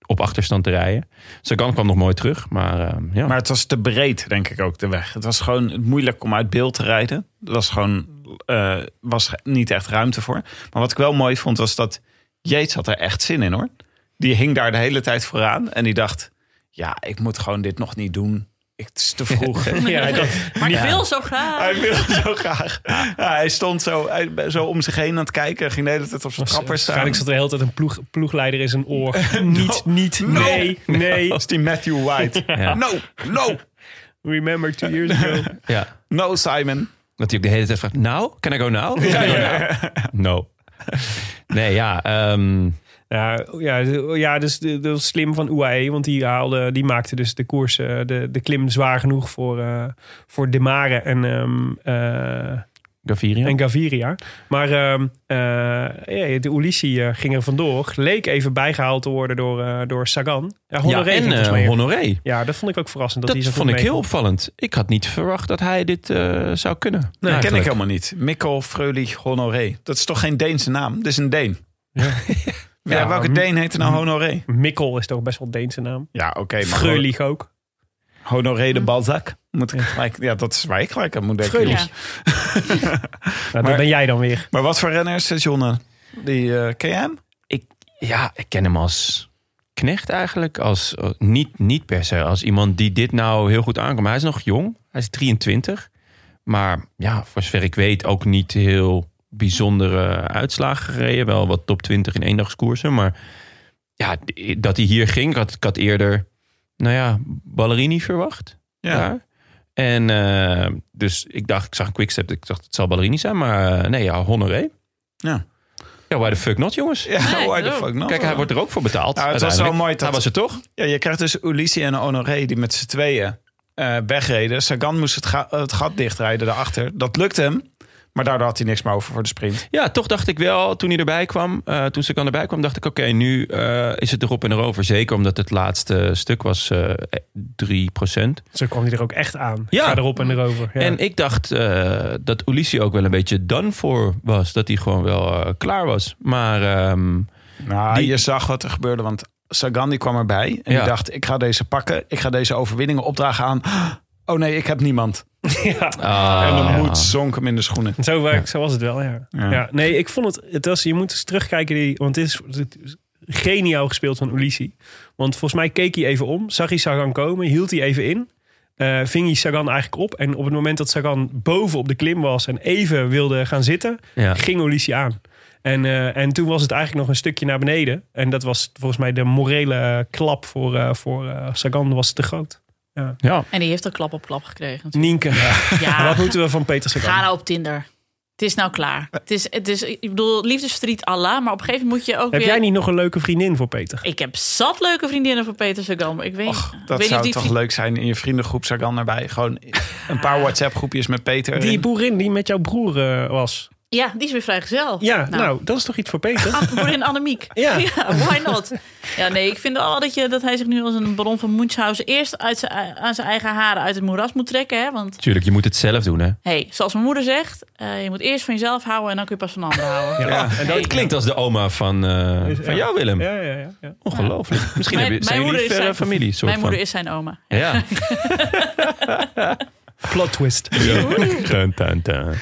op achterstand te rijden. Sagan kwam nog mooi terug, maar eh, ja. Maar het was te breed, denk ik ook, de weg. Het was gewoon moeilijk om uit beeld te rijden. Er was gewoon eh, was niet echt ruimte voor. Maar wat ik wel mooi vond, was dat Jeets had er echt zin in, hoor. Die hing daar de hele tijd vooraan en die dacht... ja, ik moet gewoon dit nog niet doen. Ik- Het is te vroeg. Ja, dat, Maar ik wil zo graag. Hij wilde zo graag. Ja, hij stond zo, hij, zo om zich heen aan het kijken. Ging de hele tijd op zijn trappers staan. eh, waarschijnlijk zat de hele tijd een ploeg, ploegleider in zijn oor. niet, niet, Oh, nee, nee. Als die Matthew White. Ja. No, no, Remember two years ago. ja. no, Simon. Dat hij ook de hele tijd vraagt, nou, can I go now? Can I go now? No. Nee, ja. ehm, Ja, ja, ja dus de- dat was slim van UAE. Want die, haalde, die maakte dus de koers, eh, de, de klim zwaar genoeg voor, eh voor Demare en, ehm, eh, Gaviria. en Gaviria. Maar ehm, eh, ja, de Ulissi eh, ging er vandoor. Leek even bijgehaald te worden door, eh, door Sagan. Ja, ja, Honoré en ging eh, volgens mij. Honoré. dus Ja, dat vond ik ook verrassend. Dat, Dat die zo vond ik goed heel meekwam. opvallend. Ik had niet verwacht dat hij dit eh, zou kunnen. Nee, ken ik Eigenlijk. helemaal niet. Mikkel Freulich Honoré. Dat is toch geen Deense naam? Dat is een Deen. Ja. Ja, welke m- Deen heette nou Honoré? Mikkel is toch best wel Deense naam. Ja, oké. maar Freulich ook. Honoré de Balzac. Moet ik gelijk, ja, dat is waar ik gelijk aan moet denken. Freulich. jongens. Nou, dat ben jij dan weer. Maar wat voor renner is dit, Jonne? Die eh, ken je hem? ik, ja, ik ken hem als knecht eigenlijk. Als, als- niet, niet per se als iemand die dit nou heel goed aankomt. Hij is nog jong, hij is 23. Maar ja, voor zover ik weet ook niet heel bijzondere uitslagen gereden. Wel wat top 20 in eendagskoersen. Maar ja, dat hij hier ging, ik had, ik had eerder, nou ja, Ballerini verwacht. Ja. En eh, dus ik dacht, ik zag een quickstep, ik dacht het zal Ballerini zijn. Maar eh, nee, ja, Honoré. Ja. Ja, why the fuck not, jongens? Ja, Nee, why the daarom. fuck not? Kijk, hij wordt er ook voor betaald. eh, Nou, het was uiteindelijk. wel mooi dat- Hij was er toch? Ja, je krijgt dus Ulissi en Honoré die met z'n tweeën eh, wegreden. Sagan moest het, ga- het gat dichtrijden daarachter. Dat lukte hem, maar daardoor had hij niks meer over voor de sprint. Ja, toch dacht ik wel, toen hij erbij kwam, eh, toen Sagan erbij kwam, dacht ik, oké, nu eh, is het erop en erover. Zeker omdat het laatste stuk was eh 3%. Zo kwam hij er ook echt aan. Ja. Ga erop en erover. Ja. En ik dacht eh, dat Ulissi ook wel een beetje done voor was. Dat hij gewoon wel eh, klaar was. Maar ehm, Nou, Die- je zag wat er gebeurde, want Sagan die kwam erbij. En Ja. die dacht, ik ga deze pakken. Ik ga deze overwinningen opdragen aan... Oh nee, ik heb niemand. ah, En de moed zonk hem in de schoenen. Zo, werkt, zo was het wel, ja. ja. Ja. nee, ik vond het... het was, je moet eens terugkijken, die, want het is, het is geniaal gespeeld van Ulissi. Want volgens mij keek hij even om, zag hij Sagan komen, hield hij even in. eh, ving hij Sagan eigenlijk op. En op het moment dat Sagan boven op de klim was en even wilde gaan zitten, ja. ging Ulissi aan. En, eh, en toen was het eigenlijk nog een stukje naar beneden. En dat was volgens mij de morele eh, klap voor, eh, voor eh, Sagan was te groot. En die heeft een klap op klap gekregen. Nienke, Ja, wat moeten we van Peter ga Sagan? nou op Tinder. Het is nou klaar. Het is, het is, ik bedoel, liefdesverdriet Allah, maar op een gegeven moment moet je ook Heb weer... jij niet nog een leuke vriendin voor Peter? Ik heb zat leuke vriendinnen voor Peter Sagan, maar ik weet, Och, ik weet dat niet of zou die toch vriend- leuk zijn in je vriendengroep Sagan erbij. Gewoon een paar WhatsApp groepjes met Peter. Die erin. boerin die met jouw broer eh, was. Ja, die is weer vrijgezel. Ja, nou. dat is toch iets voor Oh. Peter? An- Boerin Annemiek. Ja. why not? Ja, nee, ik vind al dat, je, dat hij zich nu als een baron van Munchausen eerst uit zijn, aan zijn eigen haren uit het moeras moet trekken. Hè? Want Tuurlijk, je moet het zelf doen, hè? hey, zoals mijn moeder zegt, eh, je moet eerst van jezelf houden en dan kun je pas van anderen houden. Ja, en dat Het klinkt als de oma van, eh, van jou, Willem. Ja, ja, ja. ja. Ongelooflijk. Misschien Mijn- hebben mijn zijn moeder jullie is verre zijn- familie. Soort Mijn moeder van. is zijn oma. Ja. Plot twist. Dun, dun, dun.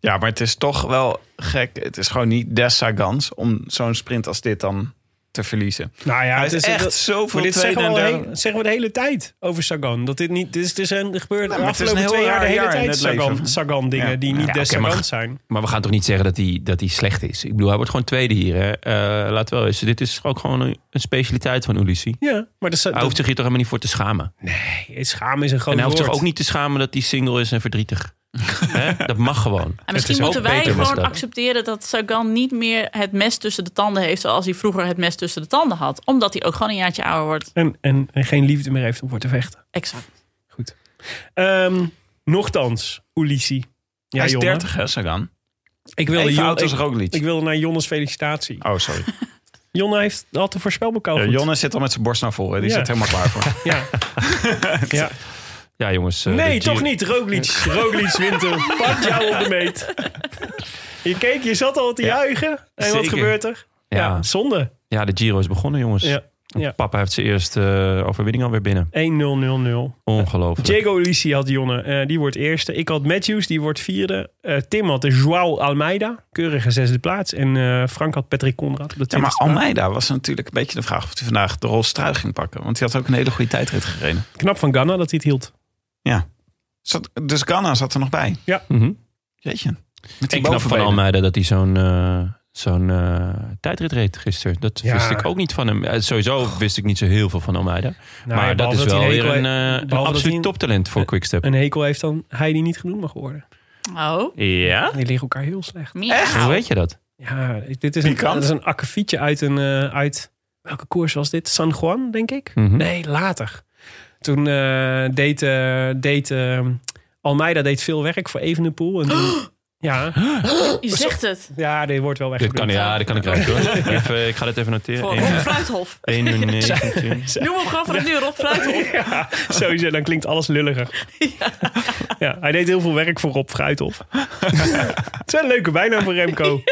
Ja, maar het is toch wel gek. Het is gewoon niet des Sagans om zo'n sprint als dit dan te verliezen. Nou ja, Hij is echt dat- zoveel maar dit tweede zeggen we, en al derde- heel- dat zeggen we de hele tijd over Sagan. Dat dit niet, dit is, dit is een, gebeurd maar de het is een afgelopen heel twee jaar de raar hele jaar in tijd het leven. Sagan, Sagan dingen Ja. die niet Ja, des oké, maar Sagans zijn. Maar we gaan toch niet zeggen dat hij, dat hij slecht is? Ik bedoel, hij wordt gewoon tweede hier. Hè? Eh, laat wel eens. Dit is ook gewoon een, een specialiteit van Ulissi. Ja, maar dat, Oh, Hij dat, hoeft zich hier toch helemaal niet voor te schamen. nee, schaam is een groot en hij hoeft zich woord. ook niet te schamen dat hij single is en verdrietig. Hè? Dat mag gewoon. En misschien is moeten ook wij beter gewoon misdaad. accepteren dat Sagan niet meer het mes tussen de tanden heeft zoals hij vroeger het mes tussen de tanden had. Omdat hij ook gewoon een jaartje ouder wordt. En, en, en geen liefde meer heeft om voor te vechten. Exact. Ehm nochtans, Ulissi. Ja, hij is Jonne. 30, hè, Sagan? Ik wilde, Even Jon- oud als ik- Roglic. ik wilde naar Jonnes felicitatie. Oh, sorry. Jonne heeft had een voorspelbokaal. Ja, goed. Jonne zit al met zijn borst naar voren. Die Ja. zit helemaal klaar voor. Ja. ja. Ja, jongens. eh, Nee, de Giro- toch niet. Roglic. Roglic wint hem. Pak jou op de meet. Je keek, je zat al te juichen. En wat zeker. gebeurt er? Ja, Ja. zonde. Ja, de Giro is begonnen, jongens. Ja. Ja. Papa heeft zijn eerste eh, overwinning alweer binnen. 1-0-0-0. Ongelooflijk. Diego Ulissi had Jonne. eh, die wordt eerste. Ik had Matthews. Die wordt vierde. Eh, Tim had de Joao Almeida. Keurige zesde plaats. En eh, Frank had Patrick Conrad op de Ja, maar twintigste plaats. Almeida was natuurlijk een beetje de vraag of hij vandaag de rol struik ging pakken. Want hij had ook een hele goede tijdrit gereden. Knap van Ghana dat hij het hield. Zat, dus Ghana zat er nog bij. Mhm. Jeetje. Met die Ik knap van bovenbenen. Almeida dat hij zo'n eh, zo'n eh, tijdrit reed gisteren. Dat Ja. wist ik ook niet van hem. Eh, sowieso wist ik niet zo heel veel van Almeida. Nou, ja, maar dat behalve is wel hij weer hekel een, he- eh, behalve een dat absoluut hij een- toptalent voor Quickstep. Een hekel heeft dan hij die niet genoemd mag worden. Oh, ja? Die liggen elkaar heel slecht. miauw. Hoe weet je dat? Ja, dit is een, Pikant. dat is een akkefietje uit een... eh, uit, welke koers was dit? San Juan, denk ik? Mhm. Nee, later. Toen eh, deed, eh, deed eh, Almeida deed veel werk voor Evenepoel. En toen, ja, Je zegt het. ja, dit wordt wel Dit weggebeurd. kan, ja, dit kan ik ruiken. hoor. Even, ik ga dit even noteren. Voor Eén- Rob Fruithof. 1 uur 19. Noem hem gewoon vanaf nu Rob Fruithof. Ja, sowieso, dan klinkt alles lulliger. Ja. hij deed heel veel werk voor Rob Fruithof. Het is wel een leuke bijnaam voor Remco.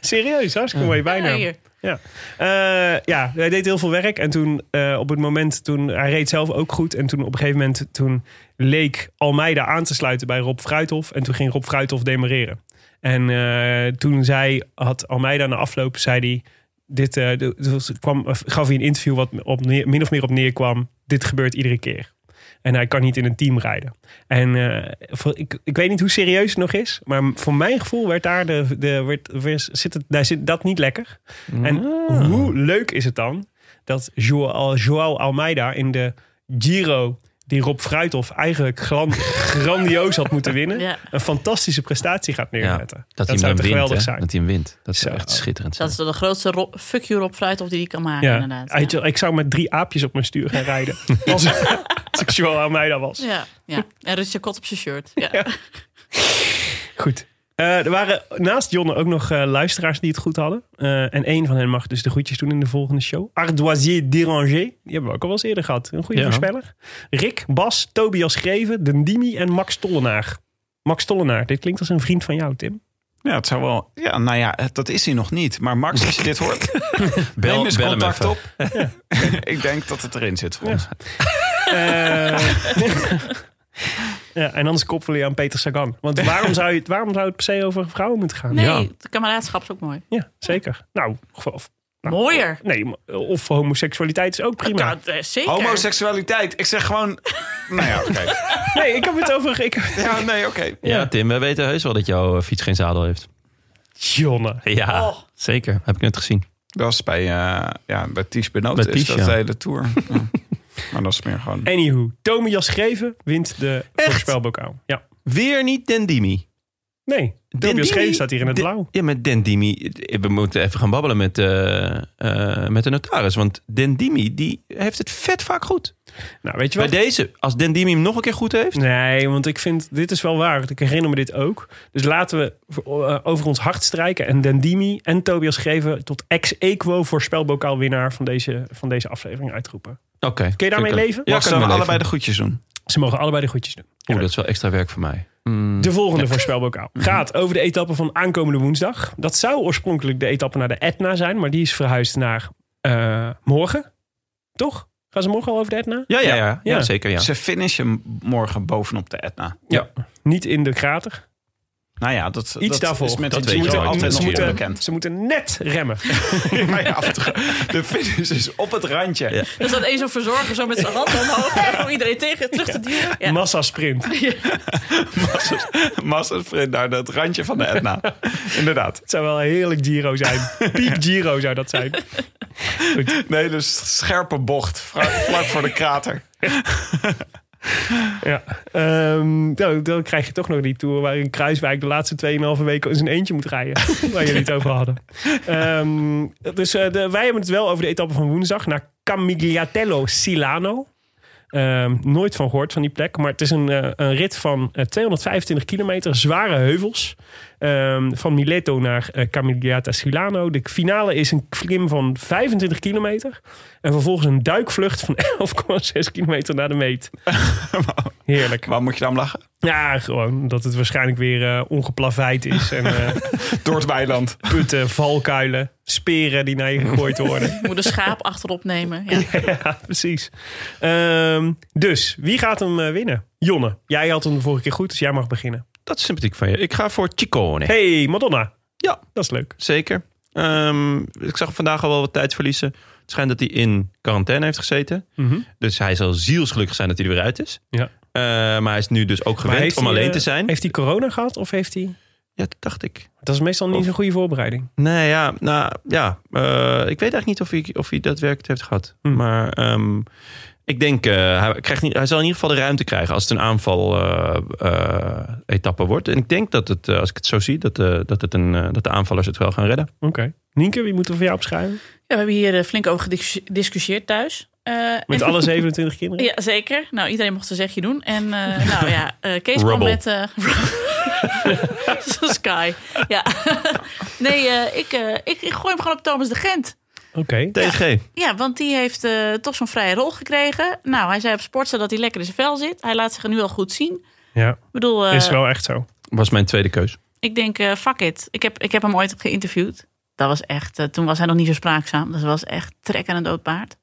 Serieus, hartstikke mooie Ja, bijnaam. hier. Ja. Eh, ja, hij deed heel veel werk. En toen eh, op het moment, toen, hij reed zelf ook goed. En toen op een gegeven moment, toen leek Almeida aan te sluiten bij Rob Fruithof. En toen ging Rob Fruithof demareren. En eh, toen zei, had Almeida na afloop, zei hij... Dit, eh, dit was- kwam, gaf hij een interview wat op, neer- min of meer op neerkwam. Dit gebeurt iedere keer. En hij kan niet in een team rijden. En eh, voor- ik, ik weet niet hoe serieus het nog is. Maar voor mijn gevoel werd daar de, de, werd, werd- zit het, daar zit dat niet lekker. En hoe leuk is het dan dat Joao, Joao Almeida in de Giro, die Rob Fruithof eigenlijk gran- grandioos had moeten winnen, Ja. een fantastische prestatie gaat neerzetten. dat, hij zou hem toch geweldig wint, hè? zijn. Dat hij hem wint. Dat zou Zo. echt schitterend zijn. Dat is de grootste Rob, fuck you Rob Fruithof die hij kan maken, Ja. inderdaad. Uit- Ja. Ik zou met drie aapjes op mijn stuur gaan rijden. als, als ik Joao Almeida was. Ja, ja. En Richard Kot op zijn shirt. Ja. Goed. Eh, er waren naast Jonne ook nog eh, luisteraars die het goed hadden. Eh, en één van hen mag dus de groetjes doen in de volgende show. Ardoisier Deranger. Die hebben we ook al wel eens eerder gehad. Een goede Ja. voorspeller. Rick, Bas, Tobias Greven, Dendimi en Max Tollenaar. Max Tollenaar, dit klinkt als een vriend van jou, Tim. Ja, het zou wel. Ja, nou ja, het- dat is hij nog niet. Maar Max, als je dit hoort, neem eens bel hem contact even. op. Ik denk dat het erin zit voor ons. Eh. Ja, en anders koppelen je aan Peter Sagan. Want waarom zou, je, het- waarom zou het per se over vrouwen moeten gaan? Nee, Ja. de kameraadschap is ook mooi. Ja, zeker. Nou, of, nou, Mooier. Nee, maar- of homoseksualiteit is ook prima. Ja, eh, zeker. Homoseksualiteit. Ik zeg gewoon. Nou ja, oké. Nee, ik heb het over... Ik, Ja, nee, oké. Ja, Tim, we weten heus wel dat jouw eh, fiets geen zadel heeft. Jonne. Ja, Oh. zeker. Heb ik net gezien. Dat was bij, eh ja, bij Ties Benoot. Bij is Ties, dat ja. de hele tour. Ja. Maar dat is meer gewoon. Anywho, Tomias Greven wint de voorspelbokaal. Ja. Weer niet Dendimi. Nee, Tomias Greven staat hier in het Den- blauw. Ja, met Dendimi. We moeten even gaan babbelen met, eh, eh, met de notaris. Want Dendimi die heeft het vet vaak goed. Nou, weet je Bij wat? deze, als Dendimi hem nog een keer goed heeft. Nee, want ik vind, dit is wel waar. Ik herinner me dit ook. Dus laten we eh, over ons hart strijken. En Dendimi en Tobias Greven tot ex-equo voorspelbokaalwinnaar van deze, van deze aflevering uitroepen. Oké. Kun je daarmee Vind ik- leven? Ja, Ja, kan ik kunnen we wel allebei even. de goedjes doen? Ze mogen allebei de goedjes doen. Oeh, dat is wel extra werk voor mij. Mm, De volgende voorspelbokaal gaat over de etappe van aankomende woensdag. Dat zou oorspronkelijk de etappe naar de Etna zijn, maar die is verhuisd naar eh, morgen. Toch? Gaan ze morgen al over de Etna? Ja, ja, ja, ja, Ja. zeker. Ja. Ze finishen morgen bovenop de Etna. Niet in de krater. Nou ja, dat, Iets dat daarvoor. is met Dat die weet je Giro wel. altijd ze, nog moeten, onbekend. ze moeten net remmen. Ja, ja, de finish is op het randje. Er staat Dus één zo'n verzorger zo met zijn hand omhoog. Om iedereen tegen terug te duwen. Ja. Massa sprint. Het Mastersprint naar het randje van de Etna. Inderdaad. zou wel een heerlijk Giro zijn. Piek Giro zou dat zijn. Nee, dus scherpe bocht. Vra- Vlak voor de krater. Ja. Ehm, nou, dan krijg je toch nog die tour waarin Kruiswijk de laatste 2,5 weken in zijn eentje moet rijden. waar jullie het over hadden. Ehm, dus eh, de- wij hebben het wel over de etappe van woensdag naar Camigliatello Silano. Ehm, nooit van gehoord van die plek. Maar het is een, eh, een rit van eh, 225 kilometer, zware heuvels. Ehm, van Mileto naar eh, Camigliata Silano. De finale is een klim van 25 kilometer. En vervolgens een duikvlucht van 11,6 kilometer naar de meet. Heerlijk. Waar moet je dan om lachen? Ja, gewoon dat het waarschijnlijk weer eh, ongeplaveid is. En eh, Door het weiland. putten, valkuilen, speren die naar je gegooid worden. Je moet een schaap achterop nemen. Ja. ja, precies. Ehm, dus, wie gaat hem eh, winnen? Jonne, jij had hem de vorige keer goed, dus jij mag beginnen. Dat is sympathiek van je. Ik ga voor Chicone. Hey, Madonna. Ja. Dat is leuk. Zeker. Ehm, ik zag vandaag al wel wat tijd verliezen. Het schijnt dat hij in quarantaine heeft gezeten. Mhm. Dus hij zal zielsgelukkig zijn dat hij er weer uit is. Ja. Eh, maar hij is nu dus ook gewend om hij, alleen eh, te zijn. Heeft hij corona gehad of heeft hij... Ja, dat dacht ik. Dat is meestal niet Of- zo'n goede voorbereiding. Nee, ja. Nou, ja. eh, ik weet eigenlijk niet of hij, of hij dat werk heeft gehad. Hm. Maar ehm, ik denk, eh, hij, krijgt niet, hij zal in ieder geval de ruimte krijgen als het een aanval-etappe wordt. En ik denk dat het, eh, als ik het zo zie, dat, eh, dat, het een, eh, dat de aanvallers het wel gaan redden. Oké. Nienke, wie moeten we voor jou opschrijven? Ja, we hebben hier eh, flink over gediscussieerd thuis. Eh, Met en- alle 27 kinderen? Ja, zeker. Nou, iedereen mocht zijn zegje doen. En eh, nou ja, eh Kees kwam Rubble. met... eh, Zo Sky. Ja. nee, eh, ik, eh, ik, ik gooi hem gewoon op Thomas de Gent. Oké. TG. Ja, want die heeft eh, toch zo'n vrije rol gekregen. Nou, hij zei op Sportza dat hij lekker in zijn vel zit. Hij laat zich er nu al goed zien. Ja, Ik bedoel, eh, is wel echt zo. Was mijn tweede keus. ik denk, eh, fuck it. Ik heb, ik heb hem ooit geïnterviewd. Dat was echt, eh, toen was hij nog niet zo spraakzaam. Dat was echt trek aan een dood paard.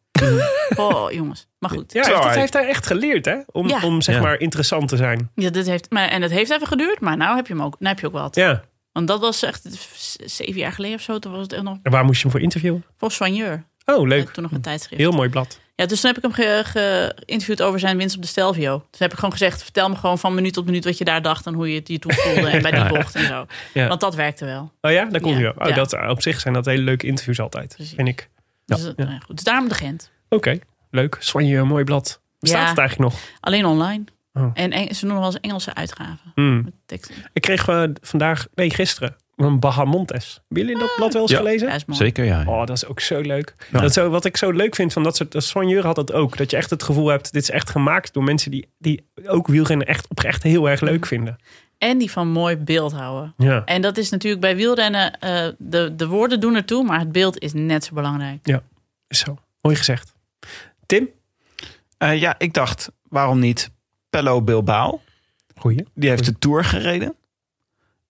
oh, jongens. Maar goed. Ja, hij heeft, dat heeft hij echt geleerd, hè? Om, Ja. om zeg Ja. maar interessant te zijn. Ja, dit heeft, maar, en dat heeft even geduurd, maar nou heb je, hem ook, nou heb je ook wel wat. Ja. Want dat was echt z- zeven jaar geleden of zo. Toen was het echt nog En waar moest je hem voor interviewen? voor soigneur. Oh, Had ik leuk. Toen nog een tijdschrift. Heel mooi blad. Ja, dus toen heb ik hem ge- ge- geïnterviewd over zijn winst op de Stelvio. Toen heb ik gewoon gezegd, vertel me gewoon van minuut tot minuut wat je daar dacht en hoe je het je toen voelde en bij die bocht en zo. Ja. Want dat werkte wel. Oh ja, daar kom je Ja, wel. Oh, ja. dat, eh, op zich zijn dat hele leuke interviews altijd, Precies. vind ik. Dus, eh, nou ja, goed. dus daarom de Gent. Oké, leuk. Soigneur, mooi blad. Bestaat Ja. het eigenlijk nog? Alleen online. Oh. En Eng- ze noemen wel eens Engelse uitgaven. Hmm. Met teksten. Ik kreeg eh, vandaag, nee gisteren, een Bahamontes. Hebben jullie dat blad wel eens Ja. gelezen? Ja, is mooi. Zeker, ja. Oh, dat is ook zo leuk. Dat zo, wat ik zo leuk vind van dat soort... dat Soigneur had dat ook. Dat je echt het gevoel hebt, dit is echt gemaakt door mensen die, die ook wielrennen echt oprecht heel erg leuk vinden. En die van mooi beeld houden. Ja. En dat is natuurlijk bij wielrennen, eh, de, de woorden doen ertoe, maar het beeld is net zo belangrijk. Zo, mooi gezegd. Tim? Eh, ja, ik dacht, waarom niet Pello Bilbao? Goeie. Die heeft de Tour gereden.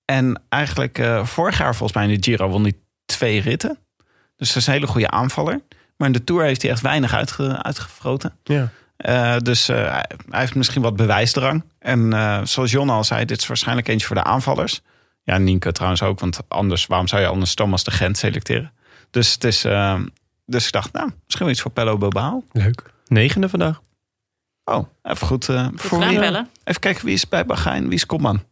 En eigenlijk eh, vorig jaar volgens mij in de Giro won hij twee ritten. Dus dat is een hele goede aanvaller. Maar in de Tour heeft hij echt weinig uitge- uitgefroten. Ja. Eh, dus eh, hij hij heeft misschien wat bewijsdrang. En eh, zoals Jon al zei, dit is waarschijnlijk eentje voor de aanvallers. Ja, Nienke trouwens ook, want anders, waarom zou je anders Thomas de Gent selecteren? Dus, het is, eh, dus ik dacht, nou, misschien wel iets voor Pello Bilbao. Leuk. Negende vandaag. Oh, even goed. eh, voor gedaan, wie, eh, Pelle. even kijken wie is bij Bahrein, wie is Kopman?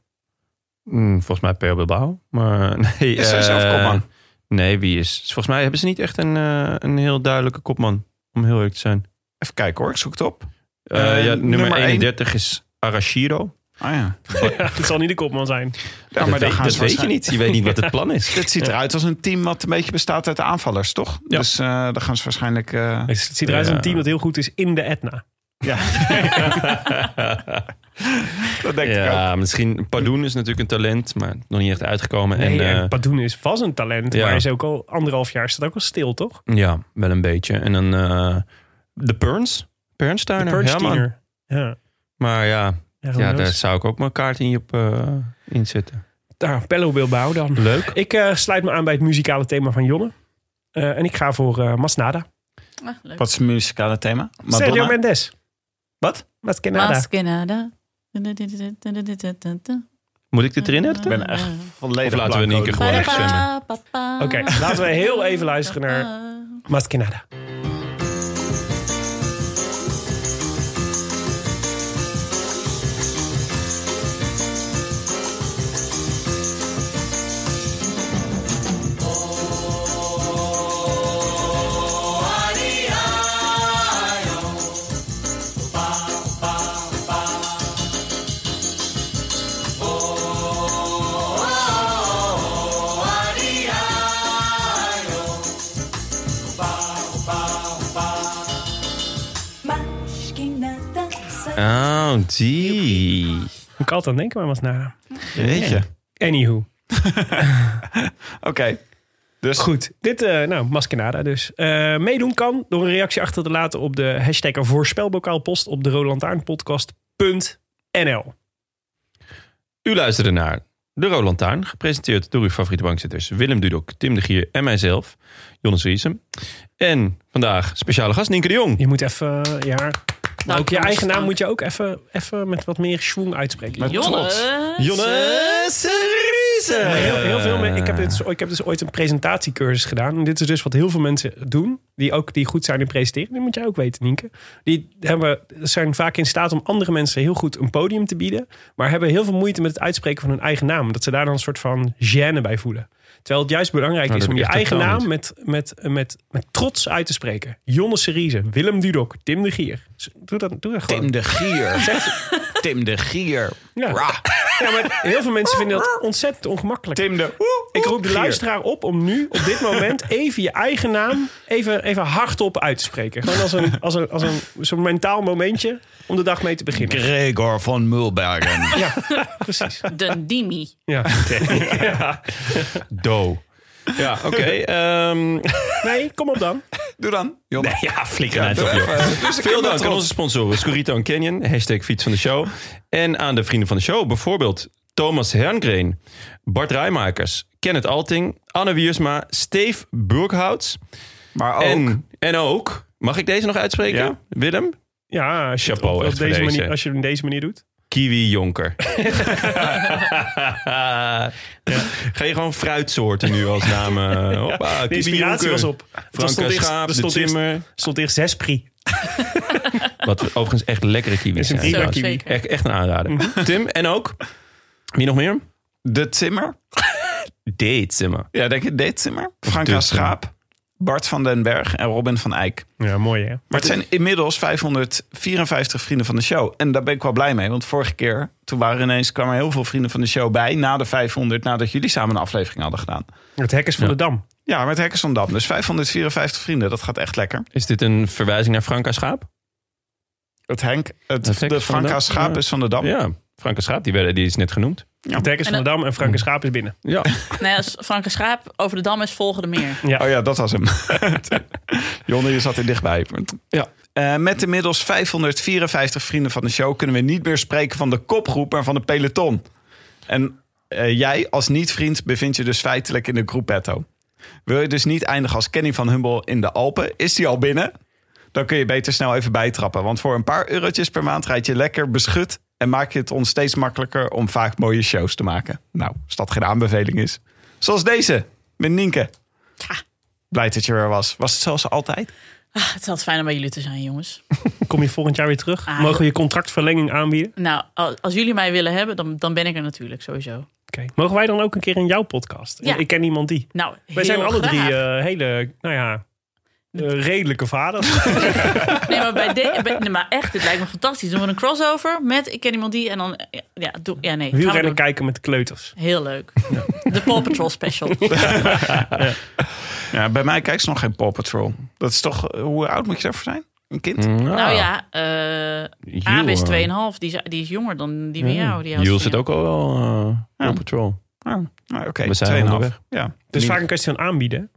Mm, volgens mij Per Bilbao. Maar nee. Is er eh, zelf kopman? Nee, wie is? Volgens mij hebben ze niet echt een, eh, een heel duidelijke kopman. Om heel eerlijk te zijn. Even kijken hoor, ik zoek het op. Eh, Eh, ja, nummer, nummer één. 31 is Arashiro. Ah ja. Het zal niet de kopman zijn. ja maar dat daar weet, gaan dat ze weet je niet. Je weet niet wat het plan is. Dit ziet eruit als een team wat een beetje bestaat uit aanvallers, toch? Ja. Dus eh daar gaan ze waarschijnlijk... eh, Het ziet eruit als Ja. een team dat heel goed is in de Etna. dat denk ik ook. ja, misschien. Pardoen is natuurlijk een talent, maar nog niet echt uitgekomen. En, en, eh, Padoen is vast een talent, ja. maar hij is ook al anderhalf jaar staat ook al stil, toch? ja, wel een beetje. En dan eh, de Perns. De Pernsteiner. ja, man. Perch-tiener. Ja, Maar ja, ja, who ja, daar knows? zou ik ook mijn kaart in, op, eh in zetten. Nou, Pello Bilbao dan. Leuk. Ik eh, sluit me aan bij het muzikale thema van Jonne. Eh, en ik ga voor eh, Masnada. Ah, leuk. Wat is het muzikale thema? Sergio Madonna? Mendes. Wat? Maskenada. Maskenada. Moet ik dit erin editen? Ik ben echt volledig Of laten we in één keer blanco. gewoon echt zwemmen. Oké, laten we heel even luisteren naar Maskinada. Oh, die. Ik kan altijd denken aan Maskinada. Weet je. Anywho. Oké. Dus Goed, dit, eh, nou, Maskenada dus. Eh, meedoen kan door een reactie achter te laten op de hashtag voorspelbokaalpost op de rolantaarnpodcast.nl. U luisterde naar De Roland Tuin, gepresenteerd door uw favoriete bankzitters Willem Dudok, Tim de Gier en mijzelf, Jonas Riesem. En vandaag speciale gast Nienke de Jong. Je moet even, eh, ja, maar ook je jongens, eigen naam dank. moet je ook even, even met wat meer schwung uitspreken. Jonnes. Jonas Riesem! Maar heel, heel veel men- ik, heb dit, ik heb dus ooit een presentatiecursus gedaan. En dit is dus wat heel veel mensen doen. Die ook die goed zijn in presenteren. Dat moet jij ook weten, Nienke. Die hebben, zijn vaak in staat om andere mensen heel goed een podium te bieden. Maar hebben heel veel moeite met het uitspreken van hun eigen naam. Dat ze daar dan een soort van gêne bij voelen. Terwijl het juist belangrijk Nou, is dat om je heb ik echt eigen totaal naam met, met, met, met trots uit te spreken. Jonne Serize, Willem Dudok, Tim de Gier. Doe dat, doe dat gewoon. Tim de Gier. Tim de Gier. Ja. Ja, maar heel veel mensen vinden dat ontzettend ongemakkelijk. Tim de... Ik roep de Gier. luisteraar op om nu, op dit moment, even je eigen naam even, even hardop uit te spreken. Gewoon als een, als een, als een zo'n mentaal momentje om de dag mee te beginnen. Gregor van Mulbergen. Ja, precies. De Dimi. Ja. Do. Ja, oké. ehm, Nee, kom op dan. Doe dan. Jonne. ja, flikker uit op, doe joh. even. Dus ik Veel heb dank het aan al. onze sponsoren Scorito en Canyon, hashtag fiets van de show. En aan de vrienden van de show, bijvoorbeeld Thomas Herngren, Bart Rijmakers, Kenneth Alting, Anne Wiersma, Steve Burghouts. Maar ook... En, en ook, mag ik deze nog uitspreken? Ja. Willem? Ja, als je, het Chapeau, op- op echt voor deze deze. Manier, als je het op deze manier doet. Kiwi Jonker. Ga je gewoon fruitsoorten nu als naam? eh, De hoppa, kiwi inspiratie Jonker. was op. Er Franka stond eerst- Schaap, er de stond eerst- Timmer. stond eerst zes pri. Wat we- overigens echt lekkere kiwis Is een zijn. prima trouwens. kiwi. Echt, echt een aanrader. Tim, en ook? Wie nog meer? De Timmer. Date Timmer. Ja, denk je De Timmer? De Franka Timmer. Schaap. Bart van den Berg en Robin van Eyck. Ja, mooi hè. Maar het zijn inmiddels 554 vrienden van de show. En daar ben ik wel blij mee. Want vorige keer, toen waren er ineens, kwamen er heel veel vrienden van de show bij. Na de 500, nadat jullie samen een aflevering hadden gedaan. Het hek is van de dam. Ja, met Hekkers van Dam. Dus 554 vrienden, dat gaat echt lekker. Is dit een verwijzing naar Franka Schaap? Het Henk, het, Het Hek de is van Franka Dam, Schaap ja. is van de Dam. Ja, Oh. Franka Schaap, die, werd, die is net genoemd. Het hek is van de dam en Frank en Schaap is binnen. Ja, Nou ja, als Frank en Schaap over de dam is volgende meer. Oh ja, dat was hem. Jonne, je zat er dichtbij. Ja. Eh, met inmiddels 554 vrienden van de show kunnen we niet meer spreken van de kopgroep, maar van de peloton. En eh, jij als niet-vriend bevindt je dus feitelijk in de groepetto. Wil je dus niet eindigen als Kenny van Humble in de Alpen? Is die al binnen? Dan kun je beter snel even bijtrappen. Want voor een paar eurotjes per maand rijd je lekker beschut. En maak je het ons steeds makkelijker om vaak mooie shows te maken. Nou, als dat geen aanbeveling is. Zoals deze, met Nienke. Blij dat je er was. Was het zoals altijd? Ah, het is altijd fijn om bij jullie te zijn, jongens. Kom je volgend jaar weer terug? Ah, Mogen we je contractverlenging aanbieden? Nou, al- als jullie mij willen hebben, dan, dan ben ik er natuurlijk sowieso. Oké. Mogen wij dan ook een keer in jouw podcast? Ja. Ik ken iemand die. Nou, Wij heel zijn alle graag. drie eh, hele, nou ja, eh, redelijke vaders. Nee, maar, bij de, bij- nee, maar echt, dit lijkt me fantastisch. Doen we een crossover met Ik ken iemand die en dan... Ja, doe, ja nee. gaan we Wielrennen doen. kijken met kleuters. Heel leuk. De Paw Patrol special. Ja, bij mij kijkt ze nog geen Paw Patrol. Dat is toch, eh, hoe oud moet je daarvoor zijn? Een Mm. kind? Nou ja, eh Abe is 2,5. Die, is- die is jonger dan die bij jou. Die Jules oudste zit van ook al wel eh, Ja. op patrol. Ah, ah, Oké, We zijn 2,5. onderweg. Ja, Het is Nienke. vaak een kwestie van aanbieden.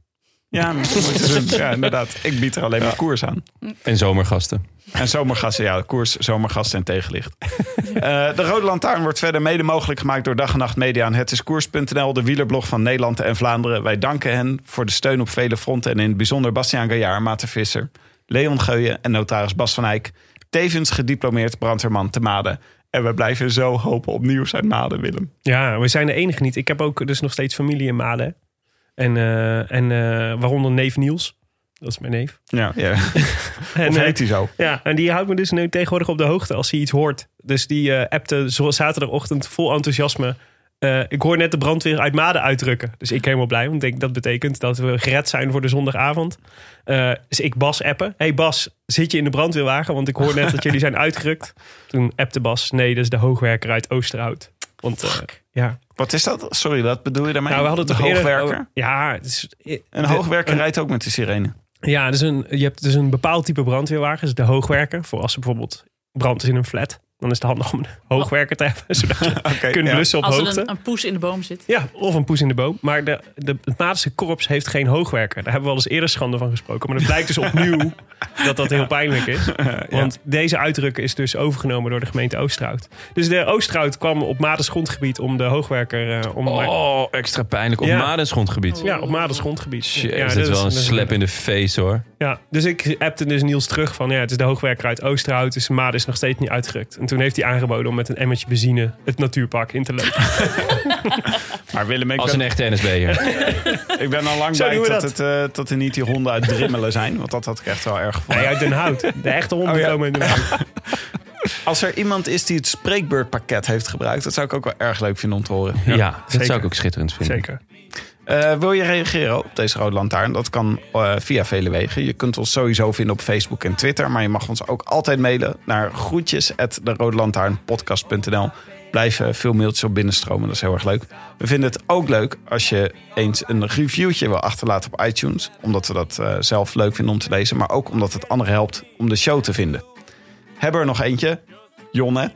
Ja, maar dat moet je doen. ja, inderdaad. Ik bied er alleen maar koers aan. En zomergasten. En zomergasten, ja, koers, zomergasten en tegenlicht. Eh, de Rode Lantaarn wordt verder mede mogelijk gemaakt door Dag en Nacht Media en Het is Koers.nl, de wielerblog van Nederland en Vlaanderen. Wij danken hen voor de steun op vele fronten en in het bijzonder Bastiaan Gaillard, Maarten Visser, Leon Geuyen en notaris Bas van Eyck. Tevens gediplomeerd brandweerman te Made. En we blijven zo hopen op nieuws uit Maden, Willem. Ja, we zijn de enige niet. Ik heb ook dus nog steeds familie in Maden. En, eh, en eh, waaronder neef Niels. Dat is mijn neef. Ja, ja. En, of eh, heet hij zo? Ja, en die houdt me dus nu tegenwoordig op de hoogte als hij iets hoort. Dus die eh, appte zo- zaterdagochtend vol enthousiasme. eh, ik hoor net de brandweer uit Maden uitrukken. Dus ik helemaal blij, want ik denk dat betekent dat we gered zijn voor de zondagavond. Eh, dus ik Bas appen. hey Bas, zit je in de brandweerwagen? Want ik hoor net dat jullie zijn uitgerukt. Toen appte Bas, nee, dat is de hoogwerker uit Oosterhout. Want eh, ja, Wat is dat? Sorry, wat bedoel je daarmee? nou, we hadden Ah, De toch eerder- hoogwerker? ja, het is, Een de- hoogwerker rijdt ook met de sirene. Ja, dus een, je hebt dus een bepaald type brandweerwagens, de hoogwerker. Voor als er bijvoorbeeld brand is in een flat, dan is het handig om een hoogwerker te hebben. Zodat je Oké, kunt ja. blussen op Als er hoogte. een, een poes in de boom zit. Ja, of een poes in de boom. Maar de, de, het Madense korps heeft geen hoogwerker. Daar hebben we al eens eerder schande van gesproken. Maar het blijkt dus opnieuw dat dat heel pijnlijk is. Want deze uitdruk is dus overgenomen door de gemeente Oosterhout. Dus de Oosterhout kwam op Madens grondgebied om de hoogwerker... eh, om, Oh, extra pijnlijk. Op Ja. Madens grondgebied. Ja, op Madens grondgebied. Jeez, ja, dat is wel een dat slap in de face hoor. Ja, dus ik appte dus Niels terug van... ja, het is de hoogwerker uit Oosterhout, dus Maat is nog steeds niet uitgerukt. En toen heeft hij aangeboden om met een emmertje benzine het natuurpark in te lopen. Maar Willem, ik Als ben, een echte NSB'er. ik ben al lang Zo blij doen we dat, dat. Het, eh, dat er niet die honden uit Drimmelen zijn. Want dat had ik echt wel erg gevonden. Nee, uit Den Hout. De echte honden Oh ja. komen in Den Hout. Als er iemand is die het spreekbeurtpakket heeft gebruikt... dat zou ik ook wel erg leuk vinden om te horen. Ja, dat zeker. zou ik ook schitterend vinden. Zeker. Eh, wil je reageren op deze Rode Lantaarn? Dat kan eh, via vele wegen. Je kunt ons sowieso vinden op Facebook en Twitter. Maar je mag ons ook altijd mailen naar groetjes at derodelantaarnpodcast.nl. Blijven eh, veel mailtjes op binnenstromen, dat is heel erg leuk. We vinden het ook leuk als je eens een reviewtje wil achterlaten op iTunes. Omdat we dat eh, zelf leuk vinden om te lezen. Maar ook omdat het anderen helpt om de show te vinden. Hebben we er nog eentje? Jonne.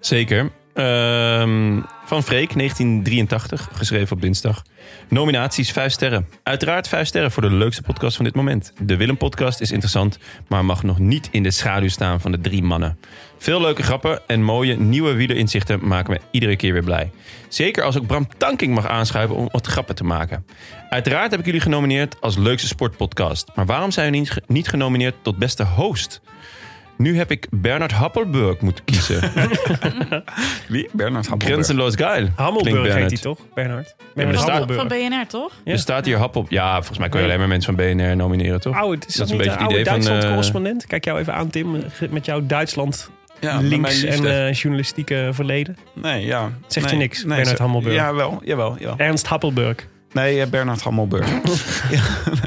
Zeker. Ehm, van Freek, 1983, geschreven op dinsdag. Nominaties 5 sterren. Uiteraard 5 sterren voor de leukste podcast van dit moment. De Willem podcast is interessant, maar mag nog niet in de schaduw staan van de drie mannen. Veel leuke grappen en mooie nieuwe wielerinzichten maken me iedere keer weer blij. Zeker als ook Bram Tanking mag aanschuiven om wat grappen te maken. Uiteraard heb ik jullie genomineerd als leukste sportpodcast. Maar waarom zijn jullie niet- niet genomineerd tot beste host? Nu heb ik Bernard Happelburg moeten kiezen. Wie? Bernard Grenzenloos geil. Klinkt Hammelburg heet Bernard. die toch, Bernard? maar Bernard staat- Van Hammelburg. BNR, toch? Ja. Er staat hier hap op. Ja, volgens mij kun je alleen maar mensen van BNR nomineren, toch? Oude, Oh, is dat, Dat niet is een beetje de oude het idee van, eh, Duitsland-correspondent? Kijk jou even aan, Tim, met jouw Duitsland Ja, links en eh, journalistieke verleden. Nee, ja. Zegt nee, je niks, Bernard ze- Hammelburg? Eh. Jawel, jawel, jawel. Ernst Happelburg. Nee, eh, Bernard Hammelburg.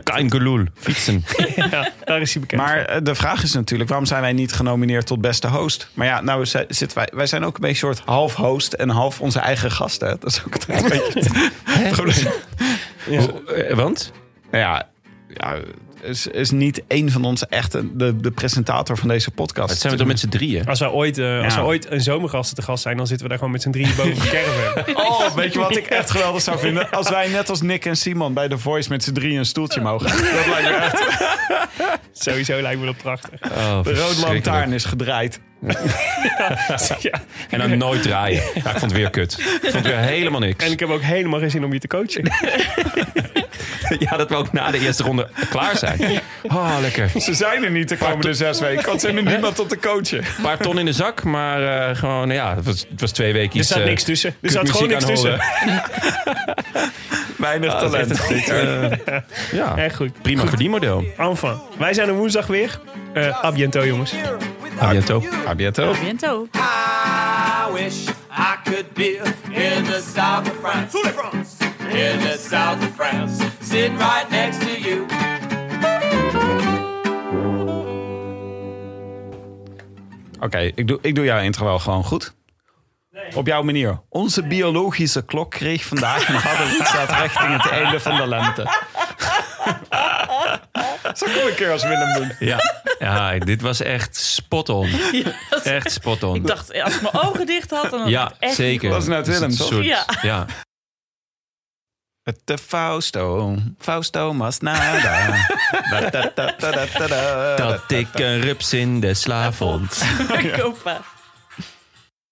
Kein geloel. Fietsen. ja, daar is hij bekend. maar van. eh, de vraag is natuurlijk, waarom zijn wij niet genomineerd tot beste host? Maar ja, nou zi- zitten wij, wij zijn ook een beetje een soort half host en half onze eigen gasten. Dat is ook een beetje het probleem. Hoe- Oh, eh, Want? Nou ja, ja is, is niet één van ons echt een- de, de presentator van deze podcast. Het zijn we toch met z'n drieën? Als wij ooit, eh, als Ja. wij ooit een zomergasten te gast zijn, dan zitten we daar gewoon met z'n drieën boven de caravan. Oh, weet je wat ik echt geweldig zou vinden? Als wij net als Nick en Simon bij The Voice met z'n drieën een stoeltje mogen. Dat lijkt me echt. Sowieso lijkt me dat prachtig. Oh, De rode verschrikkelijk. lantaarn is gedraaid. ja. En dan nooit draaien. Ja, ik vond het weer kut. Ik vond het weer helemaal niks. En ik heb ook helemaal geen zin om je te coachen. ja, dat we ook na de eerste ronde klaar zijn. Oh, lekker. Ze zijn er niet de komende zes weken. Want ze hebben niemand tot de coachen. Een paar ton in de zak, maar eh, gewoon, ja, het was, het was twee weken Er iets... staat eh, niks tussen. Er kut staat gewoon muziek niks aan tussen. Weinig horen. talent. Dat is echt een- eh, ja, Echt goed. prima verdienmodel. Enfin, wij zijn er woensdag weer. Eh à bientôt, jongens. A bientôt. A bientôt. Biento. I wish I could be in the south of France. In the south of France, sitting right next to you. Oké, ik, doe, ik doe jouw intro wel gewoon goed. Op jouw manier. Onze biologische klok kreeg vandaag een harde rietzaad richting het einde van de lente. Zo kom ik keer als Willem doen. Ja. ja, dit was echt spot on. dat- Echt spot on. Ik dacht, als ik mijn ogen dicht had, dan had ik Ja, het echt zeker. Dat is net Willem, een toch? soort- Ja. ja. De eh, Fausto, Fausto Masnada. Da, da, da, da, da, da, da. Dat ik een rups in de sla vond. niet kopen.